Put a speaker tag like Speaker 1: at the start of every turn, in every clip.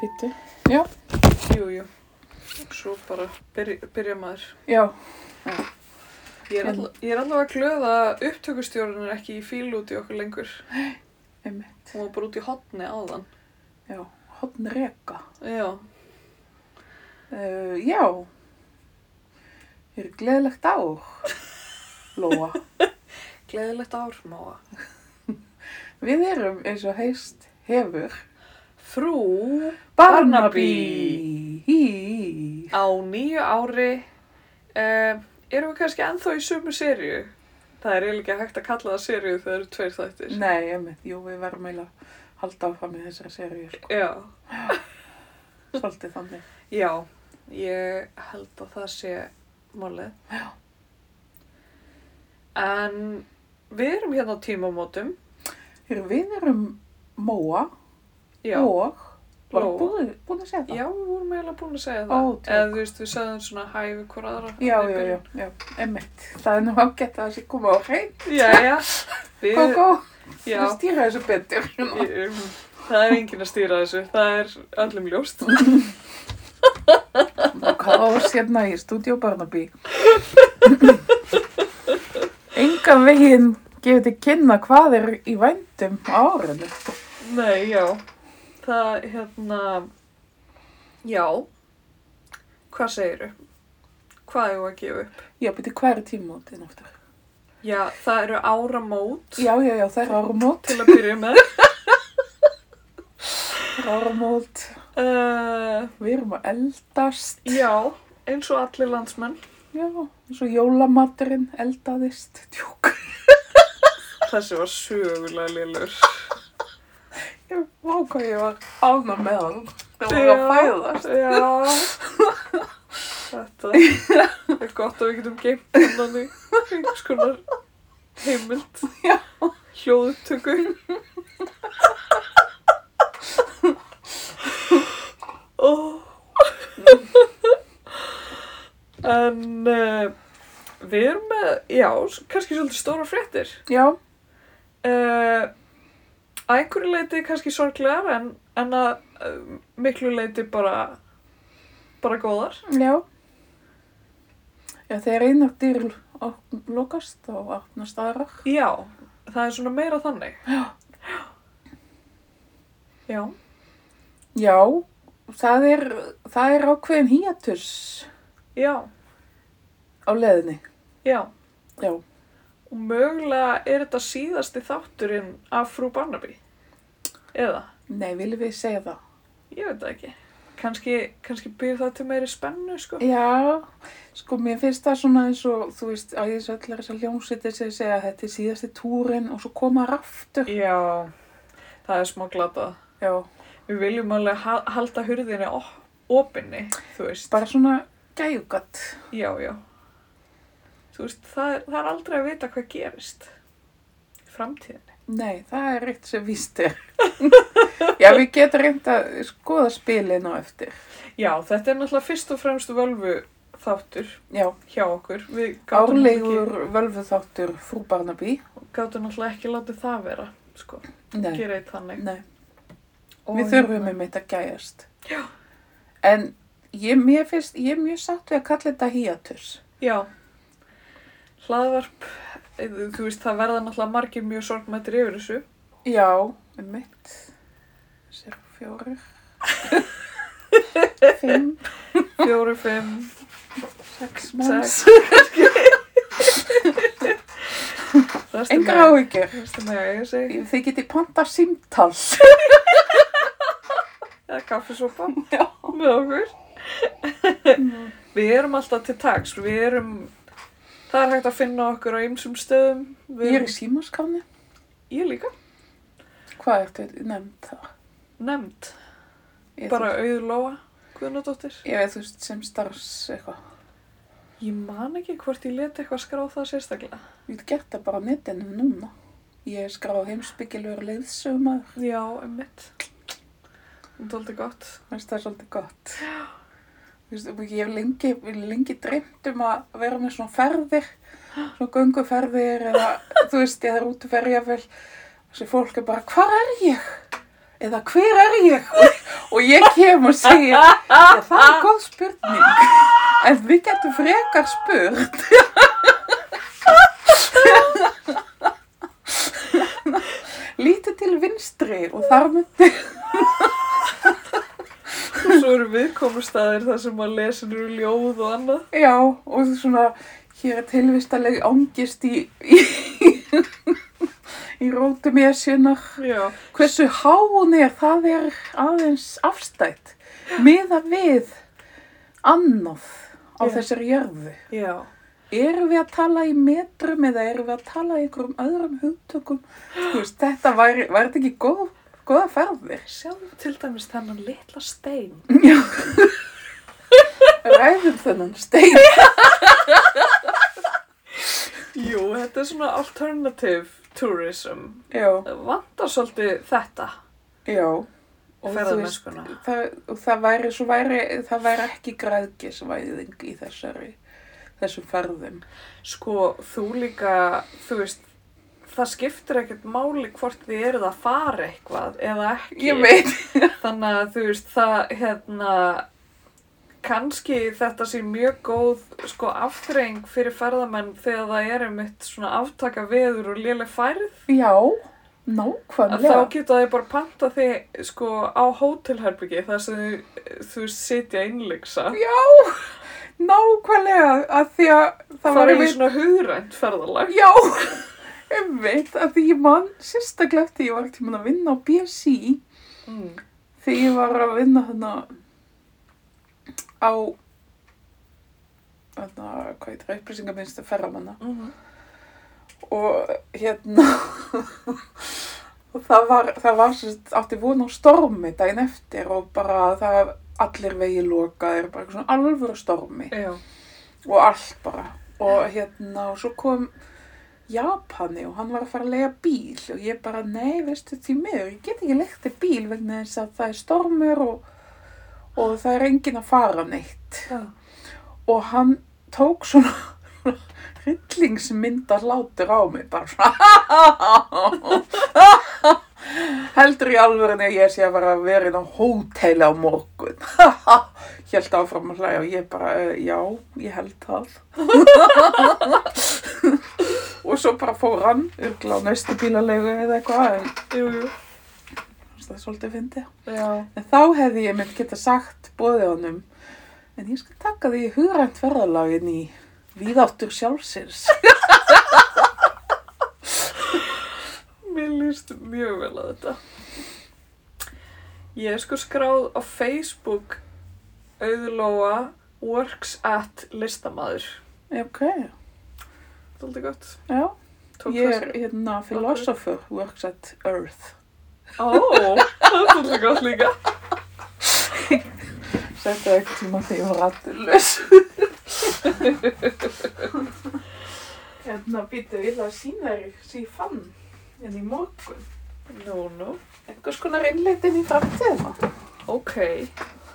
Speaker 1: Pítu. Já,
Speaker 2: Jú, jú. Svo bara byrja, byrja maður.
Speaker 1: já,
Speaker 2: Ég er, all, ég er allavega glöð að upptökustjórun er ekki í fíl út í okkur lengur.
Speaker 1: einmitt.
Speaker 2: Hún var bara út í hotni áðan.
Speaker 1: Já, hotn reka.
Speaker 2: Já,
Speaker 1: Uh, já, er gleðilegt ár, Lóa.
Speaker 2: gleðilegt ár, máa.
Speaker 1: Við erum eins og heist hefur
Speaker 2: Frú
Speaker 1: Barnaby. Hí.
Speaker 2: á nýju ári um, erum við kannski ennþá í sömu sériu. Það er eiginlega ekki hægt að kalla það sériu þegar það eru tveir þættir.
Speaker 1: Nei, einmitt, jú, við verðum eiginlega að halda áfram í þessari seríu, sko.
Speaker 2: Já,
Speaker 1: Svolítið þannig.
Speaker 2: já, ég held að það sé málið.
Speaker 1: Já.
Speaker 2: En við erum hérna á tímamótum.
Speaker 1: Heyrðu, við erum Móa
Speaker 2: Já,
Speaker 1: og var
Speaker 2: Lóa.
Speaker 1: búin, búin að segja það?
Speaker 2: já, við vorum eiginlega búin að segja
Speaker 1: Ó,
Speaker 2: það.
Speaker 1: tjók.
Speaker 2: Eða þú veist, við sagðum svona hæfi hver aðra.
Speaker 1: Já, já, já, já, einmitt. Það er nú ágætt að það sé koma á hrein.
Speaker 2: Já, já, við,
Speaker 1: Kókó,
Speaker 2: já,
Speaker 1: þú stýra þessu betur.
Speaker 2: Ég- um, það er enginn að stýra þessu, það er öllum ljóst.
Speaker 1: Kás hérna í stúdíó Barnaby. Engan veginn gefið til kynna hvað er í vændum á árinu.
Speaker 2: Nei, já, það, hérna, já, hvað segiru? Hvað hefur að gefa upp?
Speaker 1: Já, byrju, hvað eru tímótin aftur?
Speaker 2: Já, það eru áramót
Speaker 1: Já, já, já, það er áramót.
Speaker 2: til að byrja með.
Speaker 1: Það er áramót.
Speaker 2: Uh,
Speaker 1: Við erum að eldast.
Speaker 2: já, eins og allir landsmenn,
Speaker 1: Já, eins og jólamaturinn eldaðist. Tjók.
Speaker 2: þessi var sögulega lélur.
Speaker 1: Ég vá hvað ég var ána með hann. Það var að fæðast.
Speaker 2: Já, þetta er gott að við getum geimt innan í einhvers konar heimild,
Speaker 1: Já.
Speaker 2: hljóðupptöku. Ó. En uh, við erum með, já, s- kannski svolítið stóra fréttir.
Speaker 1: Já,
Speaker 2: Uh, að einhverju leiti kannski sorglegar en, en að uh, miklu leiti bara, bara góðar.
Speaker 1: já. Já, þegar einar dyr op- lokast og opnast aðrar.
Speaker 2: Já, það er svona meira þannig. Já. Já,
Speaker 1: Já, það er, það er ákveðin hiatus
Speaker 2: já,
Speaker 1: á leðinni.
Speaker 2: já.
Speaker 1: Já,
Speaker 2: Og mögulega er þetta síðasti þátturinn af frú Barnaby. Eða,
Speaker 1: nei, viljum við segja það?
Speaker 2: ég veit það ekki. Kannski, kannski býr það til meiri spennu, sko.
Speaker 1: Já, sko mér finnst það svona eins og þú veist að ég allar þessar hljómsveitir sem segja að þetta er síðasti túrin og svo koma þær aftur.
Speaker 2: Já, það er smá glatað.
Speaker 1: Já,
Speaker 2: Við viljum alveg ha halda hurðinni op- opinni, þú veist.
Speaker 1: bara svona gæjugat.
Speaker 2: Já, já. Þú veist, það er, það er aldrei að vita hvað gerist. í Framtíðinni.
Speaker 1: Nei, það er eitt sem víst er. Já, við getum reynd að skoða spilin á eftir.
Speaker 2: Já, þetta er náttúrulega fyrst og fremst völvu þáttur
Speaker 1: Já,
Speaker 2: hjá okkur. Við gátum náttúrulega
Speaker 1: árlegur völvuþáttur frú Barnaby.
Speaker 2: ekki, gátum náttúrulega ekki látið það vera, sko.
Speaker 1: Nei,
Speaker 2: Gera eitt þannig.
Speaker 1: nei,
Speaker 2: Og
Speaker 1: við þurfum
Speaker 2: hérna-
Speaker 1: um eitt að gæjast. Já. En ég, mér finnst, ég er mjög satt við að kalla þetta hiatus.
Speaker 2: Já. Hlaðvarp, eh, þú veist, það verða náttúrulega margir mjög sorgmættir yfir þessu.
Speaker 1: Já, um mitt. Sér fjórir. Fimm,
Speaker 2: Fjóru, fimm,
Speaker 1: sex manns.
Speaker 2: sex. kannski.
Speaker 1: Engar áhyggjur.
Speaker 2: Vestu með að ég segi,
Speaker 1: Þið getið panta símtals.
Speaker 2: eða kaffisopa
Speaker 1: Já.
Speaker 2: með okkur. Við erum alltaf til tags, við erum, það er hægt að finna okkur á ymsum stöðum. Við
Speaker 1: Ég er í símaskáni.
Speaker 2: ég líka,
Speaker 1: Hvað ertu nefnd það?
Speaker 2: nefnd,
Speaker 1: Ég
Speaker 2: bara auður Lóa, Guðnadóttir.
Speaker 1: Ég veit þú veist sem starfs eitthvað.
Speaker 2: Ég man ekki hvort ég leti eitthvað skrá það sérstaklega.
Speaker 1: Ég get gert það bara á netinu núna. Ég er skráð heimsbyggilegur leiðsögumar.
Speaker 2: Já, einmitt. Það er aldrei gott.
Speaker 1: Mér það er svolítið gott. Þú veist, og Ég hef lengi, ég hef lengi dreymt um að vera með svona ferðir, svona gönguferðir eða þú veist, ég er út að ferja vel. Þessi fólk er bara, hvar er ég? Eða hver er ég? Og, og ég ég kem og segi "Já, það er góð spurning en við getum frekar spurt lítið til vinstri og þar með
Speaker 2: Og svo eru viðkomustæðir þar sem að lesin eru ljóð og annað.
Speaker 1: já og svona hér er tilvistaleg ángist í í, í rótum esjunar
Speaker 2: Já.
Speaker 1: hversu há hún er það er aðeins afstætt miða við annað á
Speaker 2: Já.
Speaker 1: þessari jörðu
Speaker 2: Já.
Speaker 1: erum við að tala í metrum eða erum við að tala í einhverjum öðrum hugtökum Þú veist, þetta var, var þetta ekki góð, góða ferðir
Speaker 2: Sjáum til dæmis þennan litla stein.
Speaker 1: ræðum þennan stein
Speaker 2: Jú, þetta er svona alternative tourism.
Speaker 1: já,
Speaker 2: Vandar svolítið þetta.
Speaker 1: já
Speaker 2: Og
Speaker 1: þú
Speaker 2: ferðamennskuna.
Speaker 1: veist, það, og það væri, svo væri, það væri ekki græðgisvæðing í þessari, þessum ferðum
Speaker 2: Sko, þú líka, þú veist, það skiptir ekkert máli hvort þið eruð að fara eitthvað eða ekki.
Speaker 1: ég veit,
Speaker 2: Þannig að þú veist, það, hérna, kannski þetta sé mjög góð, sko, aftreying fyrir ferðamenn þegar það er einmitt svona aftaka veður og léleg færð.
Speaker 1: já
Speaker 2: Að þá
Speaker 1: nákvæmlega
Speaker 2: geta þið bara panta þig, sko, á hótelherbyggi þar sem þau, þú veist, sitja einleiksa.
Speaker 1: Já, nákvæmlega, að því að það var
Speaker 2: Fara í
Speaker 1: einmitt,
Speaker 2: svona hugrænt ferðalag.
Speaker 1: já, einmitt, að því ég man sérstaklega eftir ég var ekki að vinna á BSI
Speaker 2: Mm.
Speaker 1: þegar ég var að vinna hérna á, hérna, hvað heitir, upplýsingarminnstu ferramanna
Speaker 2: Mm
Speaker 1: og hérna, og það var, það var sérst, átti von á stormi daginn eftir og bara það allir vegi lokaðir, bara eitthvað svona alvöru stormi.
Speaker 2: Já.
Speaker 1: og allt bara og hérna og svo kom Japani og hann var að fara að lega bíl og ég bara nei veistu því miður ég get ekki legt þig bíl vegna þess að það er stormur og, og það er engin að fara neitt
Speaker 2: Já.
Speaker 1: og hann tók svona hryllingsmyndar látur á mig bara svona heldur í alvörinu að ég sé að vera að vera inn á hóteli á morgun held áfram að hlæja og ég bara "Eh, já, ég held það og svo bara fór hann örgla á næstu bílalegu eða eitthvað en
Speaker 2: Jú, jú.
Speaker 1: fannst það er svolítið fyndið
Speaker 2: Já.
Speaker 1: En þá hefði ég mynd geta sagt bóðið honum, en ég skal taka því hugrænt ferðalagin í víðáttur sjálfsins.
Speaker 2: Mér líst mjög vel að þetta. Ég er sko skráð á Facebook auðlóa works at listamaður.
Speaker 1: ok,
Speaker 2: Þetta er aldrei gott.
Speaker 1: já,
Speaker 2: Tók
Speaker 1: ég er
Speaker 2: þessi-
Speaker 1: hérna philosopher, works at earth.
Speaker 2: Ó, það er aldrei gott líka.
Speaker 1: Þetta er ekki tíma þegar ég var ratturlaus. hérna býtu við að sína þér sem ég fann en í morgun.
Speaker 2: Nú, nú.
Speaker 1: Einhvers konar innleitin í framtíðina.
Speaker 2: Ok.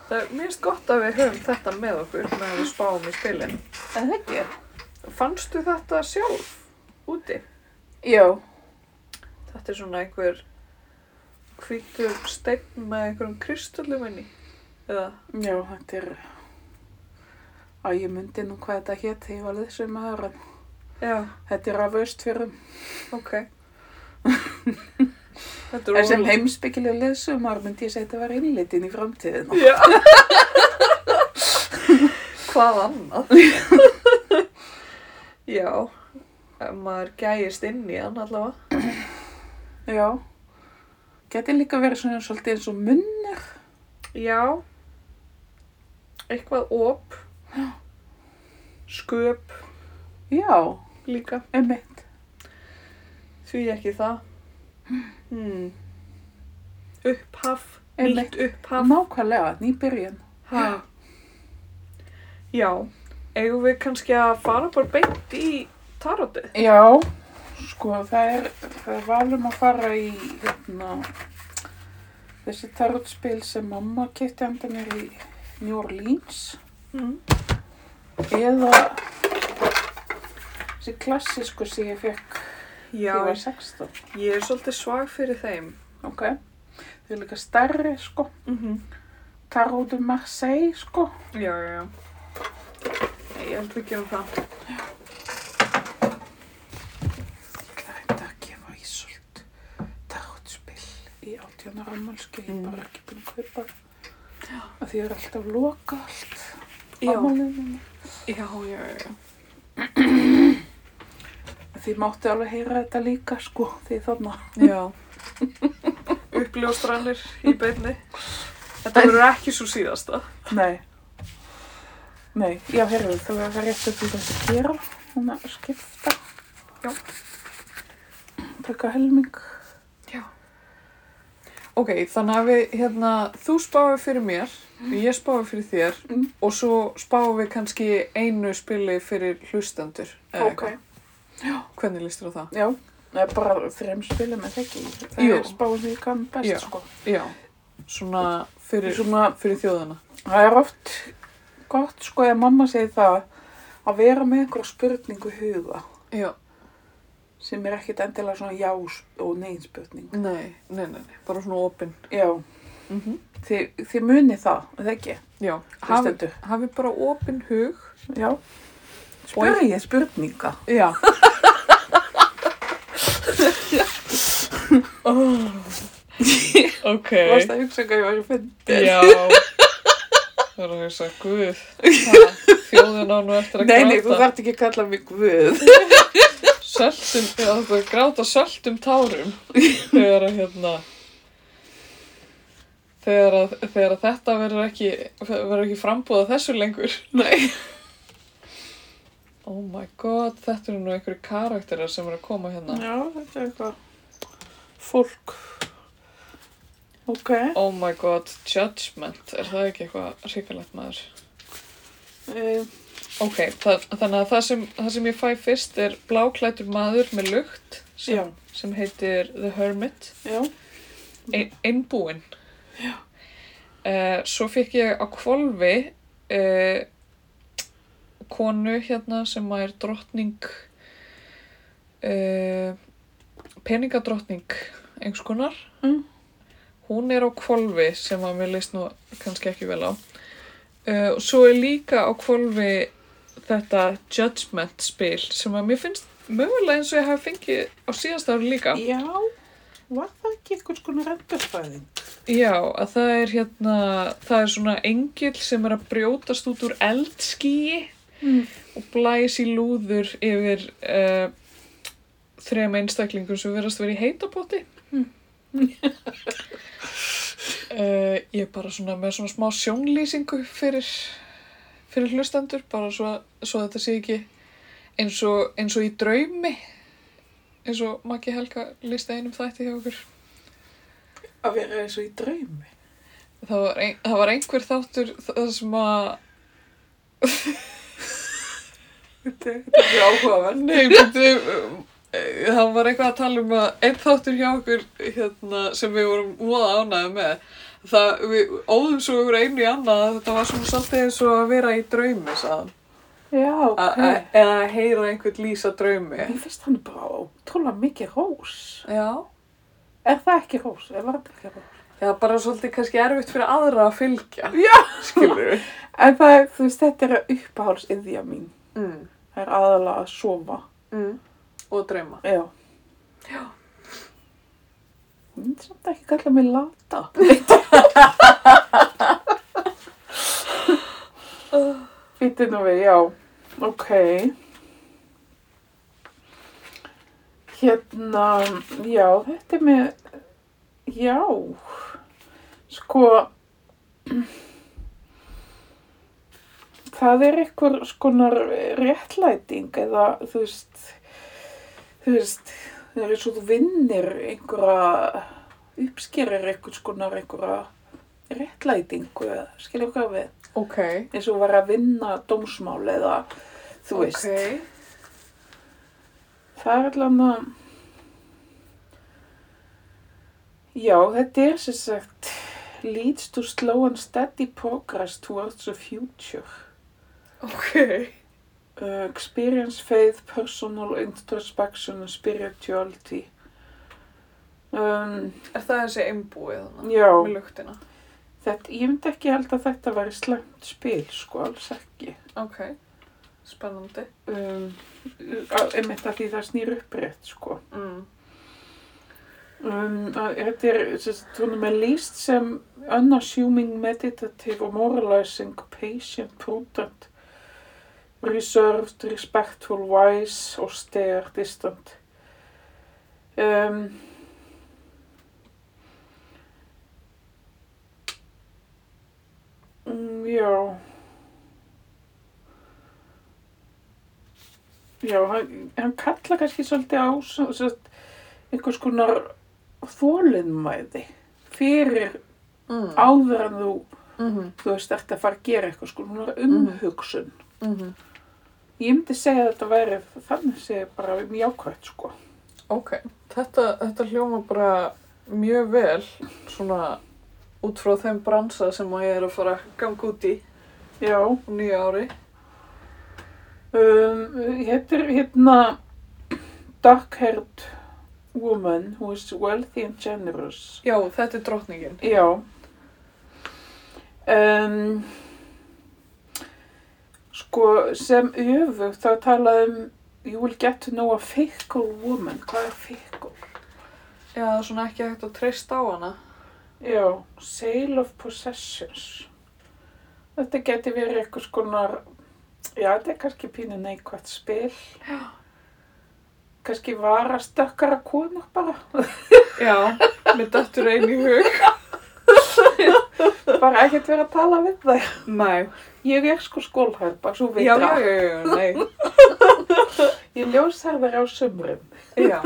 Speaker 2: Það er mér finnst gott að við höfum þetta með okkur meðan við spáum í spilin.
Speaker 1: En það ekki?
Speaker 2: Fannstu þetta sjálf úti?
Speaker 1: Já,
Speaker 2: Þetta er svona einhver hvítur steinn með einhverjum kristöllum inni. Eða?
Speaker 1: já, þetta er... Æ, ég myndi nú hvað þetta hétt þegar ég var leysum maður en
Speaker 2: Já.
Speaker 1: Þetta er af austfjörðum.
Speaker 2: Ok. Þetta er
Speaker 1: En sem
Speaker 2: ólega-
Speaker 1: heimsbyggilega leðsumar myndi ég segja þetta var innlitin í framtíðina.
Speaker 2: Já. Hvað annað? Já. Ef Maður gæjist inn í hann allavega.
Speaker 1: Já. Geti líka verið svona svolítið eins og munn.
Speaker 2: Já. Eitthvað op. Sköp
Speaker 1: Já,
Speaker 2: líka.
Speaker 1: einmitt.
Speaker 2: Því ekki það. Hmm. Upphaf.
Speaker 1: Einmitt.
Speaker 2: Nýtt upphaf.
Speaker 1: Nákvæmlega, nýbyrjun.
Speaker 2: Ha. Já, eigum við kannski að fara bara beint í tarotið?
Speaker 1: Já, sko það er, það er valum að fara í hérna, þessi tarotspil sem mamma kipti andan er í New Orleans.
Speaker 2: Mm.
Speaker 1: Eða þessi klassísku sem ég fekk
Speaker 2: Já,
Speaker 1: þegar ég var 16.
Speaker 2: ég er svolítið svag fyrir þeim.
Speaker 1: Ok. Þau eru líka stærri, sko.
Speaker 2: Mm -hmm.
Speaker 1: þar út um Marseille, sko.
Speaker 2: Já, já, já. Nei, ég held við gerum það.
Speaker 1: Ég ætla að gefa Ísolt tarotspill í 18 ára ammálski, ég er
Speaker 2: Mm.
Speaker 1: bara ekki búin að kaupa. Af því ég er alltaf loka allt.
Speaker 2: Já.
Speaker 1: afmælinu.
Speaker 2: Já, já, já, já.
Speaker 1: Því máttu alveg heyra þetta líka, sko, því þarna.
Speaker 2: Já. Uppljóstranir í beinni. Þetta verður ekki svo síðasta.
Speaker 1: Nei. Nei, já, heyrðu, það var það rétt að því þessi gera. Hún að skipta.
Speaker 2: Já.
Speaker 1: Taka helming.
Speaker 2: Ok, þannig að við, hérna, þú spáir fyrir mér, ég spáir fyrir þér
Speaker 1: Mm.
Speaker 2: og svo spáum við kannski einu spili fyrir hlustendur. eða eitthvað. Hvernig lístur á það?
Speaker 1: Eh, Já, það er bara þreim spilum en það ekki. Það
Speaker 2: Jú.
Speaker 1: er spáin því ég kann best,
Speaker 2: Já.
Speaker 1: sko.
Speaker 2: Já, svona fyrir,
Speaker 1: Svona,
Speaker 2: fyrir þjóðana.
Speaker 1: það er oft gott, sko, ef mamma segir það að vera með einhverja spurningu huga
Speaker 2: Já,
Speaker 1: sem er ekkit endilega svona já sp- og nein spurning.
Speaker 2: nei, nei, nei, nei, bara svona opinn.
Speaker 1: Já,
Speaker 2: Mm -hmm.
Speaker 1: þið, þið muni það, er það ekki,
Speaker 2: Já, hafi,
Speaker 1: hlustendur.
Speaker 2: hafi bara opinn hug.
Speaker 1: Já. Spurði ég spurninga.
Speaker 2: Já. oh. Ok.
Speaker 1: Þú varst að hugsa hvað ég var í fyndin.
Speaker 2: Já. Það er að hugsa, guð. ha, Þjóðin á nú eftir að
Speaker 1: Nei, nei, þú
Speaker 2: gráta.
Speaker 1: þarft ekki að kalla mig guð.
Speaker 2: Söltum, eða þú þarf að gráta söltum tárum. Þegar að hérna... Þegar að, þegar að þetta verður ekki, verður ekki frambúða þessu lengur.
Speaker 1: Nei.
Speaker 2: Oh my god, þetta eru nú einhverju karakterar sem eru að koma hérna.
Speaker 1: Já, þetta er eitthvað fólk. Ok,
Speaker 2: Oh my god, judgment, er það ekki eitthvað hrikalegt maður?
Speaker 1: e,
Speaker 2: Ok, það, þannig að það sem, það sem ég fæ fyrst er bláklætur maður með lukt
Speaker 1: já,
Speaker 2: sem, sem heitir The Hermit,
Speaker 1: já,
Speaker 2: ein, einbúinn. Uh, svo fikk ég á kvolfi uh, konu hérna sem er drottning, uh, peningadrottning einhvers konar.
Speaker 1: Mm.
Speaker 2: Hún er á kvolfi sem að mér leist nú kannski ekki vel á. Uh, og svo er líka á kvolfi þetta judgment spil sem að mér finnst mögulega eins og ég hafi fengið á síðast ári líka.
Speaker 1: já, var það ekki einhvers konar endurfæðin?
Speaker 2: Já, að það er hérna, það er svona engil sem er að brjótast út úr eldskíi
Speaker 1: Mm.
Speaker 2: og blæs í lúður yfir uh, þrema einstaklingum sem verðast verið í heitapotti. Mm.
Speaker 1: Mm.
Speaker 2: Eh, ég er bara svona með svona smá sjónlýsingu fyrir, fyrir hlustendur, bara svo, svo þetta sé ekki eins og, eins og í draumi, eins og Maggi Helga listi einum þætti hjá okkur.
Speaker 1: Að vera eins og í draumi.
Speaker 2: Það var, ein, það var einhver þáttur það sem að...
Speaker 1: Þetta er- þetta er mjög áhugaverð.
Speaker 2: Nei, byrju, um, eh, það var eitthvað að tala um að einn þáttur hjá okkur hérna, sem við vorum voða ánægði með. Það, við óðum svo yfir einu í annað að þetta var svona svolítið eins og að vera í draumi, sagðan.
Speaker 1: Já, ok.
Speaker 2: Okay. Eða að heyra einhvern lýsa draumi.
Speaker 1: Ég e. finnst hann bara ótrúlega mikið rós.
Speaker 2: Já.
Speaker 1: Er það ekki rós? Er það ekki rós?
Speaker 2: Eða bara svolítið kannski erfitt fyrir aðra að fylgja,
Speaker 1: Já!
Speaker 2: skilur við.
Speaker 1: En það er, þú veist, þetta er uppáhalsiðja mín.
Speaker 2: Mm.
Speaker 1: Það er aðalega að sofa.
Speaker 2: Mm. Og drauma.
Speaker 1: Já. Já. Ég myndi samt ekki kalla mig lata. Fýtti nú við, já. Ok. Hérna, já, þetta er með, já, sko, það er einhver skonar réttlæting eða, þú veist, þú veist, það er eins og þú vinnir einhverja, uppskerir einhvers konar einhverja réttlætingu, skilur hvað við,
Speaker 2: Ok.
Speaker 1: eins og þú var að vinna dómsmál eða, þú veist, það er allan að, já, þetta er sem sagt, leads to slow and steady progress towards the future.
Speaker 2: Ok.
Speaker 1: Uh, experience, faith, personal introspection and spirituality. Um,
Speaker 2: Er það þessi einbúið þannig?
Speaker 1: já.
Speaker 2: Með luktina.
Speaker 1: Þetta, ég myndi ekki held að þetta væri slæmt spil, sko, alls ekki.
Speaker 2: Ok, spennandi.
Speaker 1: Um, á- einmitt að því það snýr upprétt, sko.
Speaker 2: Mm.
Speaker 1: Um, að- þetta er, sérst, hún er með líst sem unassuming, meditative og moralizing, patient, prudent, reserved, respectful, wise, austere, distant. Um, mm, já. Já, hann, hann kalla kannski svolítið á svo- sérst, einhvers konar þólinnmæði fyrir
Speaker 2: Mm.
Speaker 1: áður en þú,
Speaker 2: Mm -hmm.
Speaker 1: þú veist, ert að fara að gera eitthvað sko, hún er umhugsun.
Speaker 2: Mm -hmm.
Speaker 1: Ég myndi segja að þetta væri þannig segja bara mjög ákvæmt sko.
Speaker 2: Ok, þetta, þetta hljóma bara mjög vel svona út frá þeim bransa sem að ég er að fara að ganga út í
Speaker 1: Já,
Speaker 2: á nýja ári.
Speaker 1: um, þetta er hérna dark-haired woman who is wealthy and generous.
Speaker 2: Já, þetta er drottningin.
Speaker 1: Já. Um, sko, sem öfugt þá er talað um you will get to know a fickle woman. Hvað er fickle?
Speaker 2: Já, það er svona ekki hægt að treysta á hana.
Speaker 1: Já, Sale of Possessions. Þetta geti verið eitthvað skonar, já þetta er kannski pínu neikvægt spil. Já. Kannski vara stökkara konur bara.
Speaker 2: Já, mér dættur einn í hug.
Speaker 1: Bara ekkert verið að tala við það.
Speaker 2: Nei.
Speaker 1: Ég er sko skólhær, bara svo
Speaker 2: Já,
Speaker 1: veit
Speaker 2: já,
Speaker 1: það.
Speaker 2: já, já, nei.
Speaker 1: Ég ljósherðar á sumrum.
Speaker 2: Já,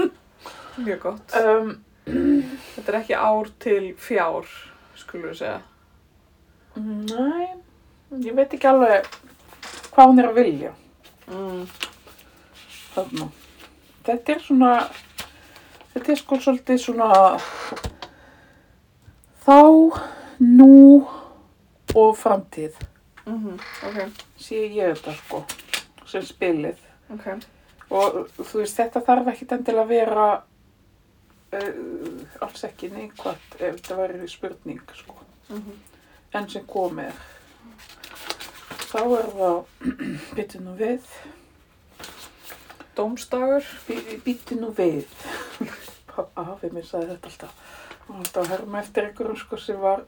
Speaker 2: mjög gott.
Speaker 1: Um,
Speaker 2: Þetta er ekki ár til fjár, skulum við segja.
Speaker 1: næ, ég veit ekki alveg hvað hún er að vilja.
Speaker 2: Mm.
Speaker 1: Þarna. Þetta er svona, þetta er sko svolítið svona þá, nú og framtíð
Speaker 2: Mm Ok,
Speaker 1: sé ég þetta sko sem spilið
Speaker 2: ok.
Speaker 1: og þú veist þetta þarf ekkit endilega að vera uh, alls ekki neikvæmt ef þetta væri spurning sko
Speaker 2: Mm
Speaker 1: enn sem komið er. Þá er það, byttu nú við,
Speaker 2: Dómstagur.
Speaker 1: Býtti nú við. Pa- Afi minn sagði þetta alltaf. Hann var alltaf að herma eftir einhverjum sko sem var,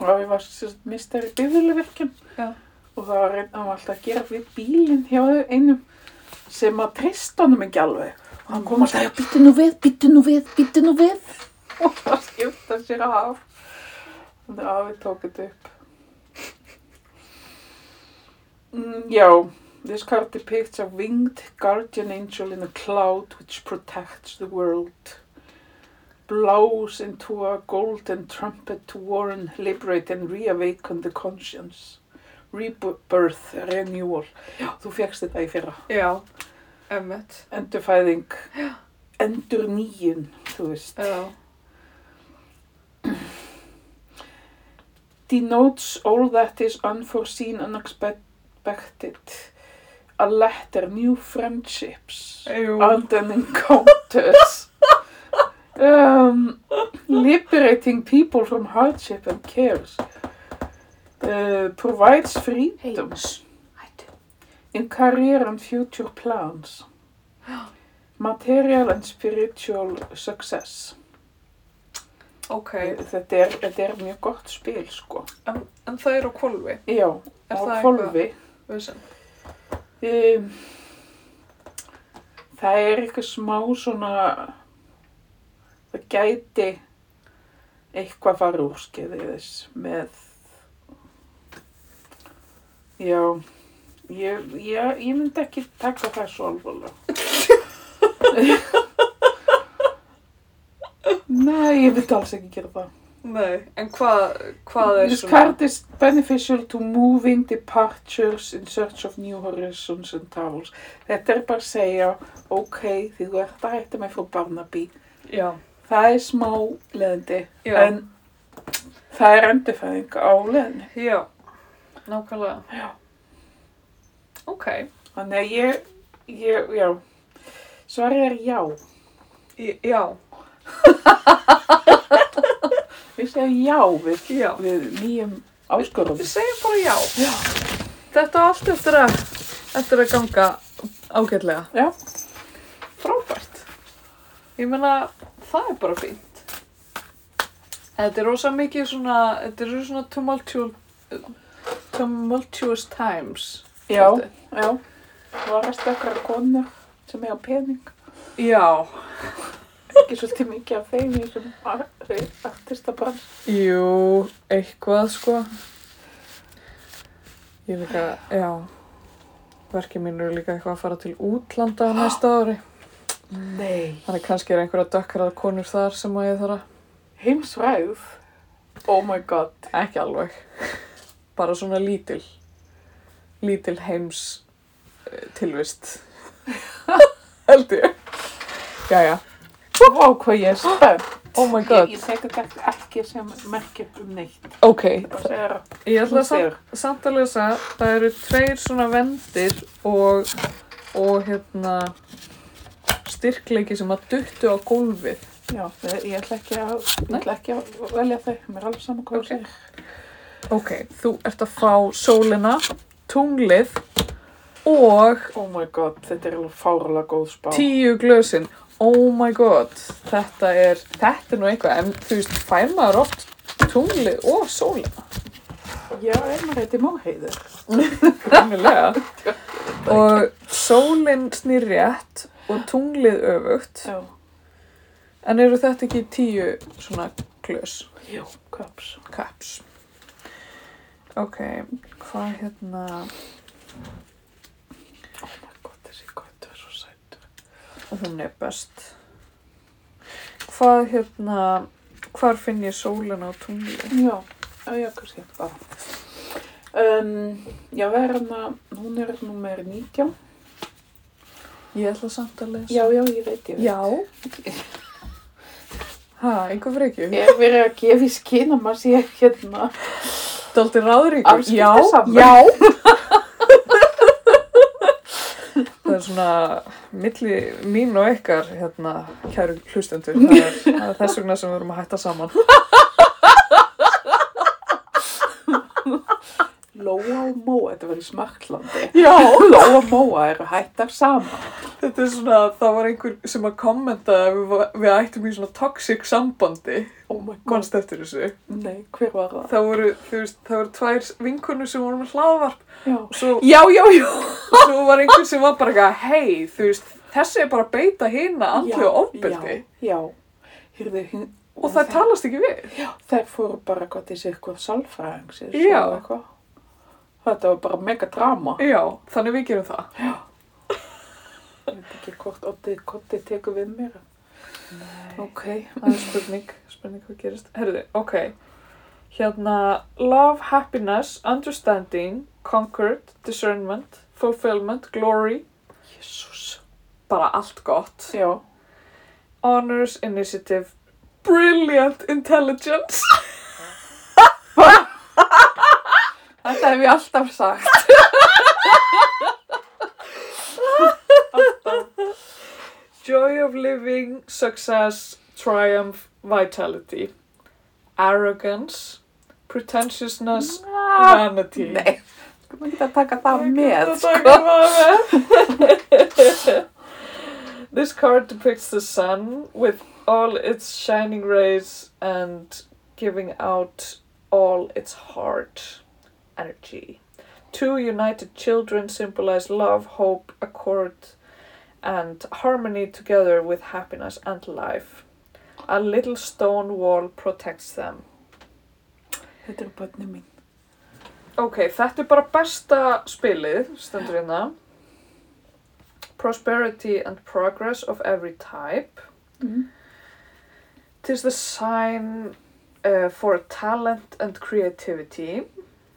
Speaker 1: afi var sérst mistari bifurluverkjum.
Speaker 2: Já.
Speaker 1: Og það var einn, hann var alltaf að gera við bílinn hjá einum sem að treysta honum ekki alveg. Og hann kom alltaf, já býtti nú við, býtti nú við, býtti nú við. Og það skipta sér af. Þannig að afi tók þetta upp. Mm, já. This card depicts a winged guardian angel in a cloud which protects the world, blows into a golden trumpet to warn, liberate and reawaken the conscience. Rebirth, renewal. Já, þú fegst þetta í fyrra.
Speaker 2: Já, emmitt.
Speaker 1: Endurfæðing, endur nýjun, þú veist.
Speaker 2: Já.
Speaker 1: denotes all that is unforeseen, unexpected. A letter, new friendships,
Speaker 2: Ew.
Speaker 1: and an encounters. um, liberating people from hardship and cares. Uh, provides freedoms
Speaker 2: Hættu.
Speaker 1: in career and future plans. Material and spiritual success.
Speaker 2: Ok,
Speaker 1: Þetta er, þetta er mjög gott spil, sko.
Speaker 2: en, en það er á kvolvi.
Speaker 1: Já,
Speaker 2: Er
Speaker 1: á
Speaker 2: það
Speaker 1: hvolfi.
Speaker 2: eitthvað vissum?
Speaker 1: Um, það er eitthvað smá svona, það gæti eitthvað fara úr skeiðis með, já, ég, ég, ég myndi ekki taka það svo alvarlega. Nei, ég myndi alls ekki gera það.
Speaker 2: Nei, en hvað, hvað er
Speaker 1: This card is beneficial to moving departures in search of new horizons and travels. Þetta er bara að segja, ok, því þú ert að hætta með frú Barnaby.
Speaker 2: Já,
Speaker 1: Það er smá leðandi,
Speaker 2: já,
Speaker 1: en það er endurfæðing á leðinni.
Speaker 2: já, nákvæmlega. Já. Ok,
Speaker 1: Þannig að ég, ég, já, svarið er já.
Speaker 2: í, já,
Speaker 1: Vissi segjum já við,
Speaker 2: Já.
Speaker 1: við nýjum áskorun.
Speaker 2: Við segjum bara já.
Speaker 1: Já.
Speaker 2: Þetta á allt eftir að, eftir að ganga ágætlega.
Speaker 1: Já, frábært.
Speaker 2: Ég meina, það er bara fínt. Þetta er rosa mikið svona, þetta eru svona tumultuous, tumultuous times.
Speaker 1: Já,
Speaker 2: svolítið.
Speaker 1: já. Varast okkar konur sem eiga pening.
Speaker 2: Já.
Speaker 1: Ekki svolítið mikið af þeim í þessum ar- artistabrann.
Speaker 2: Jú, eitthvað sko. Ég líka, já. Verkið mín eru líka eitthvað að fara til útlanda á næsta ári.
Speaker 1: Nei.
Speaker 2: Þannig kannski er einhverja dökkarað konur þar sem að ég þarf að...
Speaker 1: Heimsræð. Oh my god.
Speaker 2: Ekki alveg. Bara svona lítil. Lítil heims eh, tilvist. Held ég. Jæja.
Speaker 1: Vá hvað ég er spennt.
Speaker 2: Oh my god.
Speaker 1: Ég, ég tek þetta ekki sem merkjum um neitt.
Speaker 2: Ok.
Speaker 1: Það er að
Speaker 2: Ég ætla
Speaker 1: þú
Speaker 2: að samt,
Speaker 1: segir.
Speaker 2: samt að lesa. Það eru tveir svona vendir og, og hérna styrkleiki sem að duttu á gólfið.
Speaker 1: Já, ég ætla ekki að, ég
Speaker 2: Nei.
Speaker 1: ætla ekki að velja þau. Mér er alveg saman hvað
Speaker 2: Ok.
Speaker 1: okay. ég segir.
Speaker 2: Ok, þú ert að fá sólina, tunglið og
Speaker 1: Oh my god, þetta er alveg fáralega góð spá.
Speaker 2: tíu glösin oh my god, þetta er þetta er nú eitthvað, en þú veist fær maður oft tunglið og sólina
Speaker 1: Já, einnig heiti Móheiður.
Speaker 2: kannilega og sólin snýr rétt og tunglið öfugt
Speaker 1: Já.
Speaker 2: en eru þetta ekki tíu svona glös
Speaker 1: Jú, kaps.
Speaker 2: caps ok, hvað hérna
Speaker 1: Oh my god, þessi gott er svo sættur.
Speaker 2: hún er best hvað hérna hvar finn ég sólina og tunglið
Speaker 1: Já, já, já, kannski bara. Um, já, það er hérna, hún er nummer 19.
Speaker 2: ég ætla samt að lesa
Speaker 1: Já, já, ég veit, ég veit.
Speaker 2: Já. Ha, einhver frekju.
Speaker 1: Ég er verið að gefa í skinn að maður sé hérna.
Speaker 2: Daldi ráðríkur. Já,
Speaker 1: Afskiptasamur.
Speaker 2: já. það er svona milli mín og ykkar, hérna, kæru hlustendur. Það er, það er þess vegna sem við erum að hætta saman.
Speaker 1: Lóa og Móa, þetta verður smartlandi.
Speaker 2: Já.
Speaker 1: Lóa og Móa eru hættar saman.
Speaker 2: Þetta er svona, það var einhver sem að kommenta að við, va- við ættum í svona toxic sambandi.
Speaker 1: Oh my god,
Speaker 2: Manst eftir þessu.
Speaker 1: nei, hver var það?
Speaker 2: Það voru, þú veist, það voru tvær vinkunni sem voru með hlaðvarp.
Speaker 1: Já,
Speaker 2: og Svo
Speaker 1: já, já, já.
Speaker 2: Svo var einhver sem var bara eitthvað, hei, þú veist, þessi er bara að beita hérna andlu og ofbeldi
Speaker 1: Já, já. Hyrðu, hinn,
Speaker 2: og það talast ekki við.
Speaker 1: Þær fóru bara eitthvað til sér eitthvað salfræðingsins
Speaker 2: Já.
Speaker 1: og eitthvað. Þetta var bara mega drama.
Speaker 2: Já, þannig við gerum það.
Speaker 1: Ég veit ekki hvort Otti, Kotti tekur við mér. Ok.
Speaker 2: Það er spurning, spurning hvað gerist. Herðu, ok, hérna, love, happiness, understanding, concord, discernment, fulfillment, glory,
Speaker 1: Jésús.
Speaker 2: bara allt gott.
Speaker 1: Já.
Speaker 2: Honors, initiative, brilliant intelligence.
Speaker 1: Þetta hef ég alltaf sagt.
Speaker 2: Joy of living, success, triumph, vitality. Arrogance, pretentiousness,
Speaker 1: Ah,
Speaker 2: vanity.
Speaker 1: Nei. Skulum ekki að taka það með.
Speaker 2: sko. this card depicts the sun with all its shining rays and giving out all its heart energy. Two united children symbolize love, hope, accord, and harmony together with happiness and life. A little stone wall protects them.
Speaker 1: Þetta er bönni mín.
Speaker 2: Ok, þetta er bara besta spilið, stendur hérna. Prosperity and progress of every type.
Speaker 1: Mm.
Speaker 2: Tis the sign uh, for talent and creativity.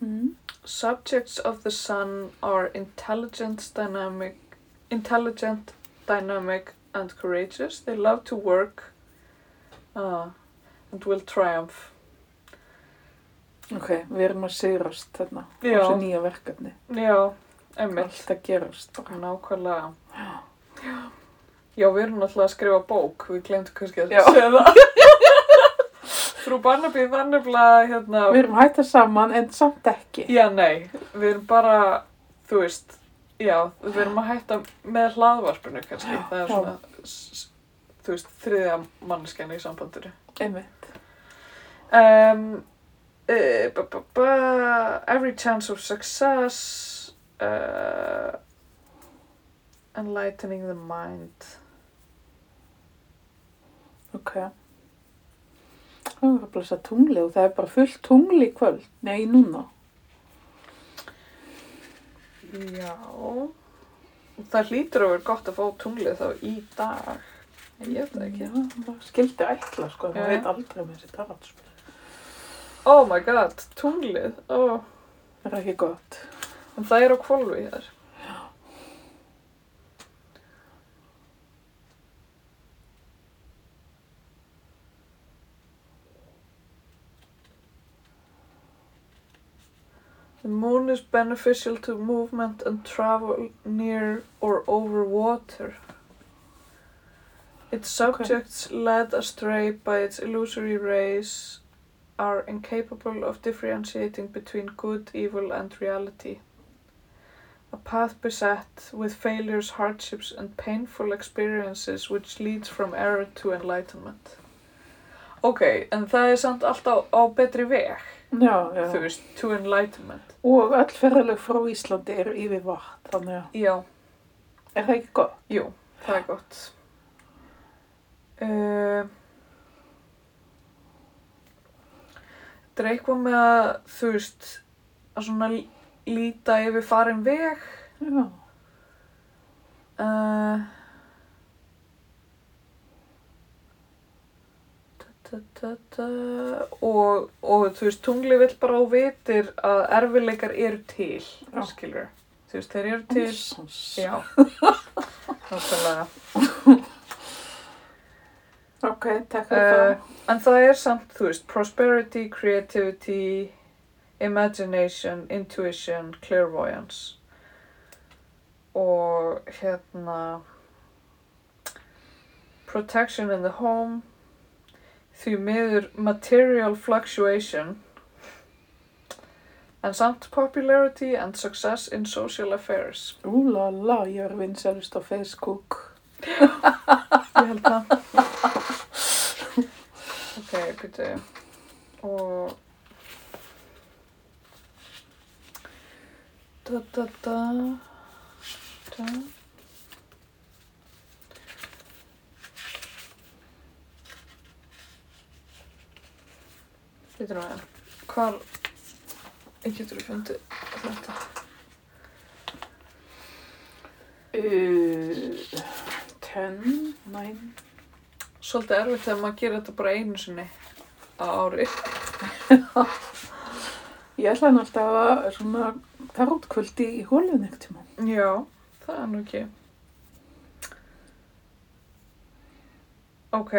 Speaker 1: Mm.
Speaker 2: Subjects of the sun are intelligent, dynamic, intelligent, dynamic and courageous. They love to work uh, and will triumph.
Speaker 1: Ok, við erum að sigrast þarna. á
Speaker 2: Já.
Speaker 1: Þessu nýja verkefni.
Speaker 2: Já, einmitt.
Speaker 1: Allt að gerast.
Speaker 2: Nákvæmlega. Já, við erum náttúrulega að skrifa bók, við glemtum kannski að
Speaker 1: Já.
Speaker 2: segja það. Frú Barnaby var nefnilega, hérna,
Speaker 1: Við erum hættar saman en samt ekki.
Speaker 2: já, nei, við erum bara, þú veist, já, við erum að hætta með hlaðvarpinu kannski.
Speaker 1: Já,
Speaker 2: Það
Speaker 1: já.
Speaker 2: er svona, s- s- þú veist, þriðja manneskjana í sambandinu.
Speaker 1: Einmitt.
Speaker 2: Um, uh, ba, ba, ba, every chance of success. Uh, enlightening the mind.
Speaker 1: Ok. Það er að blessa tungli og það er bara fullt tungli í kvöld. Nei, núna.
Speaker 2: Já. Það hlýtur að vera gott að fá tunglið þá í dag. Ég veit það ekki.
Speaker 1: Já, maður skildi ætla sko,
Speaker 2: Já,
Speaker 1: maður
Speaker 2: já.
Speaker 1: veit aldrei með þessi sko. taratspil.
Speaker 2: Oh my god, tunglið. Oh.
Speaker 1: Það er ekki gott.
Speaker 2: En það er á kvolvi hér. The moon is beneficial to movement and travel near or over water. Its subjects led astray by its illusory rays are incapable of differentiating between good, evil, and reality. A path beset with failures, hardships, and painful experiences which leads from error to enlightenment. Ok, en það er samt alltaf á betri veg,
Speaker 1: Já,
Speaker 2: þú
Speaker 1: já.
Speaker 2: veist, to enlightenment.
Speaker 1: Og öll ferðalög frá Íslandi eru yfir vatn, þannig að
Speaker 2: Já,
Speaker 1: er það ekki gott?
Speaker 2: jú, það er gott. Uh, það er eitthvað með að, þú veist, að svona lí- líta yfir farin veg.
Speaker 1: Já.
Speaker 2: Uh, ta, ta, ta, og, og þú veist, tungli vill bara á vitir að erfileikar eru til,
Speaker 1: Já.
Speaker 2: skilur. Þú veist, þeir eru til.
Speaker 1: Ansans.
Speaker 2: Já, nákvæmlega.
Speaker 1: Ok, takk fyrir
Speaker 2: Uh,
Speaker 1: það.
Speaker 2: en það er samt, þú veist, prosperity, creativity, imagination, intuition, clairvoyance. Og hérna, protection in the home, því miður material fluctuation, en samt popularity and success in social affairs.
Speaker 1: Úlala, ég er vinsælust á Facebook.
Speaker 2: Ég held það. ok, byrju. Og... Da, da, da. da. Byrju nú að hvar... Ég getur að fundið þetta.
Speaker 1: Uh, ten, nine.
Speaker 2: Svolítið erfitt þegar maður gerir þetta bara einu sinni á ári.
Speaker 1: Ég ætla hann alltaf að svona tarotkvöldi í hólun ekkert tíma.
Speaker 2: Já, það er nú ekki. Ok,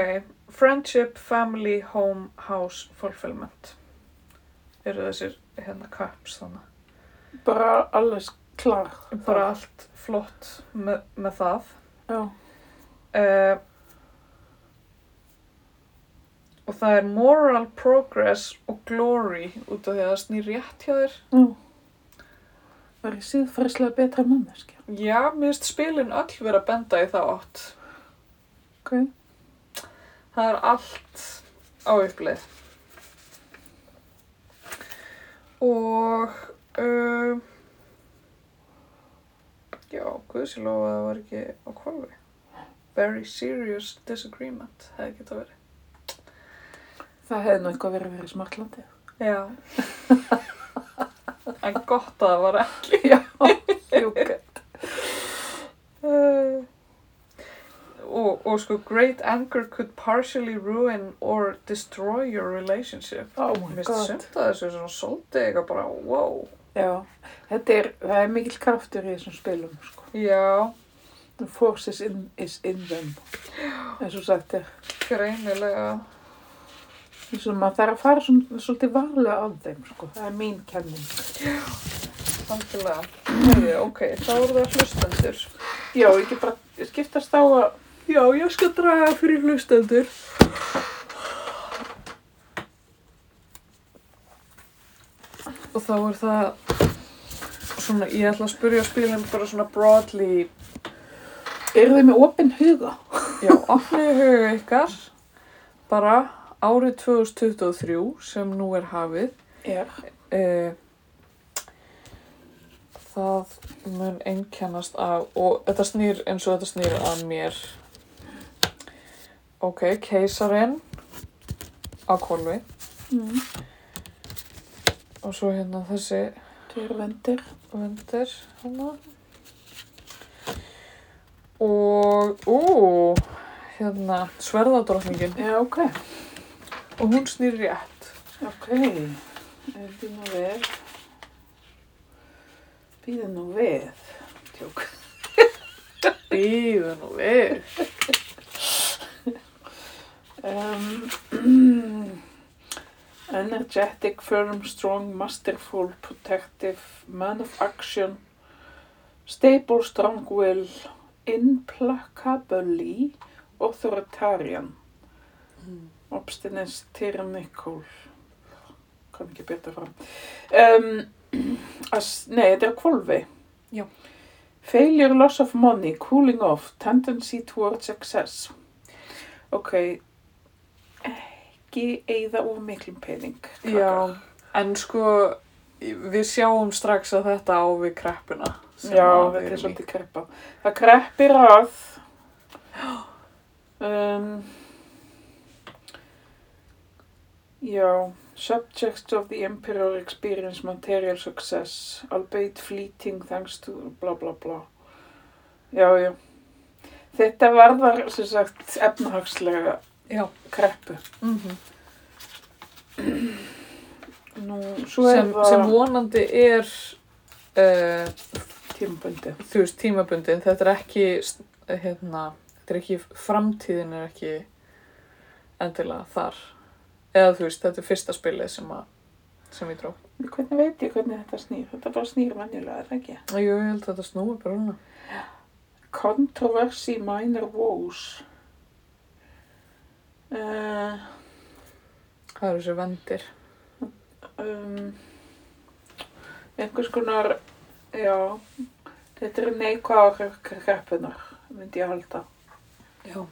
Speaker 2: friendship, family, home, house, fulfillment. Eru þessir hérna cups þannig.
Speaker 1: Bara alveg klar.
Speaker 2: Bara allt flott með, með það.
Speaker 1: Já.
Speaker 2: Uh, og það er moral progress og glory út af því að það snýr rétt hjá þér.
Speaker 1: Já. Var ég síðfærslega betra manneskja.
Speaker 2: Já, mér finnst spilin öll vera að benda í þá átt.
Speaker 1: Ok.
Speaker 2: Það er allt á uppleið. Og, um, já, guðsi lofa að það var ekki á kvalvi. Very serious disagreement hefði geta verið.
Speaker 1: Það hefði nú eitthvað verið verið smartlandi.
Speaker 2: Já. en gott að það var ekki.
Speaker 1: Já. Júk.
Speaker 2: Uh, og, og sko, great anger could partially ruin or destroy your relationship.
Speaker 1: Oh my
Speaker 2: Mér finnst
Speaker 1: god.
Speaker 2: sumt að þessu svona svolítið eitthvað bara, wow.
Speaker 1: Já. Þetta er, það er mikill kraftur í þessum spilum, sko.
Speaker 2: Já,
Speaker 1: The force is in, is in them. En svo sagt er,
Speaker 2: greinilega.
Speaker 1: eins og maður þarf að fara svona, svolítið varlega að þeim, sko. Það er mín kenning.
Speaker 2: Algjörlega. Heyrðu, ok, þá eru það hlustendur.
Speaker 1: Já, ekki bara skiptast á að,
Speaker 2: Já, ég skal draga fyrir hlustendur. og þá er það svona, ég ætla að spyrja spilum bara svona broadly
Speaker 1: Eru þið með opinn huga?
Speaker 2: Já, opniði huga ykkar bara árið 2023 sem nú er hafið.
Speaker 1: Já.
Speaker 2: Eh, það mun einkennast af, og þetta snýr eins og þetta snýr að mér. Ok, keisarinn á kolvi
Speaker 1: Mm.
Speaker 2: og svo hérna þessi hérna.
Speaker 1: Þau eru vendir.
Speaker 2: vendir hana. Og, ú, hérna, sverðadrottningin.
Speaker 1: Já, ok.
Speaker 2: Og hún snýr rétt.
Speaker 1: Ok. Býð nú við. Býð nú við. Tjók.
Speaker 2: Býðu nú við.
Speaker 1: Um, energetic, firm, strong, masterful, protective, man of action, stable, strong will, implacably, authoritarian,
Speaker 2: Mm.
Speaker 1: obstinance, tyrannical, kann ekki betur fram. Um, as, nei, þetta er kvolfi.
Speaker 2: Já.
Speaker 1: Failure, loss of money, cooling off, tendency towards success. Ok, ekki eigða of miklum pening. krakkar.
Speaker 2: Já, en sko við sjáum strax að þetta á við kreppuna. sem
Speaker 1: Já,
Speaker 2: að við
Speaker 1: þetta er
Speaker 2: erum í.
Speaker 1: svolítið kreppa. Það kreppir að um, Já, subjects of the imperial experience material success albeit fleeting thanks to bla bla bla Já, já Þetta varðar sem sagt efnahagslega
Speaker 2: Já,
Speaker 1: kreppu
Speaker 2: mm
Speaker 1: Nú, svo
Speaker 2: sem,
Speaker 1: er það
Speaker 2: sem vonandi er, uh,
Speaker 1: tímabundi
Speaker 2: þú veist, tímabundin. Þetta er ekki, st- hérna, þetta er ekki, framtíðin er ekki endilega þar. Eða þú veist, þetta er fyrsta spilið sem, að, sem ég dró.
Speaker 1: Hvernig veit ég hvernig þetta snýr? Þetta bara snýr venjulega, er það ekki?
Speaker 2: Jú, ég held að þetta snúi bara hana.
Speaker 1: Controversy Minor Woes uh,
Speaker 2: Það eru þessi vendir.
Speaker 1: um, einhvers konar já þetta eru neikvæða kreppunar myndi ég halda
Speaker 2: Já.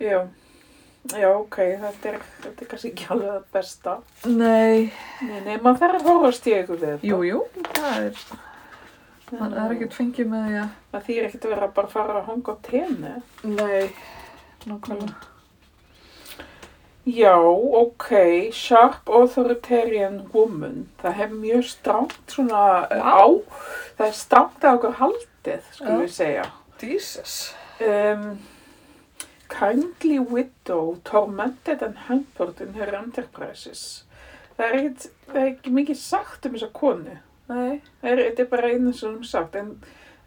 Speaker 1: já, já ok þetta er, þetta er kannski ekki alveg það besta
Speaker 2: Nei,
Speaker 1: nei, nei, maður þarf að horfast í ykkur við þetta
Speaker 2: jú, jú, það er, það er ekkert fengið með því að
Speaker 1: það þýr ekkert að vera bara að fara að hanga á tenni
Speaker 2: Nei, nákvæmlega.
Speaker 1: Já, ok, Sharp Authoritarian Woman, það hef mjög strangt svona eh, á,
Speaker 2: Vá.
Speaker 1: það er strangt að okkur haldið, skulum
Speaker 2: Já.
Speaker 1: við segja.
Speaker 2: Jesus.
Speaker 1: Um, kindly Widow, Tormented and Hampered in Her Enterprises. Það er ekkit, það er ekki mikið sagt um þessa konu,
Speaker 2: Nei.
Speaker 1: það er, þetta er bara einu sem hún sagt, en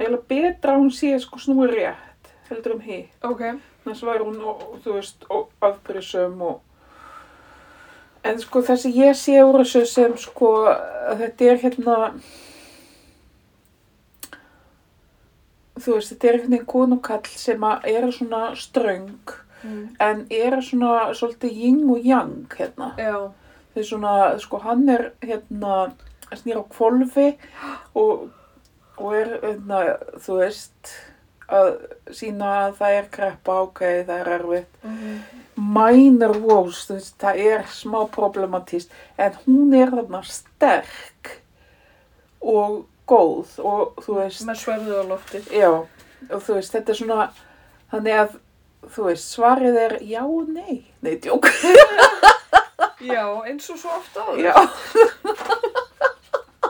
Speaker 1: eiginlega betra að hún sé sko snúið rétt, heldur um hitt.
Speaker 2: Ok.
Speaker 1: annars var hún, ó- þú veist, afbrísum og en sko það sem ég sé úr þessu sem sko að þetta er hérna þú veist, þetta er einhvern veginn konu og kall sem að eru svona ströng
Speaker 2: Mm.
Speaker 1: en eru svona svolítið ying og yang hérna
Speaker 2: Já.
Speaker 1: þeir svona, sko hann er hérna, snýr á kvolfi og, og er hérna, þú veist að sína að það er kreppa ok, það er erfitt
Speaker 2: Mhm.
Speaker 1: minor woes, þú veist, það er smá problematist, en hún er þarna sterk og góð og þú veist
Speaker 2: Með sverðu á lofti.
Speaker 1: já, og þú veist, þetta er svona þannig að, þú veist, svarið er já og nei, nei, djók
Speaker 2: Já, eins og svo oft áður.
Speaker 1: já,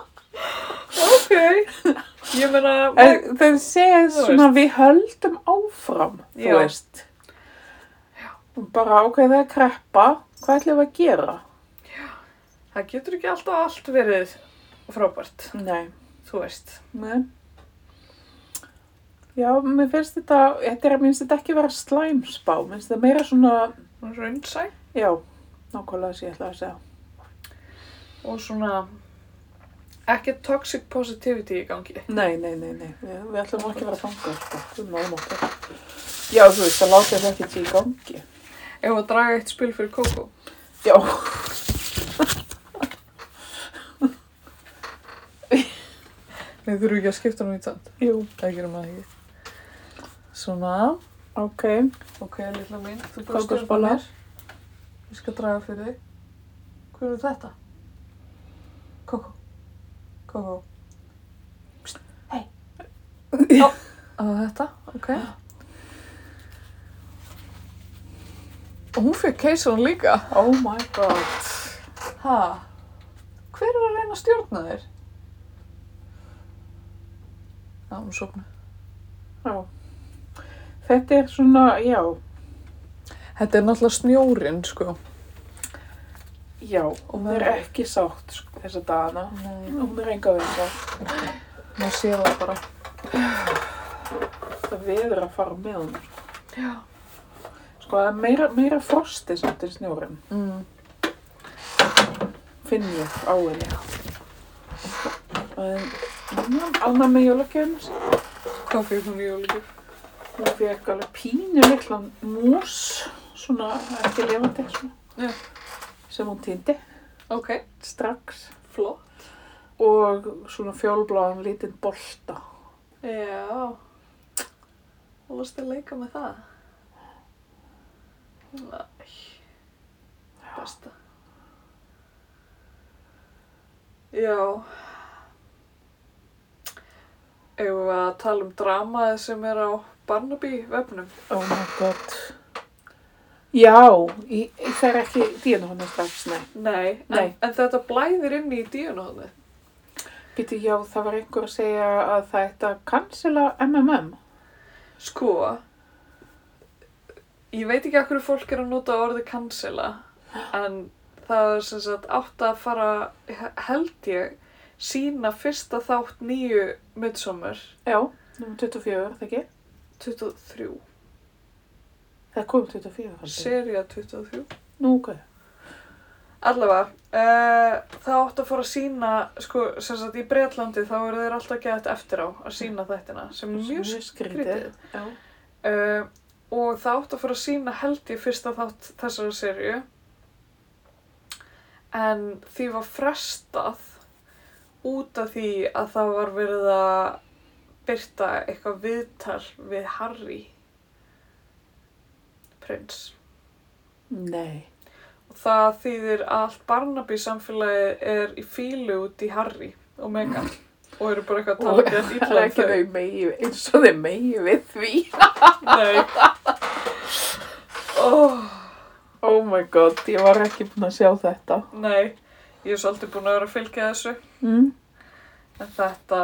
Speaker 2: Ok. Ég meina, en,
Speaker 1: En þeir segja
Speaker 2: Þú
Speaker 1: svona við höldum áfram,
Speaker 2: Já.
Speaker 1: þú veist. Og Bara ok, það er kreppa, hvað ætlum við að gera?
Speaker 2: það getur ekki alltaf allt verið frábært,
Speaker 1: Nei,
Speaker 2: þú veist.
Speaker 1: nei. Já, mér finnst þetta, þetta er, mér finnst þetta ekki vera slæmsbá, mér finnst þetta meira svona,
Speaker 2: Raunnsæ
Speaker 1: já, nákvæmlega þess að ég ætla að segja.
Speaker 2: og svona ekki toxic positivity í gangi.
Speaker 1: Nei, nei, nei, nei, við, við ætlum ekki að vera fangað, sko, við náum okkur. Já, þú veist, það láta þetta ekki í gangi.
Speaker 2: Ef að draga eitt spil fyrir Coco.
Speaker 1: Já,
Speaker 2: Við þurfum ekki að skipta nú í tand.
Speaker 1: Jú,
Speaker 2: Það gerum það ekki. Svona,
Speaker 1: ok.
Speaker 2: ok, litla mín. Þú búið að stjórna
Speaker 1: Kókosbolla.
Speaker 2: mér. Ég skal draga fyrir þig. Hvað er þetta? Kókó. Kókó. Psst, Hei. Já. Það er þetta, ok. Og hún fyrir keisun líka.
Speaker 1: Oh my god.
Speaker 2: Ha? Hver er að reyna að stjórna þér? Já, hún sopna.
Speaker 1: Já. Þetta er svona, já,
Speaker 2: Þetta er náttúrulega snjórin, sko.
Speaker 1: já, hún er ekki sátt sko, þessa dagana.
Speaker 2: Nei.
Speaker 1: Hún er enga veginn sátt.
Speaker 2: Maður sé það bara.
Speaker 1: Það veður að fara með hún.
Speaker 2: Já.
Speaker 1: Sko, það er meira, meira frosti samt en snjórin,
Speaker 2: Mm.
Speaker 1: finn ég á henni. En, já, annað með jólagjöfnum sem
Speaker 2: Hvað fyrir hún í jólugjöf?
Speaker 1: hún fekk alveg pínu litlan mús, svona ekki levandi, svona,
Speaker 2: Já.
Speaker 1: sem hún týndi
Speaker 2: Ok,
Speaker 1: strax.
Speaker 2: flott.
Speaker 1: Og svona fjólbláðan lítinn bolta.
Speaker 2: Já. Og varst að leika með það? Næ. Besta. Já. Eigum við að tala um dramaði sem er á Barnaby vefnum?
Speaker 1: Oh my god. Já, í, í, það er ekki díðan hann strax, nei.
Speaker 2: Nei, En,
Speaker 1: Nei.
Speaker 2: en þetta blæðir inn í díun á þannig.
Speaker 1: Býtu, já, það var einhver að segja að það ætti að cancela MMM.
Speaker 2: Sko, ég veit ekki að hverju fólk er að nota orðið cancela, en það er sem sagt átt að fara, he- held ég, sína fyrsta þátt nýju midsommar
Speaker 1: Já, nummer 24, er það ekki?
Speaker 2: 23,
Speaker 1: Það kom 24, haldið.
Speaker 2: seria 23.
Speaker 1: Nú, ok.
Speaker 2: Allavega, uh, það átt að fara að sína, sko, sem sagt í Breitlandi þá eru þeir alltaf gett eftir á að sína þættina, sem er mjög skrítið.
Speaker 1: Já.
Speaker 2: Uh, og það átti að fara að sína held ég fyrsta þátt þessari serju en því var frestað út af því að það var verið að byrta eitthvað viðtal við Harry prins
Speaker 1: Nei.
Speaker 2: og það þýðir að allt Barnaby samfélagið er í fílu út í Harry og Meghan og eru bara eitthvað
Speaker 1: Og-
Speaker 2: að tala gett
Speaker 1: Það er
Speaker 2: ítla um
Speaker 1: ekki þau megi, eins og þau megi við því.
Speaker 2: Nei oh.
Speaker 1: Oh my god, ég var ekki búin að sjá þetta.
Speaker 2: Nei, ég er svolítið búin að vera að fylgja þessu
Speaker 1: Mm.
Speaker 2: en þetta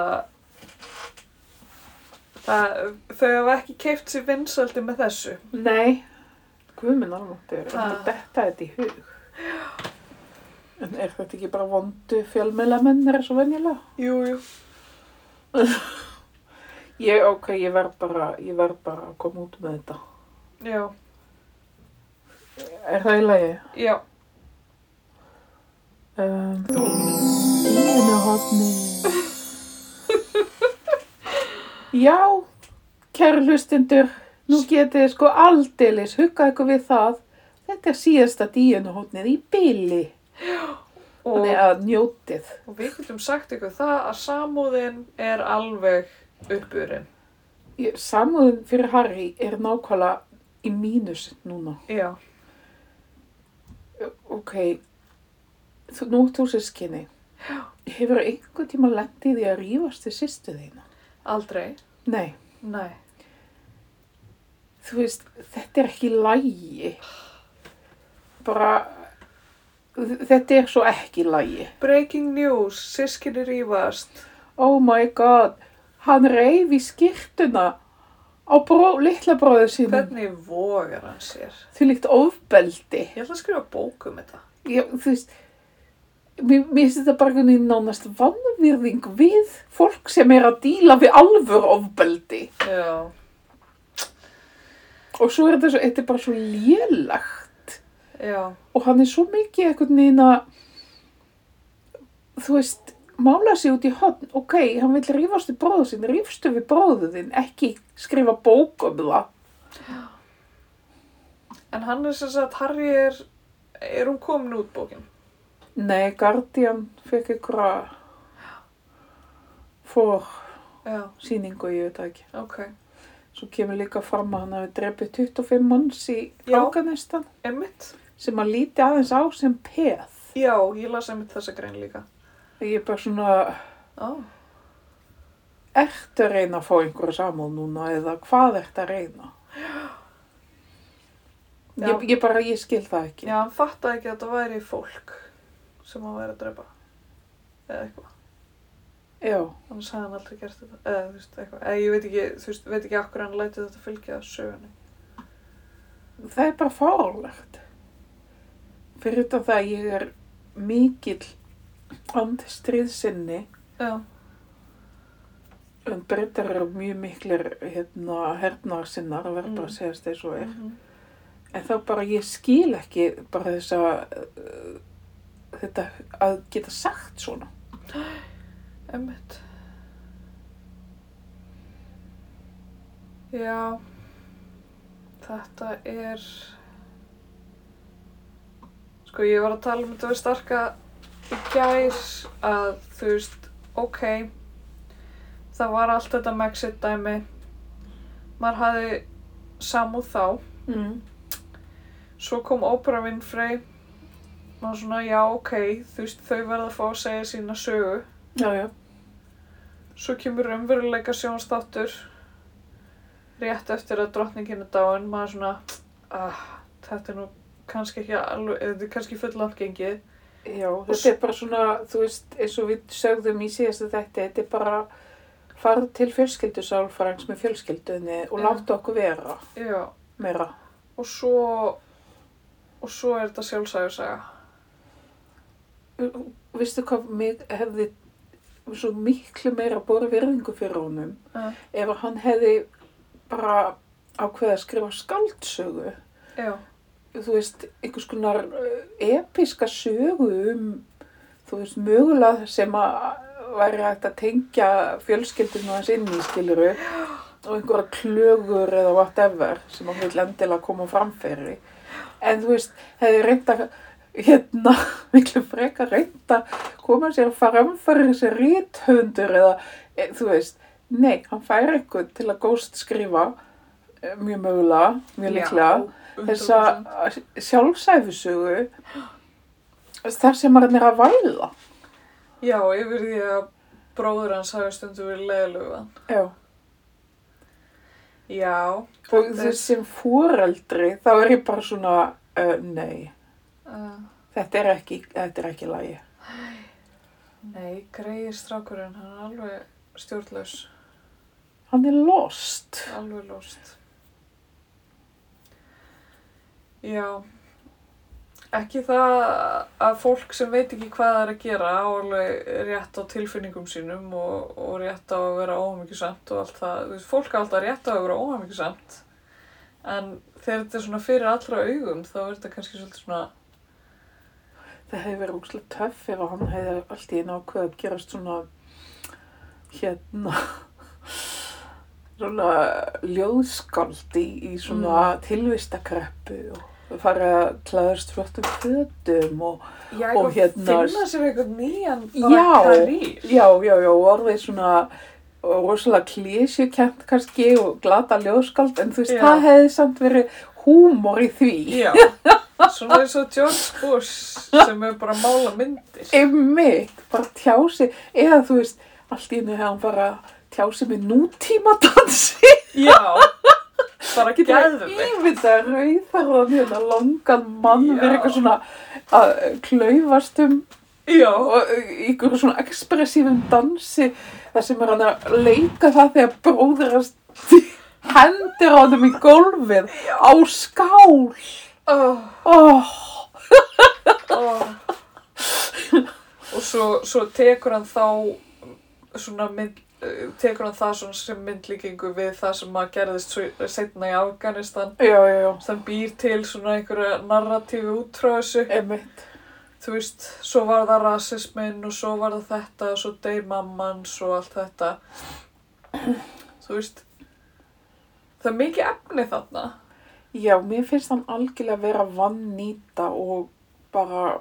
Speaker 2: það, þau hafa ekki keift sér vinsöldi með þessu
Speaker 1: Nei. Guðminn almáttur,
Speaker 2: Ha.
Speaker 1: ah. þetta er þetta í hug. En er þetta ekki bara vondu fjölmælamenn er svo venjulega?
Speaker 2: Jú, jú
Speaker 1: Ég, ok, ég verð bara, ég verð bara að koma út með þetta.
Speaker 2: Já,
Speaker 1: Er það í lagi?
Speaker 2: já,
Speaker 1: Um, Díana hotni. Já, kæru hlustendur, nú getið þið sko aldeilis huggað ykkur við það. Þetta er síðasta díana hotnið í byli.
Speaker 2: og,
Speaker 1: Þannig að njótið.
Speaker 2: og við getum sagt ykkur það að samúðin er alveg uppurinn
Speaker 1: Ég- Samúðin fyrir Harry er nákvæmlega í mínus núna.
Speaker 2: Já,
Speaker 1: Ok, þú, nú ert þú sískinni. Hefur einhvern tíma lendið því að rífast þið sýstu þína?
Speaker 2: aldrei
Speaker 1: Nei.
Speaker 2: Nei,
Speaker 1: þú veist, þetta er ekki lægi. Bara, þetta er svo ekki lægi.
Speaker 2: breaking news, sískinni rífast
Speaker 1: Oh my god, hann reyf í skýrtuna á bró, litla bróðu sínum.
Speaker 2: Hvernig vogar hann sér?
Speaker 1: Því líkt ofbeldi.
Speaker 2: Ég ætla að skrifa bók um þetta
Speaker 1: Ég, þú veist, mér, mér finnst þetta bara einhvern veginn nánast vannvirðing við fólk sem er að díla við alvör ofbeldi.
Speaker 2: Já,
Speaker 1: Og svo er þetta, svo, þetta er bara svo lélagt.
Speaker 2: já,
Speaker 1: og hann er svo mikið einhvern veginn að þú veist, mála sig út í hotn ok, hann vil rífast við bróðu sinn rífstu við bróðu þinn, ekki skrifa bók um það
Speaker 2: En hann er sem sagt, Harry er, er hún komin út bókin?
Speaker 1: nei, Guardian fekk einhverja fór
Speaker 2: já,
Speaker 1: síningu ég veit það ekki.
Speaker 2: ok.
Speaker 1: Svo kemur líka fram að hann hafi drefið 25 manns í
Speaker 2: Já.
Speaker 1: Lákanestan
Speaker 2: Emmitt?
Speaker 1: sem að líti aðeins á sem peð.
Speaker 2: Já, ég las emmitt þessa grein líka.
Speaker 1: Ég er bara svona,
Speaker 2: Ó,
Speaker 1: ertu að reyna að fá einhverja samúð núna eða hvað ertu að reyna?
Speaker 2: Já.
Speaker 1: Ég, ég bara, ég skil það ekki.
Speaker 2: já, hann fattaði ekki að þetta væri fólk sem hann væri að drepa. Eða eitthvað.
Speaker 1: Já.
Speaker 2: Annars hafði hann aldrei gert þetta. Eða, þú veist, eitthvað. Eða, ég veit ekki, þú veist, veit ekki akkur hann lætið þetta fylgja sögunni.
Speaker 1: Það er bara fárlegt. Fyrir utan það að ég er mikill andistriðsinni
Speaker 2: Já,
Speaker 1: en breytar eru mjög miklir hérna, hernaðarsinnar að verða
Speaker 2: Mm.
Speaker 1: bara að segjast eins og er.
Speaker 2: mhm.
Speaker 1: En þá bara ég skil ekki bara þess að uh, þetta að geta sagt svona.
Speaker 2: Emmitt. Já, þetta er, sko ég var að tala um þetta við starka í gær að þú veist, ok, það var allt þetta Mexit dæmi, maður hafði samúð þá,
Speaker 1: Mm.
Speaker 2: svo kom Oprah Winfrey, maður svona já ok, þú veist þau verða að fá að segja sína sögu.
Speaker 1: Já, já.
Speaker 2: Svo kemur raunveruleika sjónstáttur rétt eftir að drottningin er dáin, maður svona ah, þetta er nú kannski ekki alveg, eða þetta er kannski fullant gengið
Speaker 1: Já, þetta er bara svona, þú veist, eins og við sögðum í síðasta þetta, þetta er bara farð til fjölskyldusálfræns með fjölskyldunni og
Speaker 2: Já.
Speaker 1: láta okkur vera
Speaker 2: Já,
Speaker 1: meira.
Speaker 2: og svo og svo er þetta sjálfsæðusaga
Speaker 1: Vistu hvað, mig hefði svo miklu meira borið virðingu fyrir honum
Speaker 2: Já.
Speaker 1: ef að hann hefði bara ákveðið að skrifa skaldsögu.
Speaker 2: Já,
Speaker 1: Þú veist, einhvers konar eh, episka sögu um, þú veist, mögulega sem að væri hægt að tengja fjölskyldinu hans inn í skiluru og einhverja klögur eða whatever sem hann vil endilega koma framfyrir. En þú veist, hefði reynd að, hérna, miklu frekar reynd að koma sér framfyrir þessi rithöndur eða, e, þú veist, nei, hann fær eitthvað til að góst skrifa, eh, mjög mögulega, mjög
Speaker 2: Já,
Speaker 1: líklega, þessa
Speaker 2: 100%.
Speaker 1: sjálfsæfisögu þar sem hann er að væla.
Speaker 2: Já, yfir því að bróður hans hafi stundum verið leiðlugan
Speaker 1: Já.
Speaker 2: Já,
Speaker 1: Og
Speaker 2: Þetta er-
Speaker 1: þess sem fóreldri, þá er ég bara svona, uh, nei,
Speaker 2: uh,
Speaker 1: þetta er ekki, þetta er ekki lagi.
Speaker 2: nei, greiði strákurinn hann er alveg stjórnlaus
Speaker 1: Hann er lost.
Speaker 2: Alveg lóst. Já. Ekki það að fólk sem veit ekki hvað það er að gera á alveg rétt á tilfinningum sínum og, og rétt á að vera óhamingjusamt og allt það. Þú veist, fólk á alltaf rétt á að vera óhamingjusamt. En þegar þetta er svona fyrir allra augum þá er þetta kannski svolítið svona,
Speaker 1: Það hefði verið úkslega töff ef hann hefði allt í einu ákveð að gerast svona, hérna, svona ljóðskald í, í svona mm. tilvistakreppu og farið að klæðast flottum fötum og
Speaker 2: já,
Speaker 1: Og
Speaker 2: eitthvað
Speaker 1: hérna-
Speaker 2: finna sér eitthvað nýjan
Speaker 1: Já.
Speaker 2: karýr.
Speaker 1: Já, já, já, og orðið svona rosalega klísjukent kannski og glata ljóðskald en þú veist,
Speaker 2: Já.
Speaker 1: það hefði samt verið húmor í því.
Speaker 2: Já, svona eins og George Bush sem er bara að mála myndir.
Speaker 1: Einmitt, bara tjási, eða þú veist, allt í einu hefði hann bara tjási með nútíma dansi.
Speaker 2: Já, bara geðveikt.
Speaker 1: Ímynda rauðarðan hérna langan mann
Speaker 2: Já.
Speaker 1: verið eitthvað svona að eh, klaufast um
Speaker 2: Já,
Speaker 1: og eh, í einhverju svona ekspressífum dansi þar sem er hann að leika það þegar bróður hans hendir á þeim í gólfið á skál
Speaker 2: oh,
Speaker 1: oh,
Speaker 2: oh. og svo, svo tekur hann þá svona mynd, eh, tekur hann það svona sem myndlíkingu við það sem að gerðist svo- seinna í Afganistan
Speaker 1: já, já, já,
Speaker 2: sem býr til svona einhverja narratífi útrá þessu
Speaker 1: emitt
Speaker 2: þú veist, svo var það rasismin og svo var það þetta og svo dey mammans og allt þetta þú veist það er mikið efni þarna
Speaker 1: já, mér finnst hann algjörlega vera vannýta og bara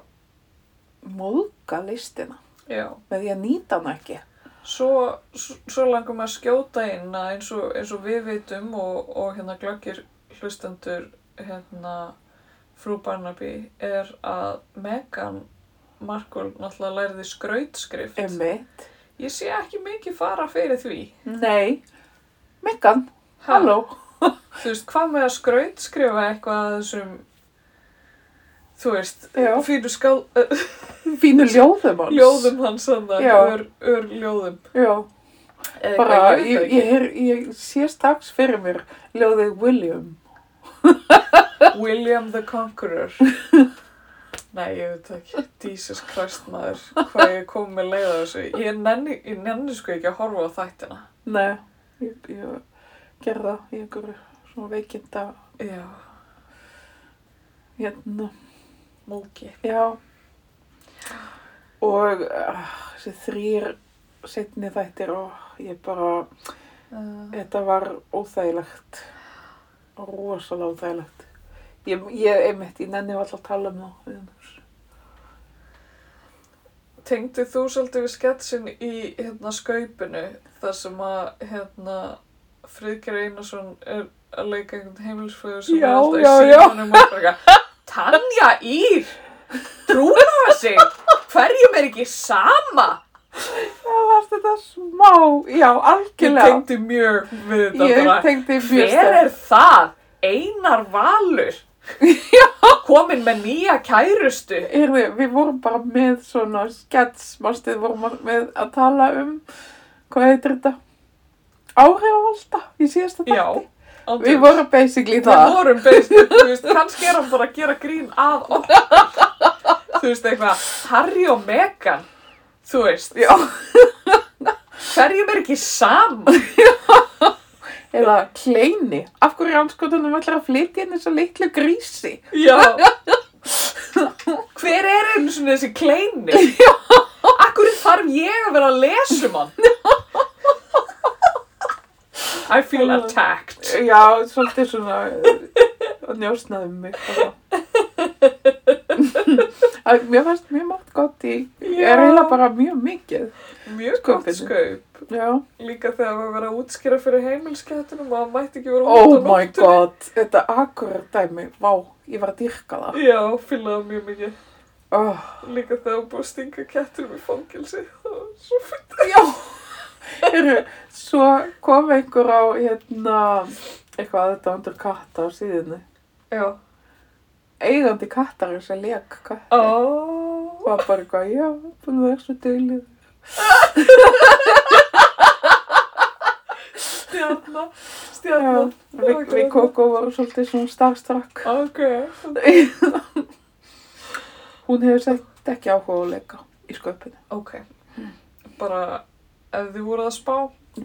Speaker 1: móðga listina
Speaker 2: já
Speaker 1: með því að nýta hann ekki
Speaker 2: Svo, s- svo langum við að skjóta inn að eins og, eins og við vitum og, og hérna glöggir hlustendur hérna frú Barnaby er að Megan Markle náttúrulega lærði skrautskrift.
Speaker 1: Emmitt.
Speaker 2: Ég sé ekki mikið fara fyrir því.
Speaker 1: Nei. Megan,
Speaker 2: Ha,
Speaker 1: halló.
Speaker 2: Þú veist, hvað með að skrautskrifa eitthvað að þessum, þú veist,
Speaker 1: Já.
Speaker 2: fínu skál, uh,
Speaker 1: Fínu ljóðum hans.
Speaker 2: ljóðum hans þannig,
Speaker 1: Já.
Speaker 2: ör, ör ljóðum.
Speaker 1: Já,
Speaker 2: Eða
Speaker 1: bara
Speaker 2: eitthvað,
Speaker 1: ég,
Speaker 2: veit
Speaker 1: ég, ég, ég sé strax fyrir mér ljóðið William.
Speaker 2: William the Conqueror Nei, ég veit það ekki Jesus Christ maður hvað ég kom með leið á þessu ég nenni, ég nenni sko ekki að horfa á þættina
Speaker 1: Nei, ég, ég gerði það í einhverju svona veikinda
Speaker 2: Já,
Speaker 1: hérna.
Speaker 2: múki
Speaker 1: Já. Og uh, þessi þrýr setni þættir og ég bara,
Speaker 2: uh,
Speaker 1: þetta var óþægilegt. Rosalega óþægilegt. Ég, ég einmitt, ég nenni alltaf að tala um það.
Speaker 2: Tengdu þú svolítið við sketsin í hérna skaupinu þar sem að hérna Friðgeir Einarsson er að leika einhvern heimilsföður sem
Speaker 1: Já,
Speaker 2: er alltaf
Speaker 1: já,
Speaker 2: í
Speaker 1: já.
Speaker 2: símanum og bara eitthvað, Tanja Ír trúna sig hverjum er ekki sama
Speaker 1: Það varst þetta smá, já,
Speaker 2: Ég
Speaker 1: algjörlega.
Speaker 2: tengdi mjög við þetta
Speaker 1: Ég
Speaker 2: bara.
Speaker 1: tengdi mjög
Speaker 2: Hver er það? Einar Valur? Kominn með nýja kærustu?
Speaker 1: Heyrðu, við vorum bara með svona skets, mástu, við vorum með að tala um, hvað heitir þetta? Áhrifavalda í síðasta
Speaker 2: Já.
Speaker 1: tætti.
Speaker 2: Án
Speaker 1: Við
Speaker 2: djóks.
Speaker 1: vorum basically
Speaker 2: Við
Speaker 1: það.
Speaker 2: vorum beist, þú veist, kannski er hann bara að gera grín að okkur. þú veist, eitthvað, Harry og Meghan, þú veist,
Speaker 1: Já.
Speaker 2: hverjum er ekki saman?
Speaker 1: Eða kleini. Af hverju anskotunum ætlar að flytja inn þessu litlu grísi?
Speaker 2: Já. Hver er einu svona þessi kleini? Já. Akkur þarf ég að vera að lesum hann? I feel attacked.
Speaker 1: Já, svolítið svona eh, njósnaði
Speaker 2: um
Speaker 1: mig. bara. Að Mér fannst mjög margt gott í, ég
Speaker 2: Já.
Speaker 1: er eiginlega bara mjög mikið.
Speaker 2: Mjög
Speaker 1: Skaupinu.
Speaker 2: gott skaup.
Speaker 1: Já.
Speaker 2: Líka þegar maður verið að útskýra fyrir heimilskettunum og hann mætti ekki vera
Speaker 1: Oh
Speaker 2: út á
Speaker 1: my
Speaker 2: nóttunni.
Speaker 1: god, þetta akkurat dæmi, vá, ég var að dyrka það.
Speaker 2: Já, fylgðaði mjög mikið.
Speaker 1: Oh.
Speaker 2: Líka þegar hann búið að stinga kettunum í fangelsi. Það var svo fyrir.
Speaker 1: Já, Heru, svo kom einhver á hérna, eitthvað þetta undur katta á síðinu.
Speaker 2: Já.
Speaker 1: Eigandi kattar þess að leik katta.
Speaker 2: Oh.
Speaker 1: Var bara eitthvað, já, búin að vera svo dölið.
Speaker 2: Stjarna.
Speaker 1: Já,
Speaker 2: Stjarna.
Speaker 1: við, við Koko vorum svolítið svona starstrakk.
Speaker 2: Ok.
Speaker 1: Hún hefur sett ekki áhuga á að leika í sköpinu.
Speaker 2: Ok. Bara ef þið voruð að spá.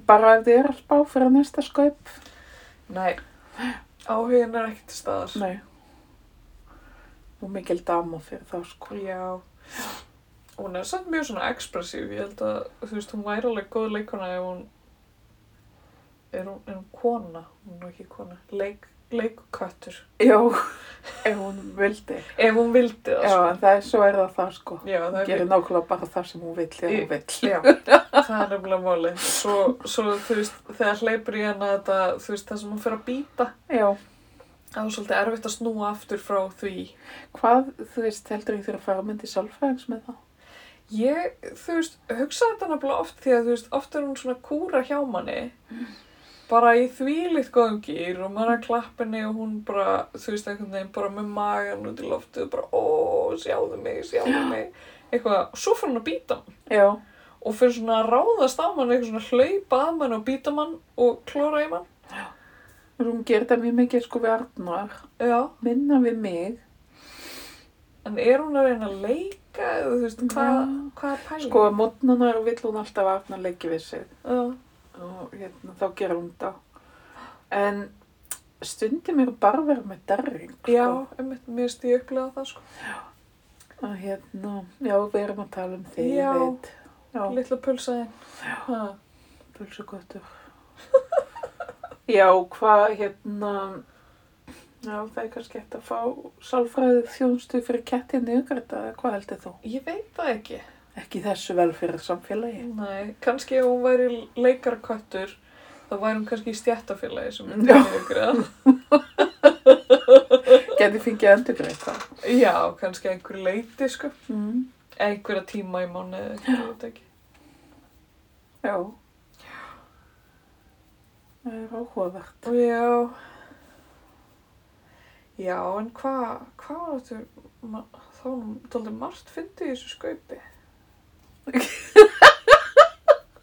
Speaker 1: Bara ef þið er að spá fyrir næsta sköp.
Speaker 2: Nei. Áhugin er ekki til staðar.
Speaker 1: Nei. Og mikil dama fyrir þá sko.
Speaker 2: Já. Hún er samt mjög svona ekspressív, ég held að, þú veist, hún væri alveg góð leikona ef hún, er hún, er hún kona? Hún er nú ekki kona, leik, leikköttur.
Speaker 1: Já, ef hún vildi. sko.
Speaker 2: Ef hún vildi það,
Speaker 1: Já, en það er svo er það það sko.
Speaker 2: sko. Já, það er
Speaker 1: Gerir nákvæmlega bara það sem hún vill þegar hún vill.
Speaker 2: Já, það er nefnilega málið. Svo, svo, þú veist, þegar hleypur í hana þetta, þú veist, það sem hún fyrir að býta,
Speaker 1: Já,
Speaker 2: það er svolítið erfitt að snúa aftur frá því.
Speaker 1: hvað, þú veist, heldur ég þurfa að fara myndi sálfræðings með það?
Speaker 2: Ég, þú veist, hugsaði þetta nefnilega oft því að, þú veist, oft er hún svona kúra hjá manni bara í þvílitt góðum gýr og maður er að klappa henni og hún bara, þú veist, einhvern veginn bara með magan út í loftið og bara, ó, sjáðu mig, sjáðu mig eitthvað, og svo fyrir hún að býta hann
Speaker 1: Já,
Speaker 2: og fyrir svona að ráðast á mann eitthvað svona hlaupa að mann og býta mann og klóra í mann
Speaker 1: og hún gerir það mjög mikið sko við Arnar.
Speaker 2: Já,
Speaker 1: Minna við mig.
Speaker 2: en er hún að reyna að leika eða þú veist, hvað,
Speaker 1: Já.
Speaker 2: hvað er pæling?
Speaker 1: Sko, mótnanar vill hún alltaf að Arnar leiki við sig.
Speaker 2: Já,
Speaker 1: Og hérna, þá gerir hún það. En stundum er hún bara að vera með derring. Sko.
Speaker 2: já, einmitt, mér finnst ég upplega það, sko
Speaker 1: Að hérna, já, við erum að tala um þig,
Speaker 2: Já.
Speaker 1: ég veit. Já.
Speaker 2: Lilla pulsaðin. Já.
Speaker 1: Pulsugötur. já, hvað hérna, já það er kannski hægt að fá sálfræðið þjónustu fyrir kettinni yngreita eða hvað heldur þú?
Speaker 2: Ég veit það ekki.
Speaker 1: Ekki í þessu velferðar samfélagi.
Speaker 2: Nei, kannski ef hún væri leikaraköttur þá væri hún kannski í stjættafélagi sem er
Speaker 1: Já.
Speaker 2: tekið
Speaker 1: Geti fengið endur greið það.
Speaker 2: Já, kannski að einhverju leiti sko
Speaker 1: Mm.
Speaker 2: Eða einhverja tíma í mánu eða eitthvað, ég veit ekki
Speaker 1: Já. Það er áhugavert.
Speaker 2: Og Já Já, en hvað hva var þetta ma- þá er nú dálítið margt fyndi í þessu skaupi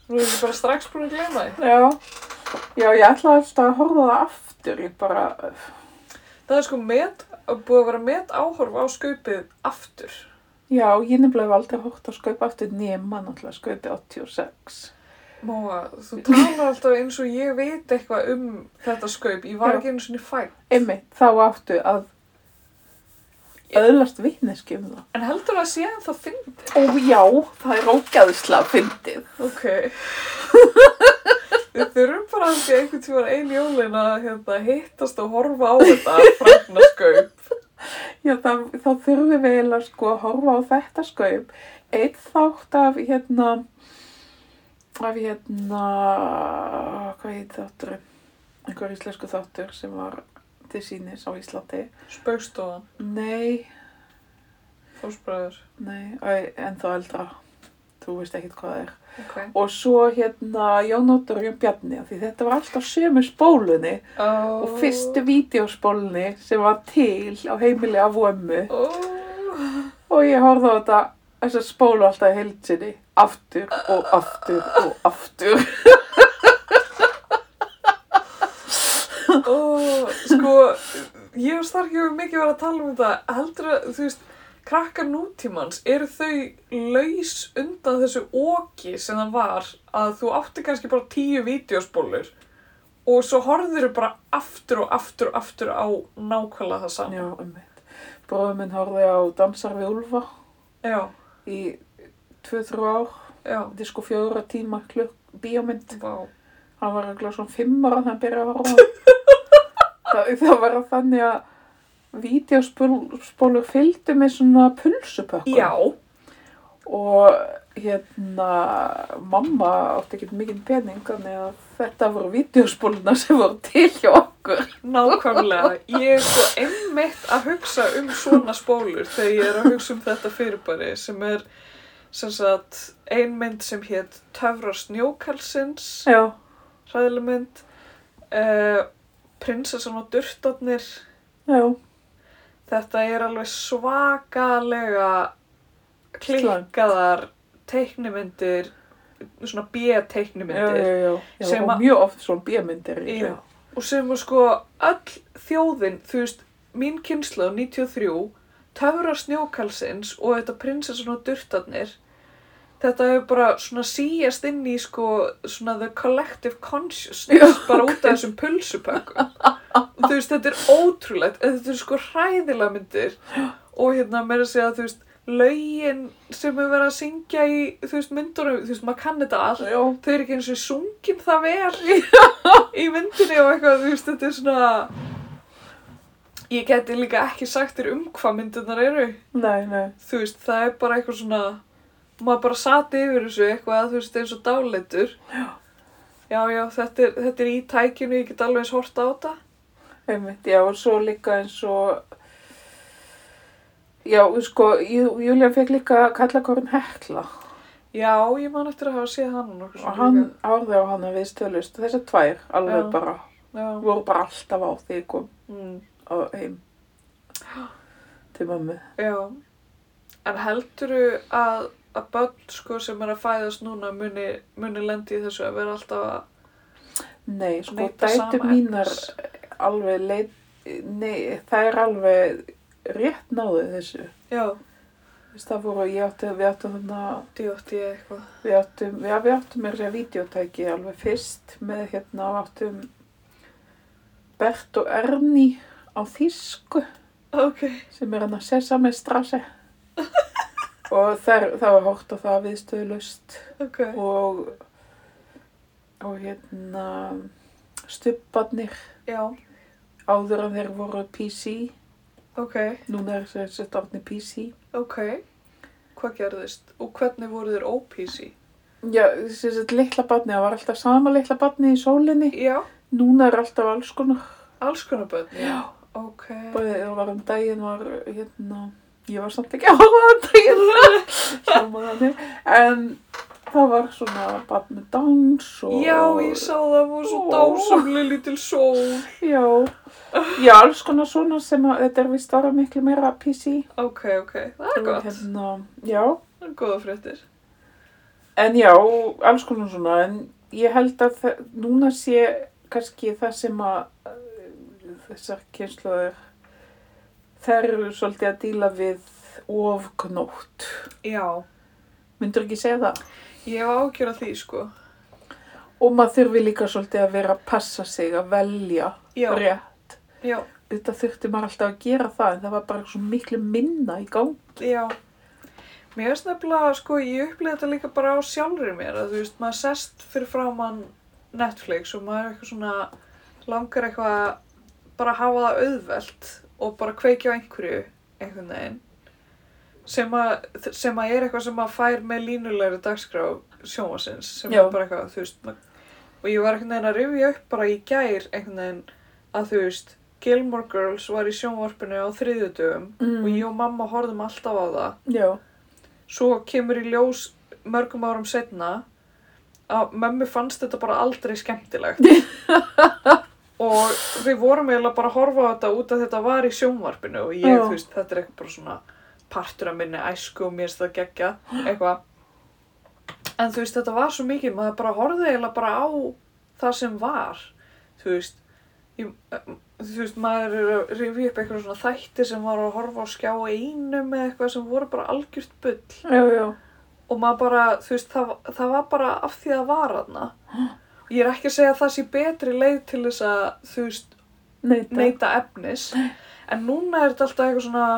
Speaker 2: Nú erum við bara strax búin að gleyma því
Speaker 1: Já. Já, ég ætlaði alltaf að horfa á það aftur. Ég bara,
Speaker 2: Það er sko met, búið að vera met áhorf á skaupið aftur
Speaker 1: já, ég nefnilega hef aldrei hórt að skaupa aftur nema náttúrulega skaupi 86.
Speaker 2: Móa, þú talar alltaf eins og ég veit eitthvað um þetta skaup, ég var
Speaker 1: Já.
Speaker 2: ekki einu sinni fætt.
Speaker 1: Einmitt, þá áttu að öðlast vitneski um það.
Speaker 2: En heldur það að sé en það fyndi?
Speaker 1: Ó já, það er ógæðslega fyndið.
Speaker 2: Ok. Við þurfum bara að sé einhvern tíma ein jólin að hérna, hittast og horfa á þetta fragna skaup.
Speaker 1: Já, þá, þá þurfum við eiginlega sko að horfa á þetta skaup. Eitt þátt af hérna, af hérna, hvað heit þátturinn? Einhver íslensku þáttur sem var til sínis á Íslandi.
Speaker 2: Spaukstofan,
Speaker 1: Nei,
Speaker 2: fórsbræður.
Speaker 1: nei, æ, ennþá eldra. Þú veist ekkert hvað það er.
Speaker 2: Ok.
Speaker 1: Og svo hérna Jón Óttur og Jón Bjarni, af því þetta var alltaf sömu spólunni
Speaker 2: Oh.
Speaker 1: og fyrstu vídeospólunni sem var til á heimili af vömmu.
Speaker 2: Oh.
Speaker 1: Og ég horfði á þetta, þess að spólu alltaf heilsinni, aftur og aftur og aftur.
Speaker 2: Ó, sko, ég og Starki hefur mikið verið að tala um þetta. Heldur að, þú veist, krakkar nútímans, eru þau laus undan þessu oki sem það var að þú átti kannski bara tíu vídeospólur og svo horfður þau bara aftur og aftur og aftur á nákvæmlega það
Speaker 1: Já,
Speaker 2: saman.
Speaker 1: um veit. Bróður minn horfði á Dansar við Ulfa
Speaker 2: Já, já.
Speaker 1: í 2-3 ár, þetta er sko fjóra tíma klukk, bíómynd.
Speaker 2: Vá.
Speaker 1: Hann var eiginlega svona 5 ára þegar hann byrjaði að horfa. á það, það var þannig að vídeospólur fylgdu með svona pulsupökkum.
Speaker 2: Já,
Speaker 1: Og hérna, mamma átti ekki mikið pening, þannig að þetta voru vídeospóluna sem voru til hjá okkur.
Speaker 2: nákvæmlega. Ég er svo einmitt að hugsa um svona spólur þegar ég er að hugsa um þetta fyrirbæri sem er sem sagt ein mynd sem hétt Töfra snjókalsins,
Speaker 1: Já,
Speaker 2: hræðileg mynd, uh, Prinsessan og Durtarnir,
Speaker 1: já,
Speaker 2: þetta er alveg svakalega klikkaðar teiknimyndir,
Speaker 1: já,
Speaker 2: svona
Speaker 1: já,
Speaker 2: B-teiknimyndir
Speaker 1: já, já.
Speaker 2: Sem
Speaker 1: og
Speaker 2: að-
Speaker 1: mjög oft svona bíamyndir. í
Speaker 2: Já.
Speaker 1: þeim.
Speaker 2: og sem er sko öll þjóðin, þú veist, mín kynsla á 93, Töfra snjókalsins og þetta Prinsessan og Durtarnir, þetta hefur bara svona síjast inn í sko svona the collective consciousness
Speaker 1: Já,
Speaker 2: bara út af þessum pulsupökkum þú veist þetta er ótrúlegt en þetta er sko hræðilega myndir og hérna meira að segja þú veist lögin sem er verið að syngja í þú veist myndunum, þú veist maður kann þetta allt
Speaker 1: já.
Speaker 2: þau eru ekki eins og sungin það vel í myndinni og eitthvað þú veist þetta er svona ég geti líka ekki sagt þér um hvað myndunar eru
Speaker 1: Nei, nei,
Speaker 2: þú veist, það er bara eitthvað svona maður bara sati yfir þessu eitthvað þú veist, eins og dáleitur já, já, þetta er, þetta er í tækinu ég get alveg eins horta á þetta
Speaker 1: einmitt, já, og svo líka eins og... Já, sko, Jú- Júlía fekk líka kallakorn Hekla
Speaker 2: já, ég man eftir að hafa séð hann og nokkuð
Speaker 1: og
Speaker 2: svona
Speaker 1: hann
Speaker 2: líka.
Speaker 1: árði á hana við stölust. Þessar tvær alveg
Speaker 2: Já.
Speaker 1: bara,
Speaker 2: já,
Speaker 1: voru bara alltaf á því ég kom
Speaker 2: mm,
Speaker 1: á heim til mömmu.
Speaker 2: já en heldurðu að að börn sko sem er að fæðast núna muni, muni lendi í þessu að vera alltaf að
Speaker 1: Nei, sko,
Speaker 2: neyta
Speaker 1: dætur
Speaker 2: sama
Speaker 1: mínar
Speaker 2: efnis?
Speaker 1: alveg leit, nei, það er alveg rétt náðu þessu.
Speaker 2: já,
Speaker 1: Þess, það voru, ég átti, við áttum þarna,
Speaker 2: D.O.T. eitthvað
Speaker 1: við áttum, já, við áttum mér sér videotæki alveg fyrst með hérna, við áttum Bert og Erni á Þísku
Speaker 2: ok,
Speaker 1: sem er hann að sessa með strassi. og þær, það var hórt á það viðstöðlust
Speaker 2: ok
Speaker 1: og, og hérna stubbarnir
Speaker 2: já,
Speaker 1: áður en þeir voru PC.
Speaker 2: ok,
Speaker 1: Núna er þessi stofni PC.
Speaker 2: ok hvað gerðist og hvernig voru þér ópísi?
Speaker 1: Já, sem sagt litla batni, það var alltaf sama litla batni í sólinni.
Speaker 2: Já,
Speaker 1: Núna er alltaf alls konar.
Speaker 2: alls konar börn. Já. Ok.
Speaker 1: Bæði, það var um daginn var, hérna, ég var samt ekki að horfa um daginn. Sjóma þannig. En það var svona batni með dans og...
Speaker 2: Já, ég sá það, hún var svo
Speaker 1: Ó.
Speaker 2: dásamli lítil sól.
Speaker 1: Já, já, alls konar svona sem að þetta er vist ára miklu meira PC.
Speaker 2: Ok, ok, það er
Speaker 1: Og
Speaker 2: gott.
Speaker 1: Hérna, já,
Speaker 2: Það er góða fréttir.
Speaker 1: en já, alls konar svona, en ég held að þa- núna sé kannski það sem að eh, þessar kynslaður, þær eru svolítið að díla við ofgnótt.
Speaker 2: Já.
Speaker 1: Myndur ekki segja það?
Speaker 2: Ég hef ágjör að því, sko.
Speaker 1: Og maður þurfi líka svolítið að vera að passa sig, að velja
Speaker 2: Já,
Speaker 1: rétt.
Speaker 2: já,
Speaker 1: Þetta þurfti maður alltaf að gera það, en það var bara svo miklu minna í gang.
Speaker 2: já. Mér finnst nefnilega, sko, ég upplýði þetta líka bara á sjálfri mér, að þú veist, maður sest fyrir framann Netflix og maður er eitthvað svona, langar eitthvað bara að hafa það auðvelt og bara kveikja á einhverju, einhvern veginn, sem að, sem að er eitthvað sem maður fær með línulegri dagskrá sjómasins, sem
Speaker 1: Já.
Speaker 2: er bara eitthvað, þú veist, maður, og ég var einhvern veginn að rifja upp bara í gær einhvern veginn að þú veist, Gilmore Girls var í sjónvarpinu á þriðjudöfum
Speaker 1: Mm.
Speaker 2: og ég og mamma horfðum alltaf á það.
Speaker 1: Já.
Speaker 2: Svo kemur í ljós mörgum árum setna að mömmu fannst þetta bara aldrei skemmtilegt. og við vorum eiginlega bara að horfa á þetta út að þetta var í sjónvarpinu og ég,
Speaker 1: Já.
Speaker 2: þú veist, þetta er eitthvað bara svona partur af minni æsku og mér finnst það geggja, eitthvað. En þú veist, þetta var svo mikið, maður bara horfði eiginlega bara á það sem var, þú veist. Ég, þú veist, maður er að rifja upp eitthvað svona þætti sem var að horfa á skjá einum eða eitthvað sem voru bara algjört bull
Speaker 1: Já, já.
Speaker 2: og maður bara, þú veist, það, það var bara af því að var hana. Ég er ekki að segja að það sé betri leið til þess að, þú veist,
Speaker 1: Neita.
Speaker 2: neyta efnis, en núna er þetta alltaf eitthvað svona,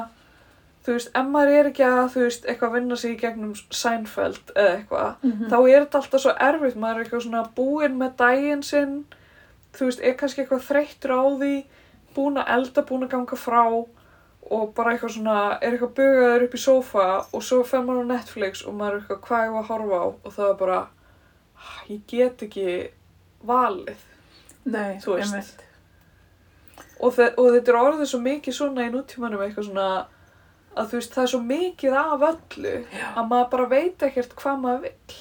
Speaker 2: þú veist, ef maður er ekki að, þú veist, eitthvað vinna sig í gegnum Seinfeld eða eitthvað,
Speaker 1: Mhm.
Speaker 2: þá er þetta alltaf svo erfitt, maður er eitthvað svona búinn með daginn sinn, þú veist, er kannski eitthvað þreyttur á því, búinn að elda, búinn að ganga frá og bara eitthvað svona, er eitthvað bugaður upp í sófa og svo fer maður á Netflix og maður er eitthvað hvað ég var að horfa á og það er bara, "Ah, ég get ekki valið.
Speaker 1: Nei,
Speaker 2: Þú veist.
Speaker 1: einmitt.
Speaker 2: Og, þe- og þetta er orðið svo mikið svona í nútímanum eitthvað svona að þú veist, það er svo mikið af öllu að maður bara veit ekkert hvað maður vill.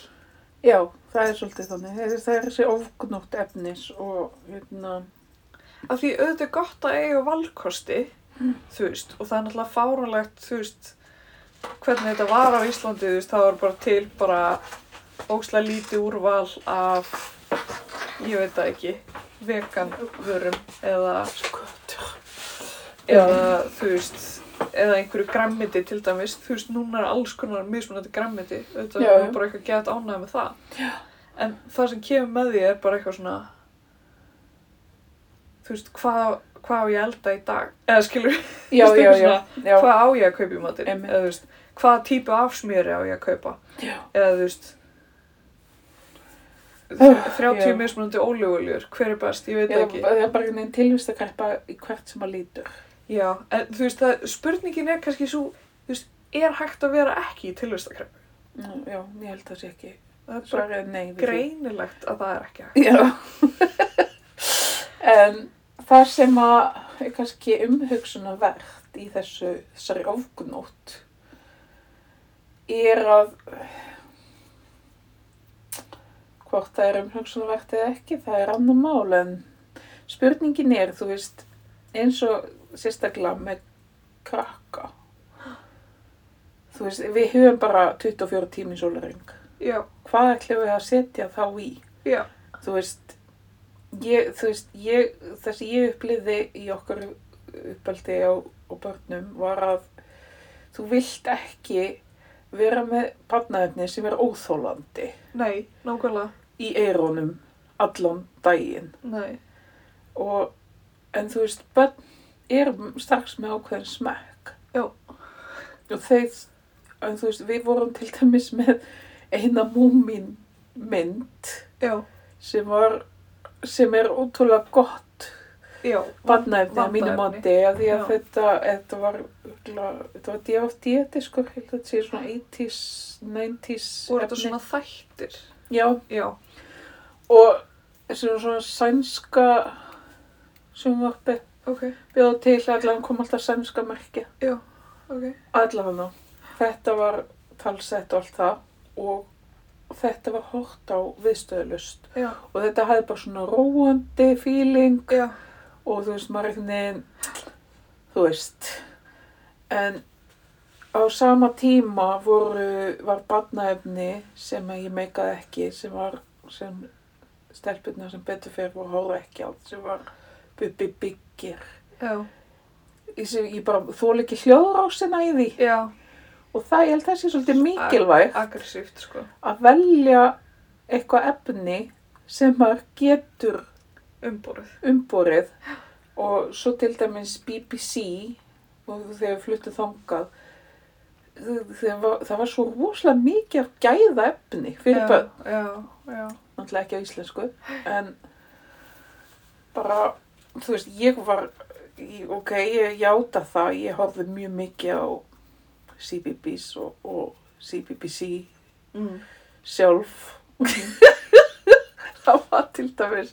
Speaker 1: Já, það er svolítið þannig. Það er, það er þessi ofgnótt efnis og hérna,
Speaker 2: að því auðvitað er gott að eiga valkosti þú veist, og það er náttúrulega fárunlegt þú veist, hvernig þetta var á Íslandi, þú veist, það var bara til bara ókslega lítið úrval af, ég veit það ekki veganvörum eða eða þú veist eða einhverju græmmiti til dæmis þú veist, núna er alls konar mismunandi græmmiti auðvitað
Speaker 1: Já,
Speaker 2: er
Speaker 1: já.
Speaker 2: bara eitthvað gett ánægð með það já. en það sem kemur með því er bara eitthvað svona þú veist, hvað, hvað á ég að elda í dag? Eða skilur,
Speaker 1: já,
Speaker 2: Þú veist,
Speaker 1: já, já,
Speaker 2: eitthvað
Speaker 1: já,
Speaker 2: hvað á ég að kaupa í matinn?
Speaker 1: Einmitt.
Speaker 2: Eða þú veist, hvaða típu af smjöri á ég að kaupa?
Speaker 1: Já.
Speaker 2: Eða þú veist,
Speaker 1: Úff,
Speaker 2: 30
Speaker 1: já.
Speaker 2: mismunandi óleguljur, hver er best? Ég veit
Speaker 1: já,
Speaker 2: ekki.
Speaker 1: það er bara einhvern veginn tilvist að greppa í hvert sem að lítur.
Speaker 2: Já, en þú veist, það, spurningin er kannski svo, þú veist, er hægt að vera ekki í tilvistakreppu?
Speaker 1: Já, já, ég held að það sé ekki.
Speaker 2: Það er bara
Speaker 1: Svarið er nei. við því.
Speaker 2: greinilegt að það er ekki hægt.
Speaker 1: Já. en það sem að er kannski umhugsunarvert í þessu, þessari ofgnótt er að hvort það er umhugsunarvert eða ekki, það er annar mál en spurningin er, þú veist, eins og sérstaklega með krakka. Þú veist, við höfum bara 24 tími sólaring.
Speaker 2: Já,
Speaker 1: Hvað ætlum við að setja þá í?
Speaker 2: já,
Speaker 1: þú veist, ég, þú veist, ég, það sem ég upplýði í okkur uppaldi á, á börnum var að þú vilt ekki vera með barnaefni sem er óþólandi
Speaker 2: nei, nákvæmlega,
Speaker 1: í eirónum allan daginn
Speaker 2: nei,
Speaker 1: og en þú veist, börn er strax með ákveðin smekk
Speaker 2: Já.
Speaker 1: og þeir, en þú veist, við vorum til dæmis með eina múmin mynd
Speaker 2: já,
Speaker 1: sem var sem er ótrúlega gott
Speaker 2: já,
Speaker 1: barnaefni að mínu
Speaker 2: vandaefni.
Speaker 1: mati af því að
Speaker 2: Já.
Speaker 1: þetta, þetta var örugglega- þetta var DFD diskur sko, held að þetta sé svona 80s, 90s
Speaker 2: Voru þetta svona þættir?
Speaker 1: Já,
Speaker 2: Já,
Speaker 1: og svona svona sænska sjónvarpi
Speaker 2: ok,
Speaker 1: bjóða til allan kom alltaf sænska merki
Speaker 2: ok.
Speaker 1: allan þetta var talsett og allt það og þetta var hort á viðstöðlust
Speaker 2: Já,
Speaker 1: og þetta hafði bara svona róandi feeling
Speaker 2: já,
Speaker 1: og þú veist, maður einhvern veginn, þú veist, en á sama tíma voru, var barnaefni sem að ég meikaði ekki, sem var, sem stelpurnar sem betur fyrir voru horfa ekki á, sem var Bubbi Byggir.
Speaker 2: já,
Speaker 1: Ég, sé- ég bara þóla ekki hljóðrásina í því
Speaker 2: já,
Speaker 1: og það, ég held það sé svolítið mikilvægt
Speaker 2: aggressíft sko.
Speaker 1: að velja eitthvað efni sem maður getur
Speaker 2: Umborið.
Speaker 1: umborið og svo til dæmis BBC og þegar við fluttum þangað þ- þegar var- það var svo rosalega mikið af gæða efni fyrir börn,
Speaker 2: Já, já,
Speaker 1: náttúrulega ekki á íslensku en bara, þú veist, ég var ég, ok, ég játa það ég horfði mjög mikið á CBBS og, og CBBC
Speaker 2: já. Mm.
Speaker 1: sjálf það var til dæmis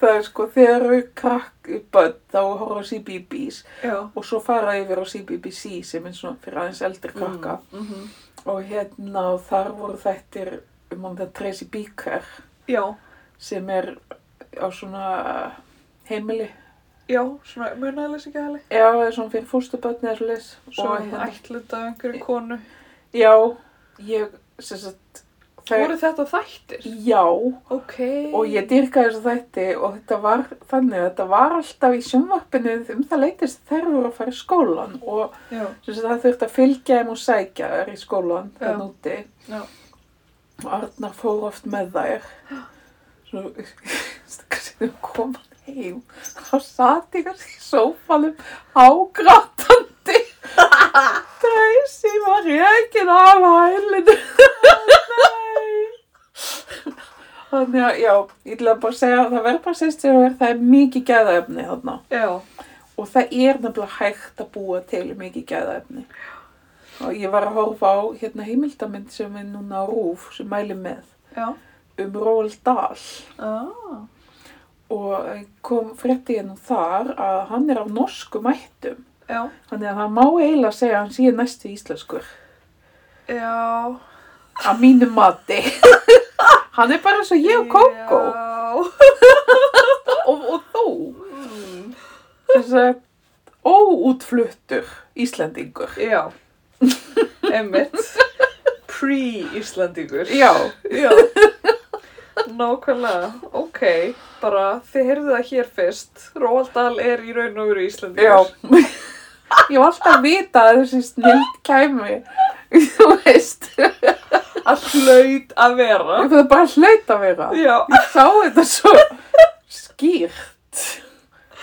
Speaker 1: það er sko þegar við krakk bönn þá horfa á CBBS
Speaker 2: Já.
Speaker 1: og svo fara yfir á CBBC sem er svona fyrir aðeins eldri krakka
Speaker 2: Mm -hmm.
Speaker 1: og hérna og þar voru þættir um hann það Tracy Beaker
Speaker 2: Já,
Speaker 1: sem er á svona heimili
Speaker 2: já, svona munaðalis ekki aðli.
Speaker 1: já, eða svona fyrir fóstubönni eða svo leys
Speaker 2: Svo
Speaker 1: hérna.
Speaker 2: ætlut af einhverju konu.
Speaker 1: já, ég sem sagt
Speaker 2: Voru þetta þættir?
Speaker 1: já,
Speaker 2: Ok.
Speaker 1: og ég dyrkaði þessu þætti og þetta var þannig að þetta var alltaf í sjónvarpinu um það leytist þær voru að fara í skólan og
Speaker 2: Já,
Speaker 1: sem sagt, það þurfti að fylgja þeim og sækja þær í skólan
Speaker 2: Já.
Speaker 1: þann úti
Speaker 2: Já.
Speaker 1: og Arnar fór oft með þær svo hvernig við komum heim þá sat ég kannski í sófanum hágrátandi þessi var reygin af hælinu þannig að já, ég ætla bara að segja að það verður bara sérst sér að vera það er mikið gæðaefni þarna
Speaker 2: já,
Speaker 1: og það er nefnilega hægt að búa til mikið gæðaefni og ég var að horfa á hérna heimildamind sem er núna á Rúf sem mæli með
Speaker 2: já.
Speaker 1: um Róald Dahl
Speaker 2: Ah,
Speaker 1: og kom frétti ég nú þar að hann er af norskum ættum
Speaker 2: já,
Speaker 1: þannig að það má eiginlega segja að hann sé næstu íslenskur
Speaker 2: já.
Speaker 1: að mínu mati hann er bara eins og ég og Kókó
Speaker 2: Já.
Speaker 1: og, og þú
Speaker 2: Mm.
Speaker 1: þess að óútfluttur Íslendingur
Speaker 2: Já, emmitt. Pre-Íslandingur.
Speaker 1: já,
Speaker 2: Já. Nákvæmlega, ok, bara þið heyrðu það hér fyrst, Róald Dahl er í raun og veru
Speaker 1: Já.
Speaker 2: Íslandingur.
Speaker 1: Ég var alltaf að vita að þessi snild kæmi. Þú veist.
Speaker 2: Já. Allt laut að vera.
Speaker 1: Ég fyrir bara að hlauta vera.
Speaker 2: Já,
Speaker 1: Ég sá þetta svo skýrt.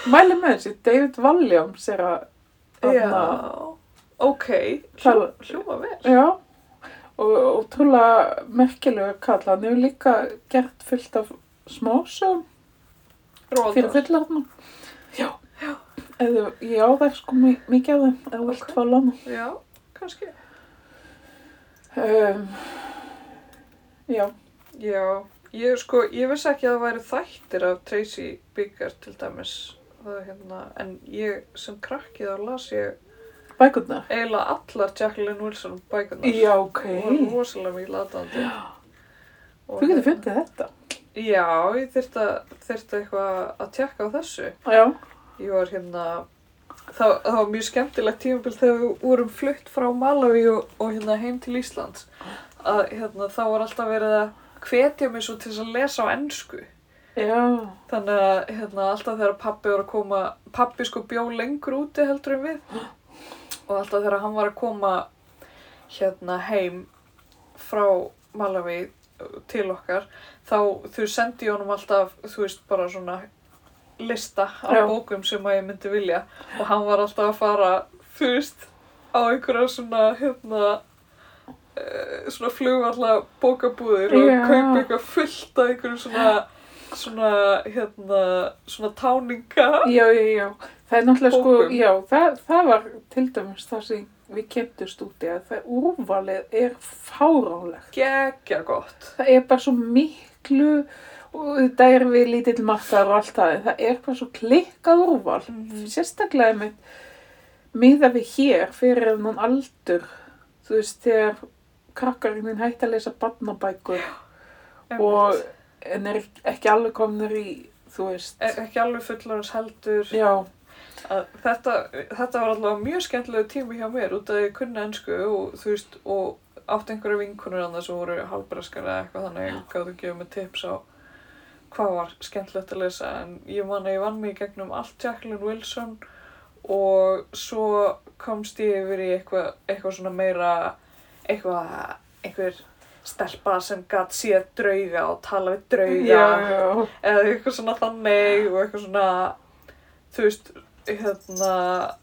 Speaker 1: Mæli með þessi, David Walliams er að...
Speaker 2: já,
Speaker 1: þarna
Speaker 2: ok,
Speaker 1: tala-
Speaker 2: hljóma vel.
Speaker 1: Já. Og ótrúlega merkilegur kall. Hann hefur líka gert fullt af smásögum
Speaker 2: Róald
Speaker 1: fyrir
Speaker 2: Dahl,
Speaker 1: fullarna. Já. Eða, ég á þær sko mi- mikið af þeim, eða þú vilt
Speaker 2: Ok.
Speaker 1: fá lana.
Speaker 2: já, kannski.
Speaker 1: Um, já,
Speaker 2: Já, ég sko, ég vissi ekki að það væri þættir af Tracy Bigger til dæmis. Það er hérna, en ég sem krakki þá las ég
Speaker 1: bækurnar.
Speaker 2: eiginlega allar Jacqueline Wilson bækunar.
Speaker 1: Já, ok.
Speaker 2: Það var rosalega mikið latandi. Og
Speaker 1: Þú getur
Speaker 2: hérna-
Speaker 1: fundið þetta.
Speaker 2: Já, ég þyrfti að- þyrfti eitthvað að tjekka á þessu.
Speaker 1: Já.
Speaker 2: Ég var hérna, það, það var mjög skemmtilegt tímabil þegar við vorum flutt frá Malawi og, og hérna heim til Íslands. Að hérna, þá var alltaf verið að hvetja mig svo til þess að lesa á ennsku.
Speaker 1: Já.
Speaker 2: Þannig að hérna, alltaf þegar pappi var að koma, pappi sko bjó lengur úti heldur en við og alltaf þegar hann var að koma hérna heim frá Malawi til okkar þá þau sendi ég honum alltaf, þú veist, bara svona lista af
Speaker 1: Já.
Speaker 2: bókum sem að ég myndi vilja og hann var alltaf að fara, þú veist, á einhverja svona, hérna, eh, svona flugvalla bókabúðir og
Speaker 1: Já.
Speaker 2: kaupa eitthvað fullt af einhverjum svona svona, hérna, svona táninga.
Speaker 1: Já, já, já. Það er náttúrulega sko,
Speaker 2: Bókum.
Speaker 1: já, það, það var til dæmis það sem við kemdust úti að það úrvalið er fáránlegt.
Speaker 2: Gekja gott.
Speaker 1: Það er bara svo miklu, og þetta er við lítill markaður og allt það, en það er bara svo klikkað úrval.
Speaker 2: Mhm.
Speaker 1: Sérstaklega með miða við hér fyrir enn aldur, þú veist, þegar krakkarinn minn hætti að lesa barnabækur og
Speaker 2: Einmitt.
Speaker 1: en er ekki alveg komnir í, þú veist,
Speaker 2: E- ekki alveg fullorins heldur.
Speaker 1: já,
Speaker 2: að þetta, þetta var allavega mjög skemmtilegu tími hjá mér út af að ég kunni ennsku og þú veist og átt einhverja vinkunur annað sem voru hálbreskar eða eitthvað þannig og gáðu að gefa mig tips á hvað var skemmtilegt að lesa en ég man að ég vann mig í gegnum allt Jacqueline Wilson og svo komst ég yfir í eitthvað, eitthvað svona meira eitthvað, einhver stelpa sem gat séð drauga og tala við drauga
Speaker 1: já,
Speaker 2: eða eitthvað svona þannig og eitthvað svona þú veist, hérna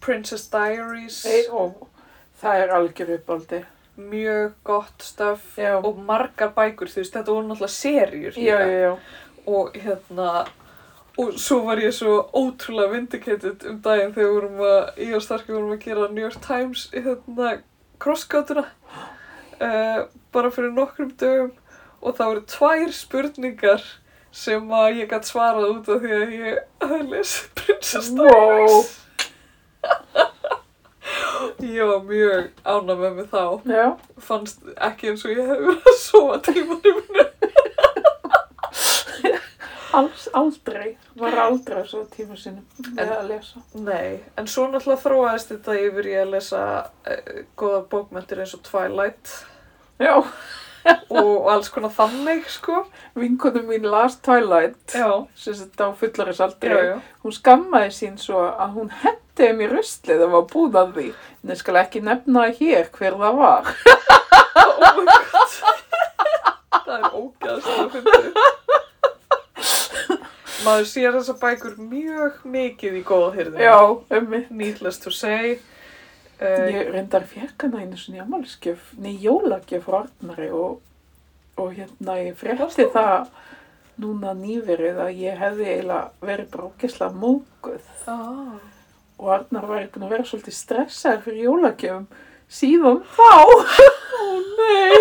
Speaker 2: Princess Diaries
Speaker 1: Ei, og það er algjör uppáldi.
Speaker 2: mjög gott stöf
Speaker 1: Já.
Speaker 2: og margar bækur, þú veist, þetta voru náttúrulega serjur
Speaker 1: Já, já, já.
Speaker 2: og hérna og svo var ég svo ótrúlega vindicated um daginn þegar við vorum að ég og Starki vorum að gera New York Times hérna crosscutuna uh, bara fyrir nokkrum dögum og það voru tvær spurningar sem að ég gætt svarað út af því að ég hafði lesið Princess Diaries
Speaker 1: Wow.
Speaker 2: ég var mjög ánað með mig þá
Speaker 1: Já,
Speaker 2: fannst ekki eins og ég hef verið að sofa tímanum
Speaker 1: alls, aldrei, var aldrei á svo tíma sinni með að lesa.
Speaker 2: Nei, en svo náttúrulega þróaðist þetta yfir ég að lesa uh, góða bókmyndir eins og Twilight
Speaker 1: Já,
Speaker 2: og alls konar þannig, sko.
Speaker 1: vinkonum mín las Twilight,
Speaker 2: Já,
Speaker 1: sem þetta á fullaris
Speaker 2: já,
Speaker 1: aldrei.
Speaker 2: já.
Speaker 1: Hún skammaði sín svo að hún hendiði mér ruslið og var búin að því. En ég skal ekki nefna hér hver það var.
Speaker 2: Oh my god. Oh það er ógæðslega að finna. Maður sér þessa bækur mjög mikið í góða hyrðum.
Speaker 1: Já, ömmi.
Speaker 2: Needless to say. Uh,
Speaker 1: Eh, Ég reyndar fjerkana einu svona jamalskjöf, nei jólagjöf frá Arnari og, og hérna ég frétti það núna nýverið að ég hefði eiginlega verið bara ógeðslega móguð
Speaker 2: ah.
Speaker 1: og Arnar var búinn að vera svolítið stressaður fyrir jólagjöfum síðan þá. Ó nei!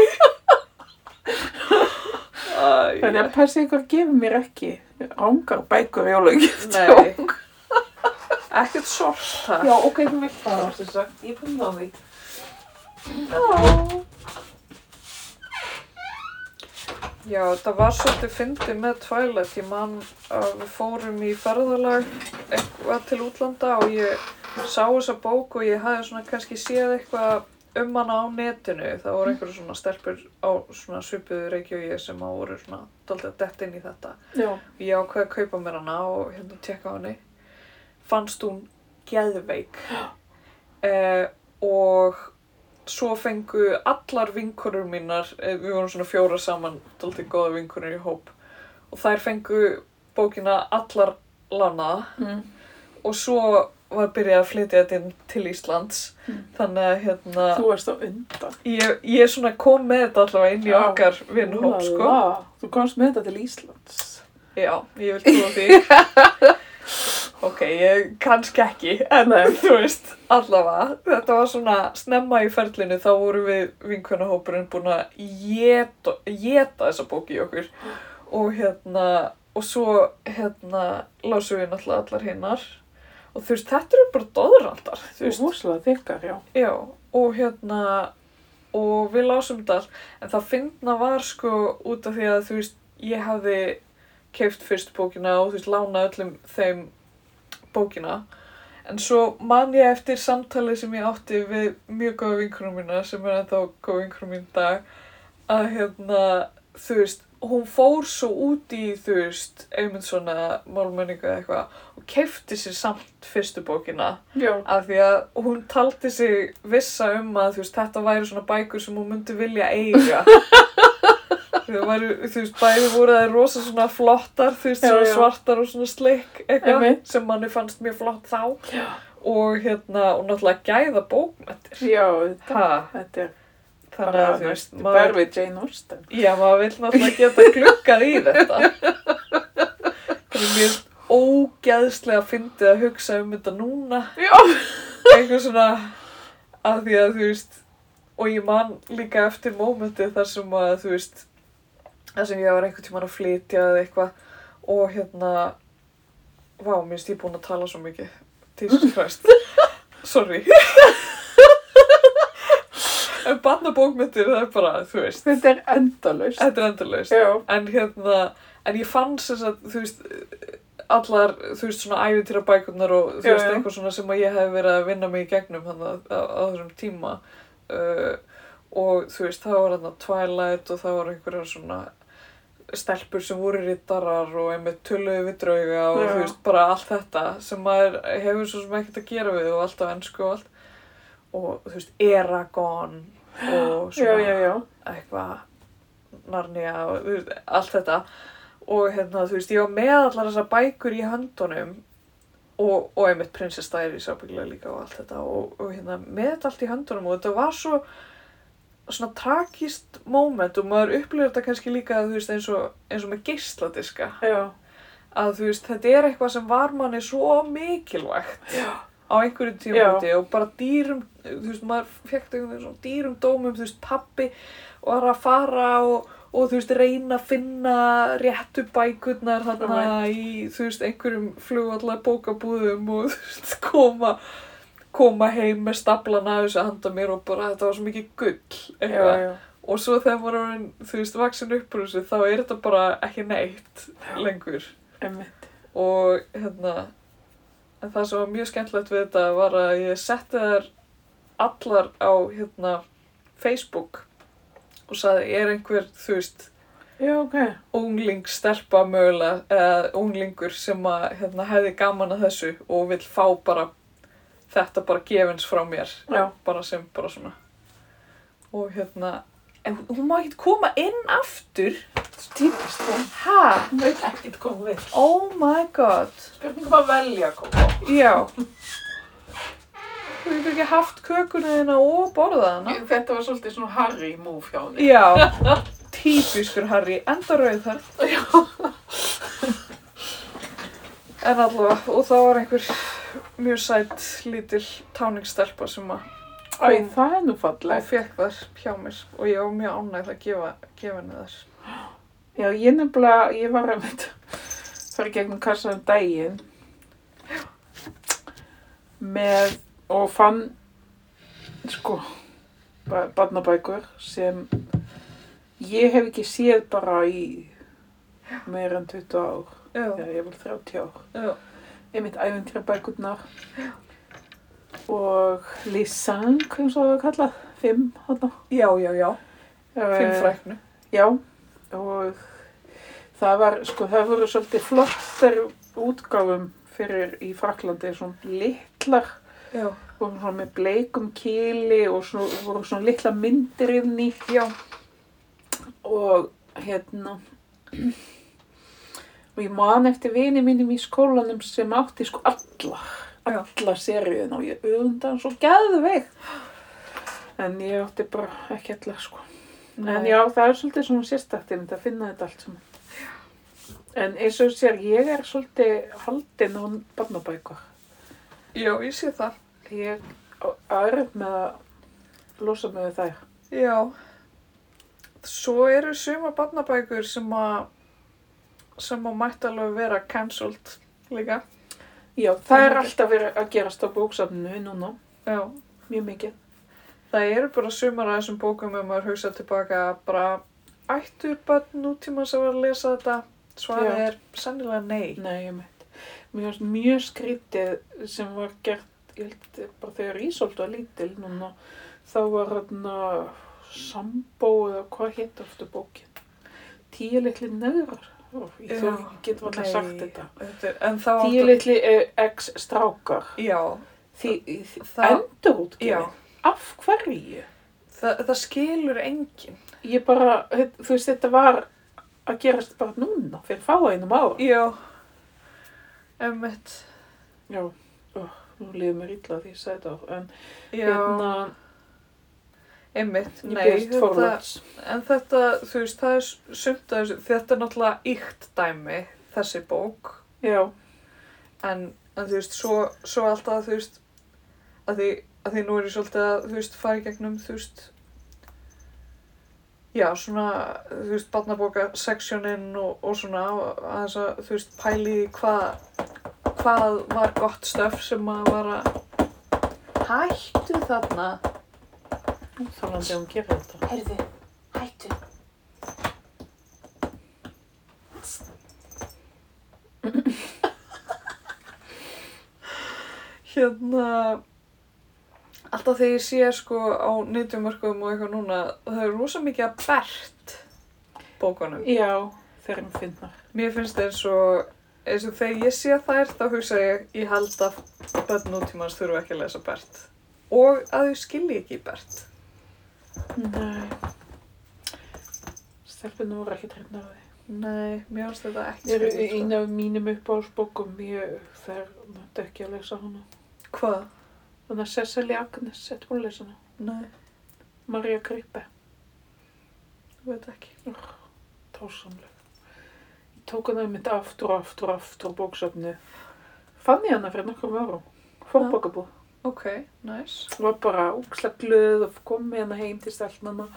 Speaker 2: Æ,
Speaker 1: Þannig að passi ykkur að gefa mér ekki ángar bækur jólagjöf.
Speaker 2: Nei. Ekkert sort það.
Speaker 1: Já, ok, þú vilt það var þess að ég finn það því.
Speaker 2: Já, það var svolítið fyndið með Twilight. Ég man að við fórum í ferðalag eitthvað til útlanda og ég sá þessa bók og ég hafði svona kannski séð eitthvað um hana á netinu. Það voru einhverju svona stelpur á svona svipuðu reiki og ég sem að voru svona daldið að detta inn í þetta.
Speaker 1: Já,
Speaker 2: Ég ákveði að kaupa mér hana og hérna tekka á henni. Fannst hún geðveik. Eh, og svo fengu allar vinkonur mínar, eh, við vorum svona fjóra saman, daldið góða vinkonur í hóp. Og þær fengu bókina allar lánaða
Speaker 1: mm.
Speaker 2: og svo var byrjað að flytja þetta inn til Íslands.
Speaker 1: Mm.
Speaker 2: Þannig að hérna,
Speaker 1: þú varst á undan.
Speaker 2: ég, ég svona kom með þetta allavega inn í
Speaker 1: Já.
Speaker 2: okkar vinnhóp, sko.
Speaker 1: Úlala, Þú komst með þetta til Íslands.
Speaker 2: Já, ég vil trúa því. ok, ég kannski ekki, en
Speaker 1: eh,
Speaker 2: þú veist, allavega, þetta var svona snemma í ferlinu, þá vorum við vinkunahópurinn búin að geta, geta þessa bók í okkur og hérna, og svo hérna, lásum við náttúrulega allar hinnar og þú veist, þetta eru bara doðrandar, þú
Speaker 1: Þú
Speaker 2: veist,
Speaker 1: veist, húslega þykkar, já.
Speaker 2: já, og hérna, og við lásum þetta allt, en það finna var sko út af því að þú veist, ég hafði keift fyrst bókina og þú veist, lána öllum þeim bókina en svo man ég eftir samtali sem ég átti við mjög góða vinkunum mína sem er ennþá góða vinkunum mín í dag að hérna, þú veist hún fór svo út í, þú veist einmitt svona málmenningu eða eitthvað og keifti sér samt fyrstu bókina
Speaker 1: Já.
Speaker 2: af því að hún taldi sig vissa um að þú veist, þetta væri svona bækur sem hún myndi vilja eiga þau væri, þú veist, bæði voru það rosa svona flottar, þú veist,
Speaker 1: Já,
Speaker 2: svona
Speaker 1: já.
Speaker 2: svartar og svona slik eitthvað,
Speaker 1: Einmitt.
Speaker 2: sem manni fannst mjög flott þá og hérna, og náttúrulega gæða bókmættir
Speaker 1: Já, þetta,
Speaker 2: ha,
Speaker 1: þetta er
Speaker 2: þannig
Speaker 1: bara
Speaker 2: að þú veist
Speaker 1: næst, bara
Speaker 2: maður,
Speaker 1: við Jane Austen.
Speaker 2: já, maður vil náttúrulega geta glukkað í þetta en mér er ógeðslega fyndið að hugsa um þetta núna
Speaker 1: Já.
Speaker 2: eitthvað svona að því að þú veist og ég man líka eftir mómenti þar sem að þú veist þar sem ég var einhvern tímann að flytja eða eitthvað og hérna vá, mér finnst ég búin að tala svo mikið Jesus Christ sorry en barnabókmyndir það er bara, þú veist
Speaker 1: Þetta er endalaust.
Speaker 2: þetta er endalaust
Speaker 1: Já.
Speaker 2: en hérna, en ég fann sem sagt, þú veist, allar, þú veist, svona æfintýra bækurnar og þú
Speaker 1: Já,
Speaker 2: veist,
Speaker 1: já.
Speaker 2: eitthvað svona sem að ég hef verið að vinna mig í gegnum hann að, að, að þessum tíma uh, og þú veist, það var hann Twilight og það var einhverjar svona stelpur sem voru rittarar og einmitt töluðu við drauga og
Speaker 1: Já.
Speaker 2: þú veist, bara allt þetta sem maður hefur svo sem ekkert að gera við og allt á ennsku og allt og þú veist, Eragon og svona
Speaker 1: Já, já, já.
Speaker 2: eitthvað Narnia og þú veist, allt þetta og hérna þú veist ég var með allar þessar bækur í höndunum og, og einmitt Princess Diaries ábyggilega líka og allt þetta og, og hérna með þetta allt í höndunum og þetta var svo svona tragist moment og maður upplifir þetta kannski líka þú veist eins og, eins og með geisladiska
Speaker 1: Já.
Speaker 2: að þú veist þetta er eitthvað sem var manni svo mikilvægt
Speaker 1: Já.
Speaker 2: á einhverju tímafóti og bara dýrum þú veist, maður fekk einhvern veginn svona dýrum dómum, þú veist, pappi var að fara og, og þú veist, reyna að finna réttu bækurnar þarna í, þú veist, einhverjum flugvallar bókabúðum og þú veist, koma koma heim með staplana af þessu handa mér og bara þetta var svo mikið gull
Speaker 1: Já,
Speaker 2: eitthvað
Speaker 1: já.
Speaker 2: og svo þegar maður er orðinn, þú veist, vaksin uppur þessu þá er þetta bara ekki neitt lengur
Speaker 1: Einmitt.
Speaker 2: og hérna en það sem var mjög skemmtilegt við þetta var að ég setti þær allar á hérna Facebook og sagði er einhver þú veist
Speaker 1: Já, ok.
Speaker 2: unglingstelpa mögulega eða unglingur sem að hérna, hefði gaman að þessu og vill fá bara þetta bara gefins frá mér
Speaker 1: Já.
Speaker 2: bara sem bara svona og hérna en hún má ekki koma inn aftur
Speaker 1: Típist hún.
Speaker 2: ha
Speaker 1: Hún veit ekkert hvað hún vil.
Speaker 2: oh my god
Speaker 1: Spurning hvað velja að koma.
Speaker 2: Já. Þú hefur ekki haft kökuna þína og borðað hana.
Speaker 1: Þetta var svolítið svona Harry move hjá henni.
Speaker 2: Já. Típiskur Harry, enda rauð þar.
Speaker 1: Já.
Speaker 2: En allavega, og það var einhver mjög sætt lítil táningstelpa sem að
Speaker 1: Æ, það er nú
Speaker 2: og
Speaker 1: fallegt.
Speaker 2: fekk þar hjá mér og ég var mjög ánægð að gefa, gefa henni þar.
Speaker 1: Já, ég nefnilega, ég var að veit, fara í gegnum kassaðum daginn með, og fann, sko, ba- barnabækur sem ég hef ekki séð bara í meira en 20 ár,
Speaker 2: Já,
Speaker 1: eða ég vil 30 ár.
Speaker 2: já,
Speaker 1: Einmitt æfintýra bækurnar og Lisang, hvernig svo það var kallað, fimm, hann.
Speaker 2: já, já, já. Eh. fimm fræknu.
Speaker 1: Já, og það var, sko, það voru svolítið flottar útgáfum fyrir í Fraklandi, svona litlar
Speaker 2: Já,
Speaker 1: og svona með bleikum kýli og svona, voru svona litla myndir inn í
Speaker 2: já,
Speaker 1: og hérna og ég man eftir vini mínum í skólanum sem átti sko alla
Speaker 2: Já.
Speaker 1: alla seríun og ég öfunda hann svo geðveik en ég átti bara ekki alla sko En
Speaker 2: Nei.
Speaker 1: já, það er svolítið svona sérstakt einmitt að finna þetta allt saman. En eins og þú sér, ég er svolítið haldin á barnabækur.
Speaker 2: já, ég sé það.
Speaker 1: Ég er upp með að losa mig við þær.
Speaker 2: Já. Svo eru suma barnabækur sem að sem að mætti alveg vera cancelled líka.
Speaker 1: Já, það er
Speaker 2: Einmitt.
Speaker 1: alltaf verið að gerast á bóksafninu núna,
Speaker 2: Já.
Speaker 1: mjög mikið.
Speaker 2: Það eru bara sumar af þessum bókum ef maður hugsa tilbaka að bara ættu börn nútíma sem var að lesa þetta svarið
Speaker 1: Já.
Speaker 2: er sennilega nei.
Speaker 1: Nei, ég meitt. Mér finnst mjög skrítið sem var gert, ég held bara þegar Ísolt var lítil núna, þá var hann að sambó eða hvað hétt aftur bókin? Tíu litli nöðrar. Ó, Ég
Speaker 2: Já,
Speaker 1: þó get varla
Speaker 2: Nei,
Speaker 1: sagt þetta.
Speaker 2: þetta er- En þá
Speaker 1: Tíu litli eh, x strákar.
Speaker 2: Já.
Speaker 1: Því, því
Speaker 2: Það, já.
Speaker 1: endurútgefin. Af hverju?
Speaker 2: Það, það skilur enginn.
Speaker 1: Ég bara, þú veist, þetta var að gerast bara núna, fyrir fáa einum ára.
Speaker 2: Já. Emmett.
Speaker 1: Já, Ó, nú liðum mér illa því ég sagði þetta, en
Speaker 2: Já.
Speaker 1: hérna, Ég
Speaker 2: Einmitt, nei,
Speaker 1: biðst
Speaker 2: þetta,
Speaker 1: forláts.
Speaker 2: en þetta, þú veist, það er sumt að þessu, þetta er náttúrulega ykt dæmi, þessi bók,
Speaker 1: já,
Speaker 2: en, en þú veist, svo, svo alltaf þú veist, að því, að því nú er ég svolítið að þú veist, fara í gegnum þú veist, já, svona, þú veist, barnabóka seksjónin og, og svona að þess að, þú veist, pæli í hvað hvað var gott stöf sem að var að hættu þarna
Speaker 1: þannig að hún gerir þetta.
Speaker 3: Heyrðu, hættu.
Speaker 2: hérna alltaf þegar ég sé sko á nýttjumörkum og eitthvað núna það er rosa mikið að bert bókunum
Speaker 1: Já, þegar hún finnar.
Speaker 2: Mér finnst eins og, eins og þegar ég sé þær þá hugsa ég, ég held að börn nútímans þurfa ekki að lesa Bert. Og að þau skilji ekki Bert.
Speaker 1: Nei. Stelpunum voru ekki trefna á því.
Speaker 2: Nei, mér finnst þetta ekki
Speaker 1: Ég er
Speaker 2: skilja, sko.
Speaker 1: eina af mínum uppáhalsbókum, ég þegar nátti ekki að lesa hana.
Speaker 2: Hvað?
Speaker 1: Þannig að Cecilia Agnes, er hún að lesa hana?
Speaker 2: Nei,
Speaker 1: Maria Grippe,
Speaker 2: ég veit ekki.
Speaker 1: tásamleg. Ég tók hana einmitt aftur og aftur og aftur á bóksafni. Fann ég hana fyrir nokkrum árum. Fór
Speaker 2: Já.
Speaker 1: bókabúð.
Speaker 2: Ok, nice.
Speaker 1: Var bara úksla glöð og kom með hana heim til stelnana.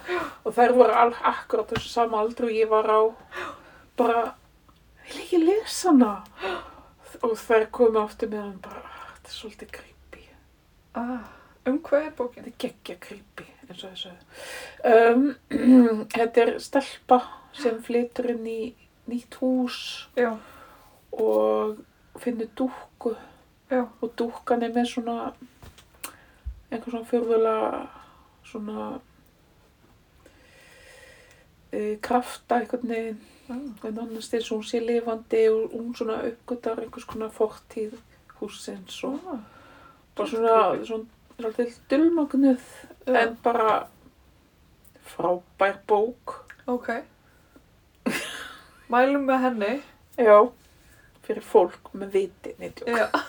Speaker 1: Og þær voru all, akkurat þessu sama aldru og ég var á. Bara, vil ekki lesa hana? Og þær komu aftur með hana bara, "Ah, þetta er svolítið creepy.
Speaker 2: Ah, um hvað er bókin?
Speaker 1: Þetta er geggja creepy, eins og þessu. Um, þetta er stelpa sem flytur inn í nýtt hús
Speaker 2: Já,
Speaker 1: og finnur dúkku
Speaker 2: já,
Speaker 1: og dúkkan er með svona einhver svona fjörðulega svona uh, krafta einhvern veginn
Speaker 2: Mm.
Speaker 1: en annars þess að hún sé lifandi og hún svona uppgötar einhvers konar fortíð húsins og
Speaker 2: svona.
Speaker 1: bara svona, svona, svona dulmagnuð
Speaker 2: Já.
Speaker 1: en bara frábær bók
Speaker 2: Ok. Mælum með henni.
Speaker 1: já, fyrir fólk með viti neittjók.
Speaker 2: Já.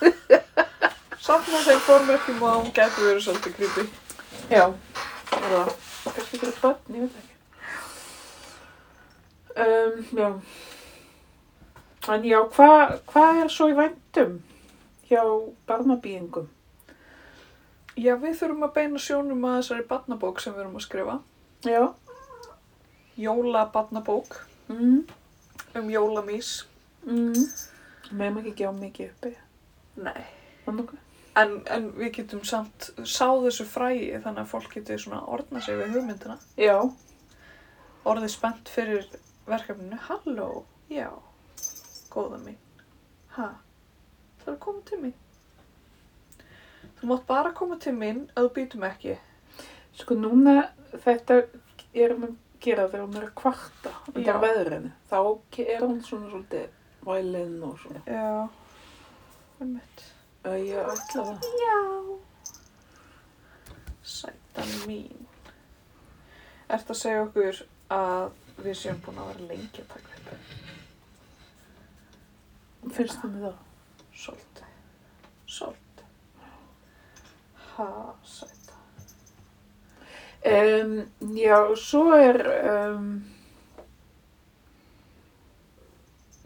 Speaker 2: Samt með þeim formerkjum og hún getur verið svolítið creepy.
Speaker 1: Já, eða kannski fyrir börn, ég veit ekki um, Já En já, hvað hva er svo í vændum hjá barnabíingum?
Speaker 2: Já, við þurfum að beina sjónum að þessari barnabók sem við erum að skrifa.
Speaker 1: Já
Speaker 2: Jólabarnabók
Speaker 1: mm.
Speaker 2: um jólamís.
Speaker 1: Mm. Meðum ekki gjá mikið eh? uppi
Speaker 2: Nei.
Speaker 1: Þannig
Speaker 2: En, en við getum samt sáð þessu fræi þannig að fólk getur svona orðna sig við hugmyndina.
Speaker 1: Já,
Speaker 2: Orðið spennt fyrir verkefninu. Halló, já, góða mín. Ha, það er að koma til mín. Þú mátt bara koma til mín að þú býtum ekki.
Speaker 1: Sko núna þetta er hún að gera þegar hún er að kvarta undan
Speaker 2: Já.
Speaker 1: veðrinu. Þá ke- er hún svona svolítið vælinn og svona.
Speaker 2: Já, um mitt.
Speaker 1: Æ, ég ætla það.
Speaker 2: Já. Sæta mín. Ert að segja okkur að við séum búin að vera lengi að taka upp
Speaker 1: Finnst það með það?
Speaker 2: svolítið. Svolítið. Ha, sæta.
Speaker 1: Um, já, svo er, um,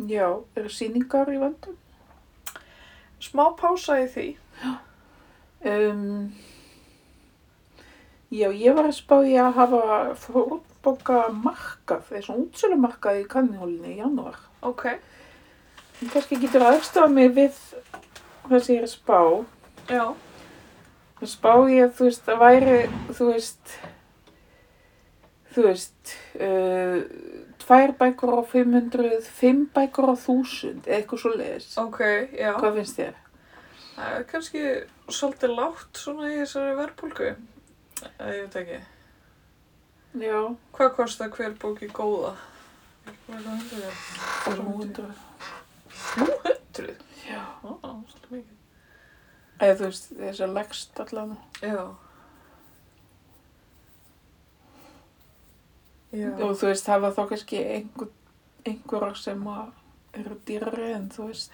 Speaker 1: já, eru sýningar í vandum.
Speaker 2: Smá pása í því.
Speaker 1: Um, já, ég var að spá í að hafa fórboka markað, eða svona útsölu markað í kannihólinni í janúar.
Speaker 2: Ok.
Speaker 1: En kannski getur aðstofa mig við hvað sem ég er að spá.
Speaker 2: Já.
Speaker 1: Að Spá ég að þú veist, það væri, þú veist, þú veist, uh, tvær bækur á 500, fimm bækur á 1000, eða eitthvað svo leiðis.
Speaker 2: Ok, já.
Speaker 1: Hvað finnst þér?
Speaker 2: Það er kannski svolítið lágt svona í þessari verðbólgu. Eh, Ég veit ekki.
Speaker 1: Já,
Speaker 2: Hvað kostar hver bóki góða? Hvað er það hundur
Speaker 1: 300.
Speaker 2: þér? Hundruð?
Speaker 1: Já.
Speaker 2: Ó, svolítið mikið.
Speaker 1: Eða þú veist, þess að leggst allan.
Speaker 2: Já. Já.
Speaker 1: Og þú veist, hafa þá kannski einhver, einhverja sem að eru dýrari en þú veist.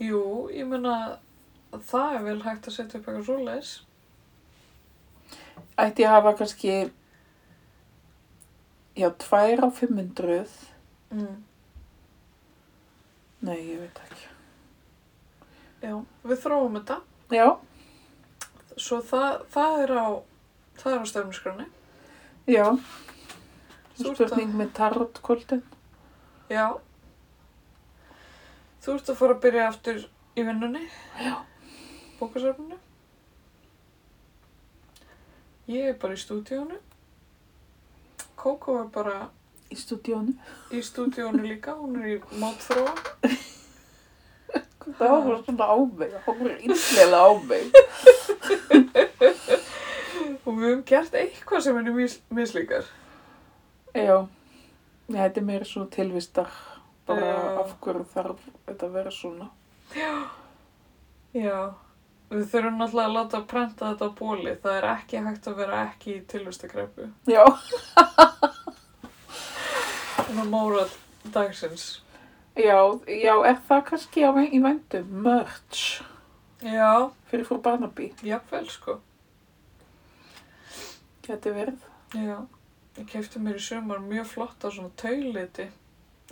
Speaker 2: Jú, ég meina það er vel hægt að setja upp eitthvað svoleiðis.
Speaker 1: Ætti að hafa kannski, já, tvær á 500,
Speaker 2: Mm.
Speaker 1: nei, ég veit ekki.
Speaker 2: já, við þróum þetta.
Speaker 1: Já,
Speaker 2: Svo það, það er á, það er á stefnusgranni.
Speaker 1: já.
Speaker 2: Þú ert að-
Speaker 1: Spurning með tarotkvöldin.
Speaker 2: Já. Þú ert að fara að byrja aftur í vinnunni.
Speaker 1: Já.
Speaker 2: Bókasafninu. Ég er bara í stúdíónu. Kókó er bara
Speaker 1: Í stúdíónu.
Speaker 2: í stúdíónu líka, hún er í mótþróa.
Speaker 1: Það var bara svona á mig. Það var íllega á mig.
Speaker 2: Og við höfum gert eitthvað sem henni mis mislíkar.
Speaker 1: Já. Já, þetta er meira svona tilvistar. Bara
Speaker 2: Já.
Speaker 1: af hverju þarf þetta að vera svona.
Speaker 2: Já. Við þurfum náttúrulega að láta prenta þetta á bóli. Það er ekki hægt að vera ekki í tilvistakreppu.
Speaker 1: Já.
Speaker 2: Þannig að móral dagsins.
Speaker 1: Já, já, er það kannski á, í vendum? Merch.
Speaker 2: Já,
Speaker 1: Fyrir frú Barnaby.
Speaker 2: jafnvel sko.
Speaker 1: Gæti verið.
Speaker 2: Já, ég kefti mér í sumar mjög flotta svona tauliti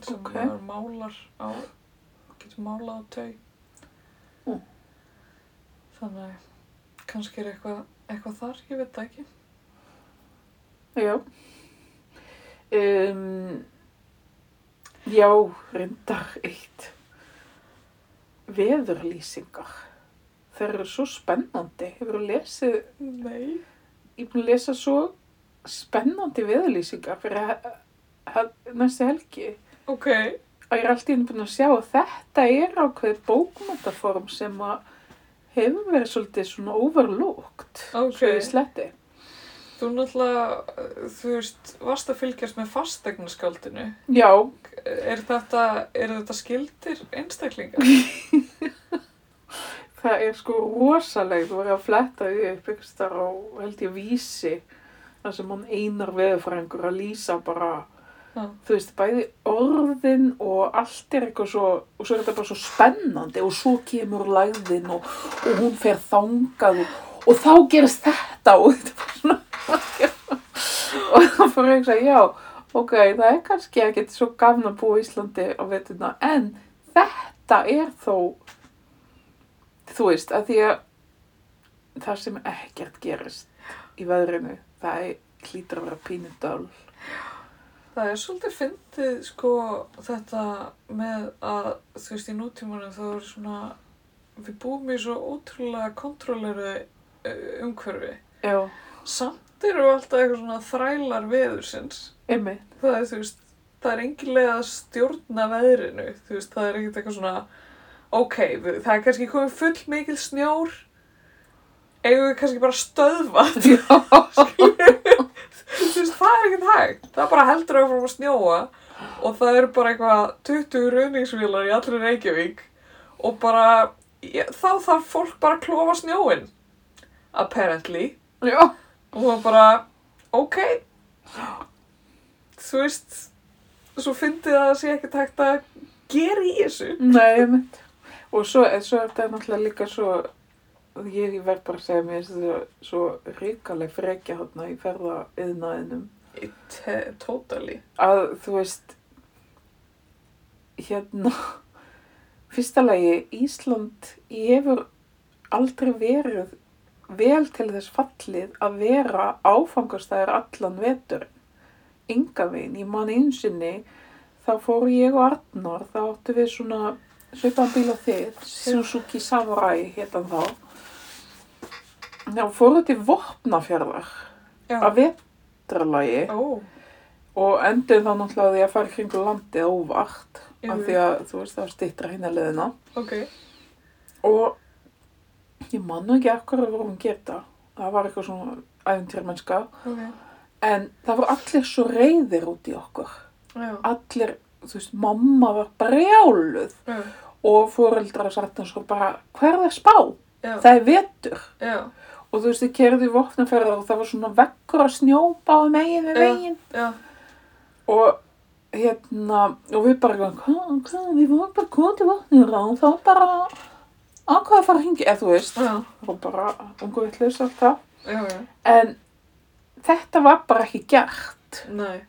Speaker 2: sem
Speaker 1: Ok.
Speaker 2: maður málar á, getur málað á tau.
Speaker 1: Mm.
Speaker 2: Þannig að kannski er eitthvað, eitthvað þar, ég veit það ekki.
Speaker 1: Já. Um, já, reyndar eitt. Veðurlýsingar. Þeir eru svo spennandi. Hefur lesið,
Speaker 2: Nei.
Speaker 1: ég er búin að lesa svo spennandi veðurlýsingar fyrir he- he- næstu helgi.
Speaker 2: Ok,
Speaker 1: Og ég er alltaf inn búin að sjá að þetta er ákveðið bókmyndaform sem að hefur verið svolítið svona overlooked.
Speaker 2: ok.
Speaker 1: Svo ég sletti.
Speaker 2: Þú náttúrulega, þú veist, varst að fylgjast með fastegnaskáldinu.
Speaker 1: Já,
Speaker 2: Er þetta, er þetta skildir einstaklingar?
Speaker 1: Það er sko rosalega, þú verður að fletta því upp ykkur þar á, held ég, vísi þar sem hann einar veðurfræðingur að lýsa bara,
Speaker 2: Já.
Speaker 1: þú veist, bæði orðin og allt er eitthvað svo, og svo er þetta bara svo spennandi og svo kemur lægðin og, og hún fer þangað og, og þá gerist þetta og þetta er bara svona og það fyrir að segja, já, ok, það er kannski ekkert svo gafn að búa í Íslandi á veturna, en þetta er þó þú veist, að því að það sem ekkert gerist í veðrinu, það er hlýtur að vera pínu dál.
Speaker 2: Það er svolítið fyndið sko þetta með að þú veist í nútímanum þá er svona við búum í svo ótrúlega kontróleru eh, umhverfi.
Speaker 1: Já,
Speaker 2: Samt eru við alltaf eitthvað svona þrælar veðursins.
Speaker 1: ymmi.
Speaker 2: Það er þú veist, það er engin leið að stjórna veðrinu. Þú veist, það er ekkert eitthvað svona ok, við, það er kannski komið full mikil snjór eigum við kannski bara að stöðva
Speaker 1: Já,
Speaker 2: þú veist, það er ekkert hægt. Það bara heldur áfram að snjóa og það eru bara eitthvað 20 rauningsvílar í allri Reykjavík og bara, ég, þá þarf fólk bara að klófa snjóin. Apparently.
Speaker 1: já,
Speaker 2: Og það bara, ok. Þú veist, svo fyndið að það sé ekkert hægt að gera í þessu.
Speaker 1: nei, ymmi. Og svo, en svo er þetta náttúrulega líka svo, ég verð bara að segja mér svo, svo ríkaleg frekja hátna í ferða yðnaðinum,
Speaker 2: It, eh, Totally.
Speaker 1: að þú veist, hérna, fyrsta lagi, Ísland hefur aldrei verið vel til þess fallið að vera áfangastæðar allan vetur. Enga veginn, ég man einsinni, þá fór ég og Arnór, þá áttu við svona svipan bíl og þið, Suzuki Samurai hétan þá. Þá fóruð til Vopnafjörðar
Speaker 2: Já.
Speaker 1: að vetralagi
Speaker 2: Ó,
Speaker 1: og endur þá náttúrulega á því að fara í kringu landið óvart af
Speaker 2: Mhm.
Speaker 1: því að þú veist það stýttra hérna leðina
Speaker 2: ok.
Speaker 1: og ég man nú ekki akkur að vorum geta það var eitthvað svona æfintýrmennska
Speaker 2: Ok.
Speaker 1: en það voru allir svo reyðir út í okkur
Speaker 2: Já.
Speaker 1: allir, þú veist, mamma var brjáluð
Speaker 2: Já.
Speaker 1: og fóreldrar satt eins og bara hver er það spá?
Speaker 2: Já.
Speaker 1: Það er vetur
Speaker 2: Já.
Speaker 1: og þú veist, þið kerðu í vopnaferðar og það var svona vekkur að snjópa á megin við
Speaker 2: Já.
Speaker 1: megin
Speaker 2: Já.
Speaker 1: og hérna og við bara hvað, hvað, við vorum bara komið til vatnir og þá bara ákvað að fara að hingja, eða þú veist
Speaker 2: Já.
Speaker 1: og bara ungu vitlaus allt það
Speaker 2: Já. Já.
Speaker 1: en þetta var bara ekki gert
Speaker 2: Nei.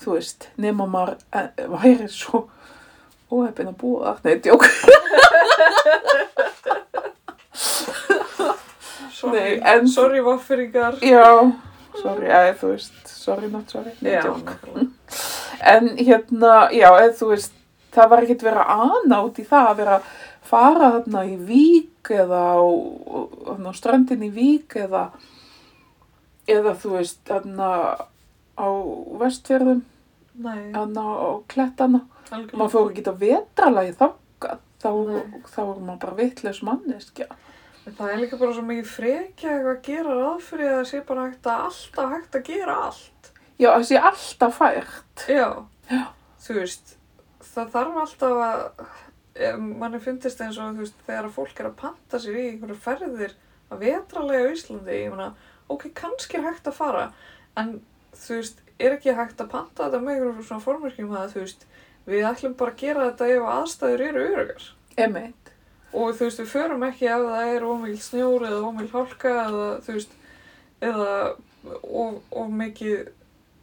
Speaker 1: þú veist, nema maður eh, væri svo óhefn að búa þarna í djók
Speaker 2: Sorry,
Speaker 1: Nei, en-
Speaker 2: sorry vafferingar.
Speaker 1: Já, sorry, eða þú veist, sorry not sorry, Nei,
Speaker 2: Já,
Speaker 1: djók.
Speaker 2: nákvæmlega.
Speaker 1: En hérna, já, eða þú veist, það var ekkert verið að ana út í það að vera að fara þarna í vík eða á, þarna á ströndin í vík eða, eða þú veist, þarna á vestfjörðum,
Speaker 2: Nei,
Speaker 1: þarna á klettana.
Speaker 2: algjörlega.
Speaker 1: Maður fór ekki að vetralagi þangað, þá,
Speaker 2: Nei.
Speaker 1: þá er maður bara vitlaus manneskja.
Speaker 2: En Það er líka bara svo mikið frekja eitthvað að gera ráð fyrir að það sé bara hægt að alltaf hægt að gera allt.
Speaker 1: Já, þessi alltaf fært.
Speaker 2: Já. Þú veist, það þarf alltaf að, eh, manni finnst eins og þú veist, þegar að fólk er að panta sér í einhverju ferðir að vetralega á Íslandi, ég meina, ok, kannski er hægt að fara, en þú veist, er ekki hægt að panta þetta með einhverjum svona formvirkjum að þú veist, við ætlum bara að gera þetta ef aðstæður eru örugar.
Speaker 1: Emmeit.
Speaker 2: og þú veist, við förum ekki ef það er ómikil snjór eða ómikil hálka eða þú veist, eða of, of mikið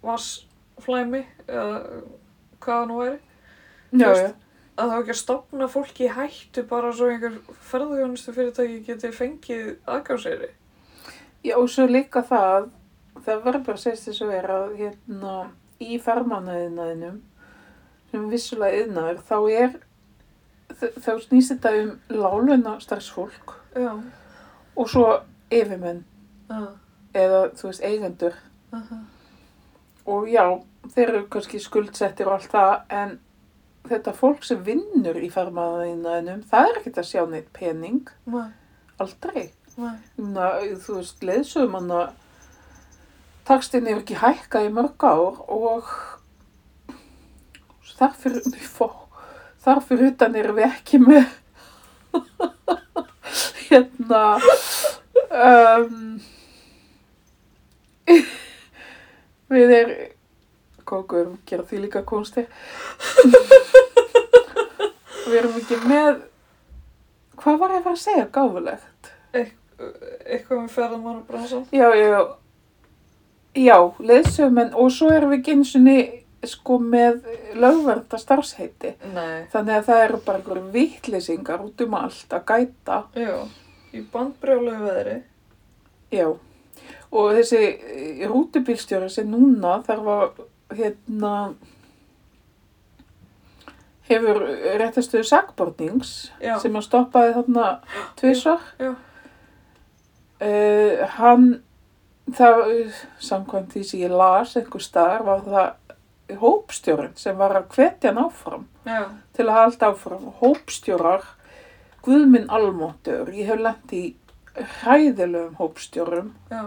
Speaker 2: vassflæmi eða hvað það nú væri
Speaker 1: Já,
Speaker 2: veist,
Speaker 1: já.
Speaker 2: að þá ekki að stopna fólki í hættu bara svo einhver ferðuðjónustu fyrirtæki geti fengið aðgáðseri
Speaker 1: Já, og svo líka það, það verður bara að segja þess að vera að hérna í fermannaðinæðinum, sem er vissulega yðnaður, þá er, þ- þá snýst þetta um láluna starfsfólk
Speaker 2: Já,
Speaker 1: og svo yfirmenn
Speaker 2: já,
Speaker 1: eða, þú veist, eigendur.
Speaker 2: aha,
Speaker 1: Og já, þeir eru kannski skuldsettir og allt það, en þetta fólk sem vinnur í fermannaðinæðinum, það er ekkert að sjá neitt pening,
Speaker 2: mæ,
Speaker 1: aldrei.
Speaker 2: mæ,
Speaker 1: Na, þú veist, leiðsögumanna takstin hefur ekki hækkað í mörg ár og þar fyrir, nei, fó- þar fyrir utan erum við ekki með hérna um, við er kókur, gera því líka konstir við erum ekki með hvað var ég að fara að segja gáfulegt?
Speaker 2: eitthvað með ferðamann og bransan
Speaker 1: Já, já, já. Já, leðsögumenn og svo erum við ekki einu sinni sko með lögverða starfsheiti.
Speaker 2: Nei,
Speaker 1: Þannig að það eru bara einhverjum vittlýsingar út um allt að gæta.
Speaker 2: já, í bandbrjálegu veðri
Speaker 1: Já, og þessi eh, rútubílstjóri sem núna þarf að, hérna, hefur réttastuðu sakbornings
Speaker 2: Já.
Speaker 1: sem að stoppaði þarna tvisvar.
Speaker 2: Já, já.
Speaker 1: Eh, hann, það, samkvæmt því sem ég las einhver staðar, var það hópstjórinn sem var að hvetja hann áfram
Speaker 2: Já,
Speaker 1: til að halda áfram. Hópstjórar, Guðminn Almóttur, ég hef lent í hræðilegum hópstjórum
Speaker 2: já,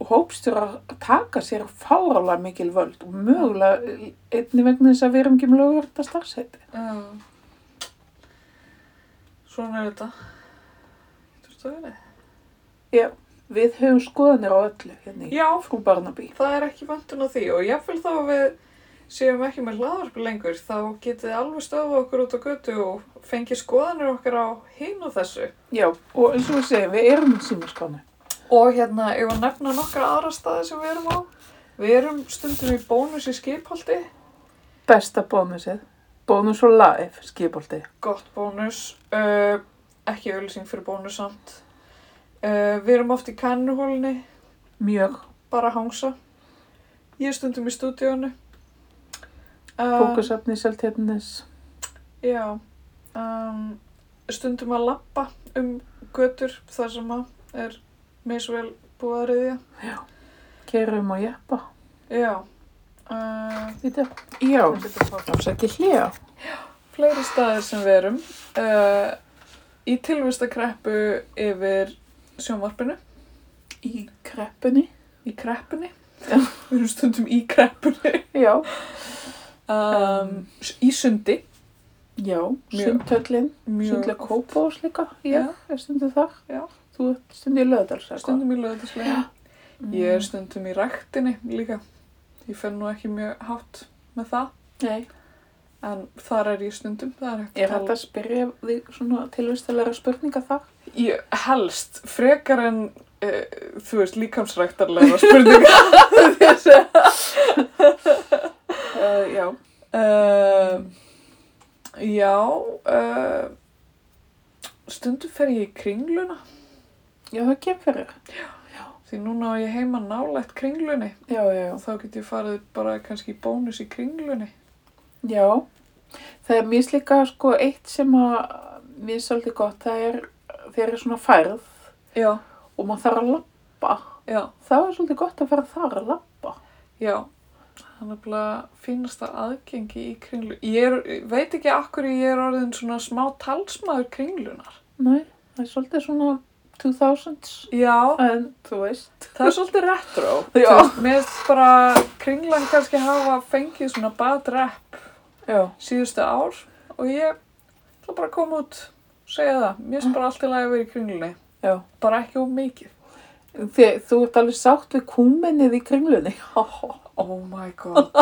Speaker 1: og hópstjórar taka sér fárálega mikil völd og mögulega einni vegna þess að við erum ekki með lögverða starfsæti.
Speaker 2: Já. Svona er þetta. Þú veist það verið?
Speaker 1: Við höfum skoðanir á öllu hérna í
Speaker 2: Já,
Speaker 1: frú Barnaby.
Speaker 2: það er ekki vantun á því og jáfnvel þá að við séum ekki með hlaðvarp lengur þá getið þið alveg stöðu okkur út á götu og fengið skoðanir okkar á hinn og þessu.
Speaker 1: Já, og eins og við segjum, við erum símaskonu.
Speaker 2: Og hérna, ég var að nefna nokkra aðra staði sem við erum á. Við erum stundum í bónus í skiphaldi,
Speaker 1: Besta bónusið. Bónus og live, skipolti.
Speaker 2: gott bónus, uh, ekki auðlýsing fyrir bónus samt. Uh, við erum oft í kannuhólni,
Speaker 1: Mjög.
Speaker 2: bara hangsa. Ég er stundum í stúdíónu. Ah.
Speaker 1: Bókasafni seltjarnis.
Speaker 2: Ehm, Já. Um, stundum að lappa um götur þar sem að er misvel búið að reyðja.
Speaker 1: Kerum og jeppa.
Speaker 2: Já. Uh,
Speaker 1: Þetta. Já. Afsækki hlýja.
Speaker 2: fleiri staðir sem við erum. Uh, í tilvistakreppu yfir sjónvarpinu.
Speaker 1: Í kreppunni.
Speaker 2: Í kreppunni. við erum stundum í kreppunni.
Speaker 1: Já.
Speaker 2: Um, í sundi.
Speaker 1: Já.
Speaker 2: Mjög.
Speaker 1: Sundhöllin.
Speaker 2: Mjög
Speaker 1: Sundlega Kópavós líka. Já.
Speaker 2: Já.
Speaker 1: Er stundu þar.
Speaker 2: Já.
Speaker 1: Þú ert stundu í löðalsa.
Speaker 2: stundum í löðarslega. Ég er stundum í ræktinni líka. Ég fenn nú ekki mjög hátt með það,
Speaker 1: Nei.
Speaker 2: en þar er ég stundum. Það er hægt
Speaker 1: Er þetta að spyrja þig svona tilvistalega spurninga þar?
Speaker 2: Ég helst frekar en, uh, þú veist, líkamsræktarlega spurninga.
Speaker 1: Uh, já.
Speaker 2: Eh, uh, já, uh, eh, stundum fer ég í kringluna
Speaker 1: Já, það kemur fyrir.
Speaker 2: því núna á ég heima nálægt kringlunni
Speaker 1: Já, já, já.
Speaker 2: og þá get ég farið bara kannski í bónus í kringlunni
Speaker 1: Já, það er mjög líka sko eitt sem að mér er svolítið gott, það er þegar er svona færð
Speaker 2: já,
Speaker 1: og maður þarf að lappa.
Speaker 2: já,
Speaker 1: Það er svolítið gott að fara þar að lappa.
Speaker 2: já það er bara fínasta aðgengi í kringlu ég er, ég veit ekki akkur ég er orðin svona smá talsmaður kringlunar
Speaker 1: Nei, það er svolítið svona 2000s,
Speaker 2: já,
Speaker 1: en þú veist.
Speaker 2: það er svolítið retro
Speaker 1: Já.
Speaker 2: Þú veist, mér finnst bara kringlan kannski hafa fengið svona bad rap
Speaker 1: Já,
Speaker 2: síðustu ár og ég ætla bara að koma út og segja það, mér finnst bara allt í lagi að vera í kringlunni
Speaker 1: já.
Speaker 2: bara ekki of mikið
Speaker 1: Þi, þú ert alveg sátt við kúmennið í kringlunni.
Speaker 2: oh my god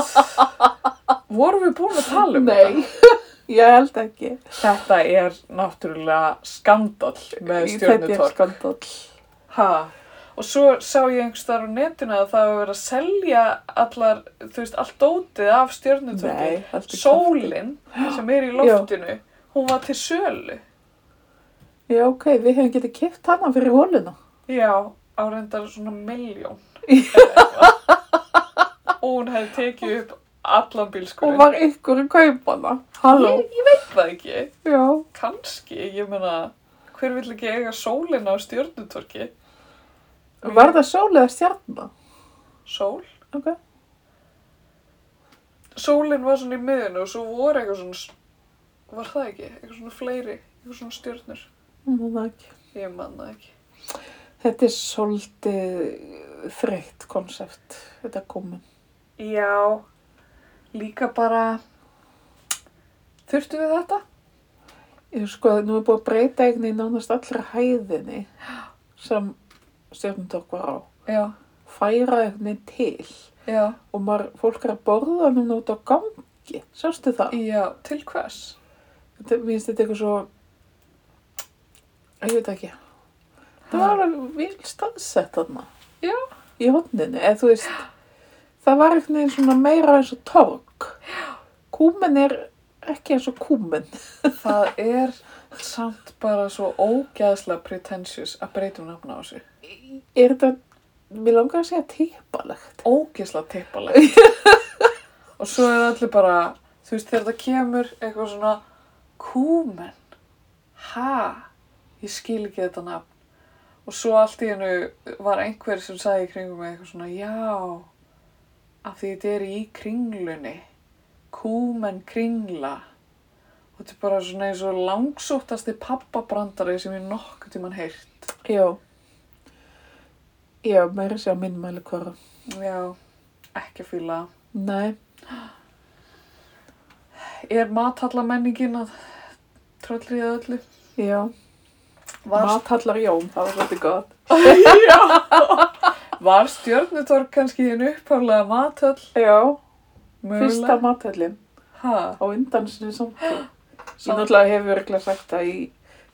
Speaker 2: vorum við búin að tala um
Speaker 1: Nei, ég held ekki.
Speaker 2: þetta? þetta er náttúrulega skandall
Speaker 1: Þetta
Speaker 2: með
Speaker 1: er
Speaker 2: stjórnutorg
Speaker 1: skandall.
Speaker 2: ha Og svo sá ég einhvers þar á netuna að það var verið að selja allar, þú veist, allt dótið af stjórnutökum.
Speaker 1: Nei, allt í krafti.
Speaker 2: Sólin sem er í loftinu, hún var til sölu.
Speaker 1: Já, ok, við hefum getið kipt hana fyrir voluna.
Speaker 2: Já, á reyndar svona miljón. eða eitthvað. og hún hefði tekið upp allan
Speaker 1: Og
Speaker 2: bílskurinn.
Speaker 1: var ykkur að kaupa hana. Halló.
Speaker 2: Ég, ég veit það ekki.
Speaker 1: Já.
Speaker 2: Kanski, ég meina, hver vill ekki eiga sólina á stjörnutorki?
Speaker 1: Var það sól eða stjarnar?
Speaker 2: Sól?
Speaker 1: Ok.
Speaker 2: Sólin var svona í miðinu og svo voru eitthvað svona, s- var það ekki? Eitthvað svona fleiri, eitthvað svona stjörnur.
Speaker 1: Núna ekki.
Speaker 2: Ég man það ekki.
Speaker 1: Þetta er svolítið eh, þreytt konsept, þetta komin.
Speaker 2: Já, líka bara, þurftu við þetta?
Speaker 1: Ég sko að nú er búið að breyta eigni í nánast allra hæðinni sem stjórnumtork var á.
Speaker 2: Já,
Speaker 1: Færa eigni til
Speaker 2: já,
Speaker 1: og maður, fólk er að borða núna út á gangi. Sástu það?
Speaker 2: já, til hvers?
Speaker 1: Þetta, mér finnst þetta eitthvað svo, ég veit ekki. Það var alveg vel staðsett þarna.
Speaker 2: Já.
Speaker 1: Í hotninu, eða þú veist, það var einhvern veginn svona meira eins og torg. Já. Kúmen er ekki eins og kúmen.
Speaker 2: Það er samt bara svo ógæðslega pretentious að breytum nafna á þessu.
Speaker 1: Er þetta, mér langar að segja tippalegt.
Speaker 2: Ógæðslega tippalegt. og svo er það allir bara, þú veist, þegar það kemur eitthvað svona kúmen. Ha? Ég skil ekki þetta nafn. Og svo allt í hennu var einhver sem sagði í kringum mig eitthvað svona, já, af því þetta er í kringlunni. Kúmen kringla. Og þetta er bara svona eins og langsóttasti pappabrandari sem ég nokkuð tíman heyrt.
Speaker 1: Já. Já, meira að segja minn mæli hvora.
Speaker 2: Já, ekki að fýla.
Speaker 1: Nei,
Speaker 2: Er matallamenningin að tröllriða öllu?
Speaker 1: já.
Speaker 2: Var,
Speaker 1: Matallar Jón, það var svolítið gott.
Speaker 2: var stjörnutorg kannski en upphörlega matöll?
Speaker 1: Já, fyrsta
Speaker 2: Mögulega.
Speaker 1: matallin
Speaker 2: Ha,
Speaker 1: á undan sinni samtíð. Ég
Speaker 2: samt,
Speaker 1: náttúrulega hefur örgulega sagt það í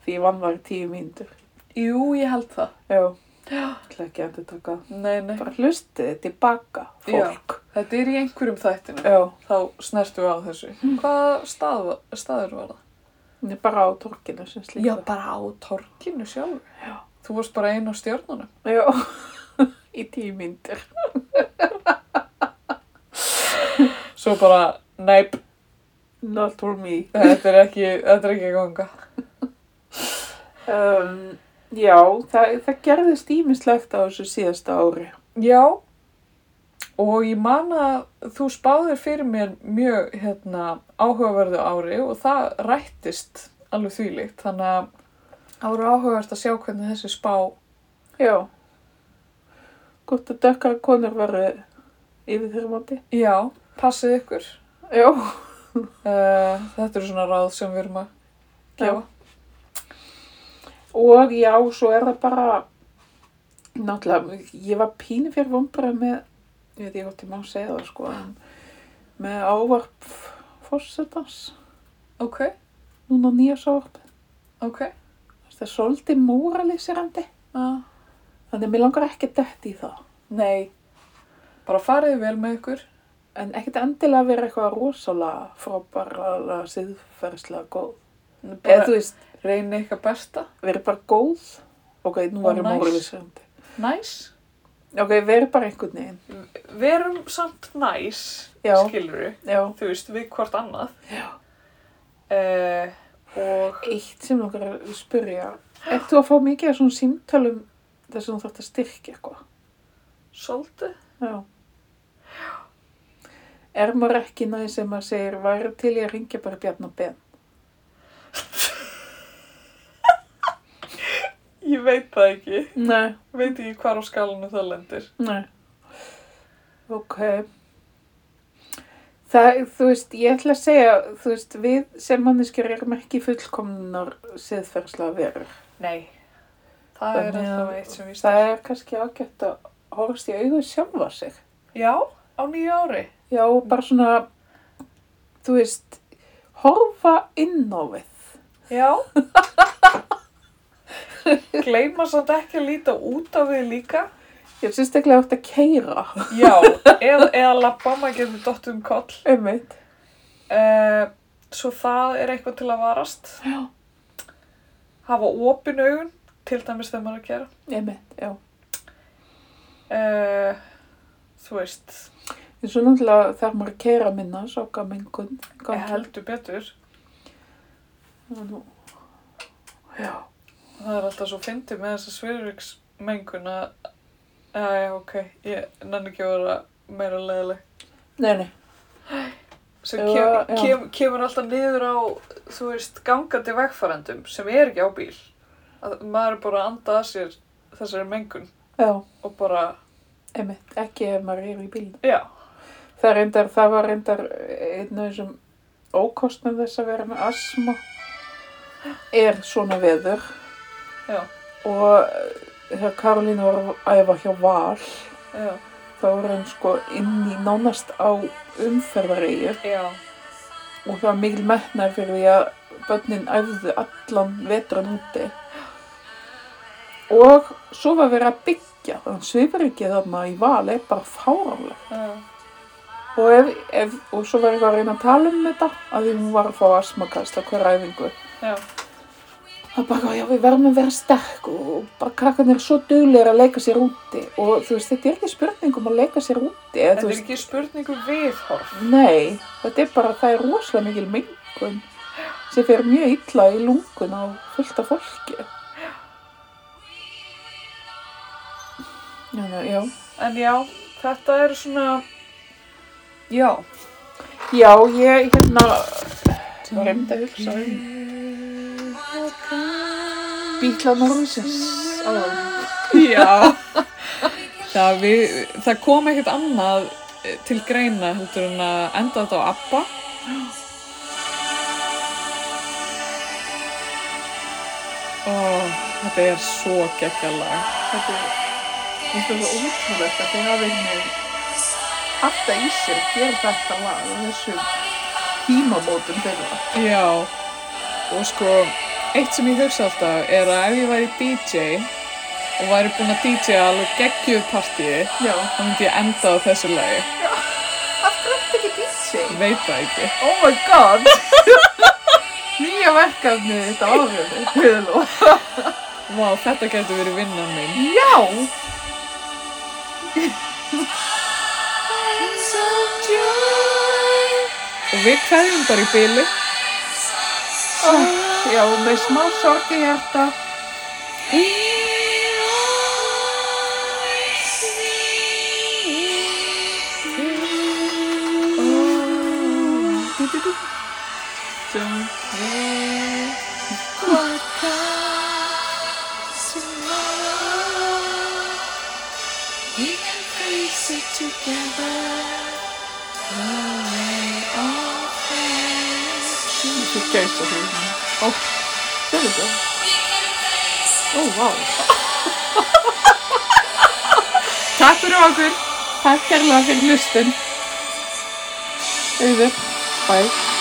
Speaker 1: því ég vann var í tíu mínútur.
Speaker 2: jú, ég held það.
Speaker 1: Já. ætla ekki að endur taka.
Speaker 2: Nei, nei.
Speaker 1: Bara hlustið þið tilbaka, fólk.
Speaker 2: Þetta er í einhverjum þættinum.
Speaker 1: Já.
Speaker 2: Þá snertum við á þessu. Hvaða stað, var- staður var það?
Speaker 1: En ég bara á torkinu sem slíka.
Speaker 2: bara á torkinu sjálf. Já. Þú varst bara einn á stjörnunum.
Speaker 1: Já. í tíu mínútur.
Speaker 2: Svo bara, neip,
Speaker 1: Not for me.
Speaker 2: þetta er ekki, þetta er ekki að ganga.
Speaker 1: Um, já, það, það gerðist ímislegt á þessu síðasta ári.
Speaker 2: Já, og ég man að þú spáðir fyrir mér mjög hérna, áhugaverðu ári og það rættist alveg þvílíkt. Þannig að það voru áhugavert að sjá hvernig þessi spá,
Speaker 1: Já. Hvort að dökkara konur varu yfir þeirra mandi.
Speaker 2: já, passið ykkur.
Speaker 1: Já.
Speaker 2: Uh, þetta eru svona ráð sem við erum að gefa.
Speaker 1: Og já, svo er það bara, náttúrulega, ég var pínu fyrir vombrað með, ég veit ég hvort ég má segja það sko, en með ávarp fórsetans,
Speaker 2: Ok,
Speaker 1: núna nýjasávarpið.
Speaker 2: ok.
Speaker 1: Það er svolítið móralisirandi,
Speaker 2: Uh,
Speaker 1: þannig að mér langar ekki að detti í það.
Speaker 2: nei, bara farið vel með ykkur.
Speaker 1: En ekkert endilega að vera eitthvað rosalega frábæralega siðferðslega góð.
Speaker 2: Bara-
Speaker 1: eða þú veist,
Speaker 2: reyni eitthvað besta,
Speaker 1: verið bara góð ok, nú
Speaker 2: Og
Speaker 1: erum
Speaker 2: næs.
Speaker 1: við óreifisandi
Speaker 2: næs
Speaker 1: ok, verið bara einhvern veginn
Speaker 2: verum samt næs
Speaker 1: Já.
Speaker 2: skilur við,
Speaker 1: já,
Speaker 2: þú veist, við hvort annað já Eh, og
Speaker 1: eitt sem nokkar að spyrja ert þú að fá mikið af svona símtölum þess að þú þarft að styrkja eitthvað
Speaker 2: svolítið
Speaker 1: já er maður ekki næs sem maður segir væri til ég að ringja bara Bjarnar Ben
Speaker 2: ég veit það ekki,
Speaker 1: nei,
Speaker 2: veit ekki hvar á skalanu það lendir
Speaker 1: nei ok það, þú veist, ég ætla að segja þú veist, við sem manneskjur erum ekki fullkomnar siðferðslega verur
Speaker 2: nei það er
Speaker 1: Þannig að-
Speaker 2: alltaf eitt sem víst
Speaker 1: það er kannski ágætt að horfast í augu sjálfa sig
Speaker 2: já, á nýju ári
Speaker 1: Já, bara svona, þú veist, horfa inn á við.
Speaker 2: já gleyma samt ekki að líta út af því líka
Speaker 1: Ég syns ekki að þetta keira.
Speaker 2: já, eða, eða labba maður getur dott um koll
Speaker 1: Einmitt.
Speaker 2: Eh, svo það er eitthvað til að varast
Speaker 1: Já.
Speaker 2: hafa opin augun til dæmis þegar maður er að gera
Speaker 1: Einmitt, já.
Speaker 2: uh, þú veist
Speaker 1: En svo náttúrulega þarf maður að keira minna, sáka mengun.
Speaker 2: ég heldur betur
Speaker 1: Já.
Speaker 2: það er alltaf svo fyndið með þessa sviriksmengun að að já ok, ég nenni ekki að vera meira leðileg
Speaker 1: Nei, nei.
Speaker 2: sem
Speaker 1: Já,
Speaker 2: kem,
Speaker 1: já.
Speaker 2: kem, kemur alltaf niður á þú veist, gangandi vegfærendum sem er ekki á bíl að maður er bara að anda að sér þessari mengun
Speaker 1: Já,
Speaker 2: og bara,
Speaker 1: einmitt, ekki ef maður er í bílnum.
Speaker 2: já,
Speaker 1: Það, er reyndar, það var reyndar einn af þessum ókostnum þess að vera með asma er svona veður.
Speaker 2: já,
Speaker 1: og eh, þegar Karolín var að æfa hjá Val
Speaker 2: já
Speaker 1: þá var hann sko inn í nánast á umferðareigur
Speaker 2: já,
Speaker 1: og það var mikil metnar fyrir því að börnin æfðu allan vetran úti og svo var verið að byggja þannig svipar ekki þarna í Val er bara fáránlega
Speaker 2: já,
Speaker 1: og, ef, ef, og svo var ég að reyna að tala um þetta að því hún var að fá asmakast á hver æfingu
Speaker 2: já.
Speaker 1: Það bara, já, við verðum að vera sterk og og bara krakkarnir er svo duglegir að leika sér úti og þú veist, þetta er ekki spurning um að leika sér úti eða,
Speaker 2: Þetta
Speaker 1: þú
Speaker 2: er
Speaker 1: veist,
Speaker 2: ekki spurning um viðhorf.
Speaker 1: nei, þetta er bara, það er rosalega mikil mengun sem fer mjög illa í lungun á fullta fólki. Já, já,
Speaker 2: En já, þetta eru svona... Já.
Speaker 1: já, ég, hérna, var einmitt að hugsa um bílanar húsins áðan.
Speaker 2: Já. það, við, það kom ekkert annað eh, til greina heldur en að enda þetta á Abba. Ó, þetta er svo geggjalag.
Speaker 1: Þetta er, þetta er svo ótrúlegt að þið hafið með alltaf í sér gera þetta lag á þessum tímamótum þeirra.
Speaker 2: Já, og sko, eitt sem ég hugsa alltaf er að ef ég væri DJ og væri búin að DJ alveg geggjuð partíi,
Speaker 1: Já.
Speaker 2: þá myndi ég enda á þessu lagi.
Speaker 1: Af hverju ertu ekki DJ?
Speaker 2: Veit það ekki.
Speaker 1: Oh my god! Nýja verkefni þetta árið, Guðló.
Speaker 2: Vá, þetta getur verið vinnan minn.
Speaker 1: Já!
Speaker 2: Og við kveðjum bara í byli.
Speaker 1: Já, með smá sorg í hjarta. Þessi gæsa því. Ó, sér þetta? Ó, vá.
Speaker 2: Takk fyrir okkur!
Speaker 1: Takk kærlega fyrir hlustun. Auður. Bye.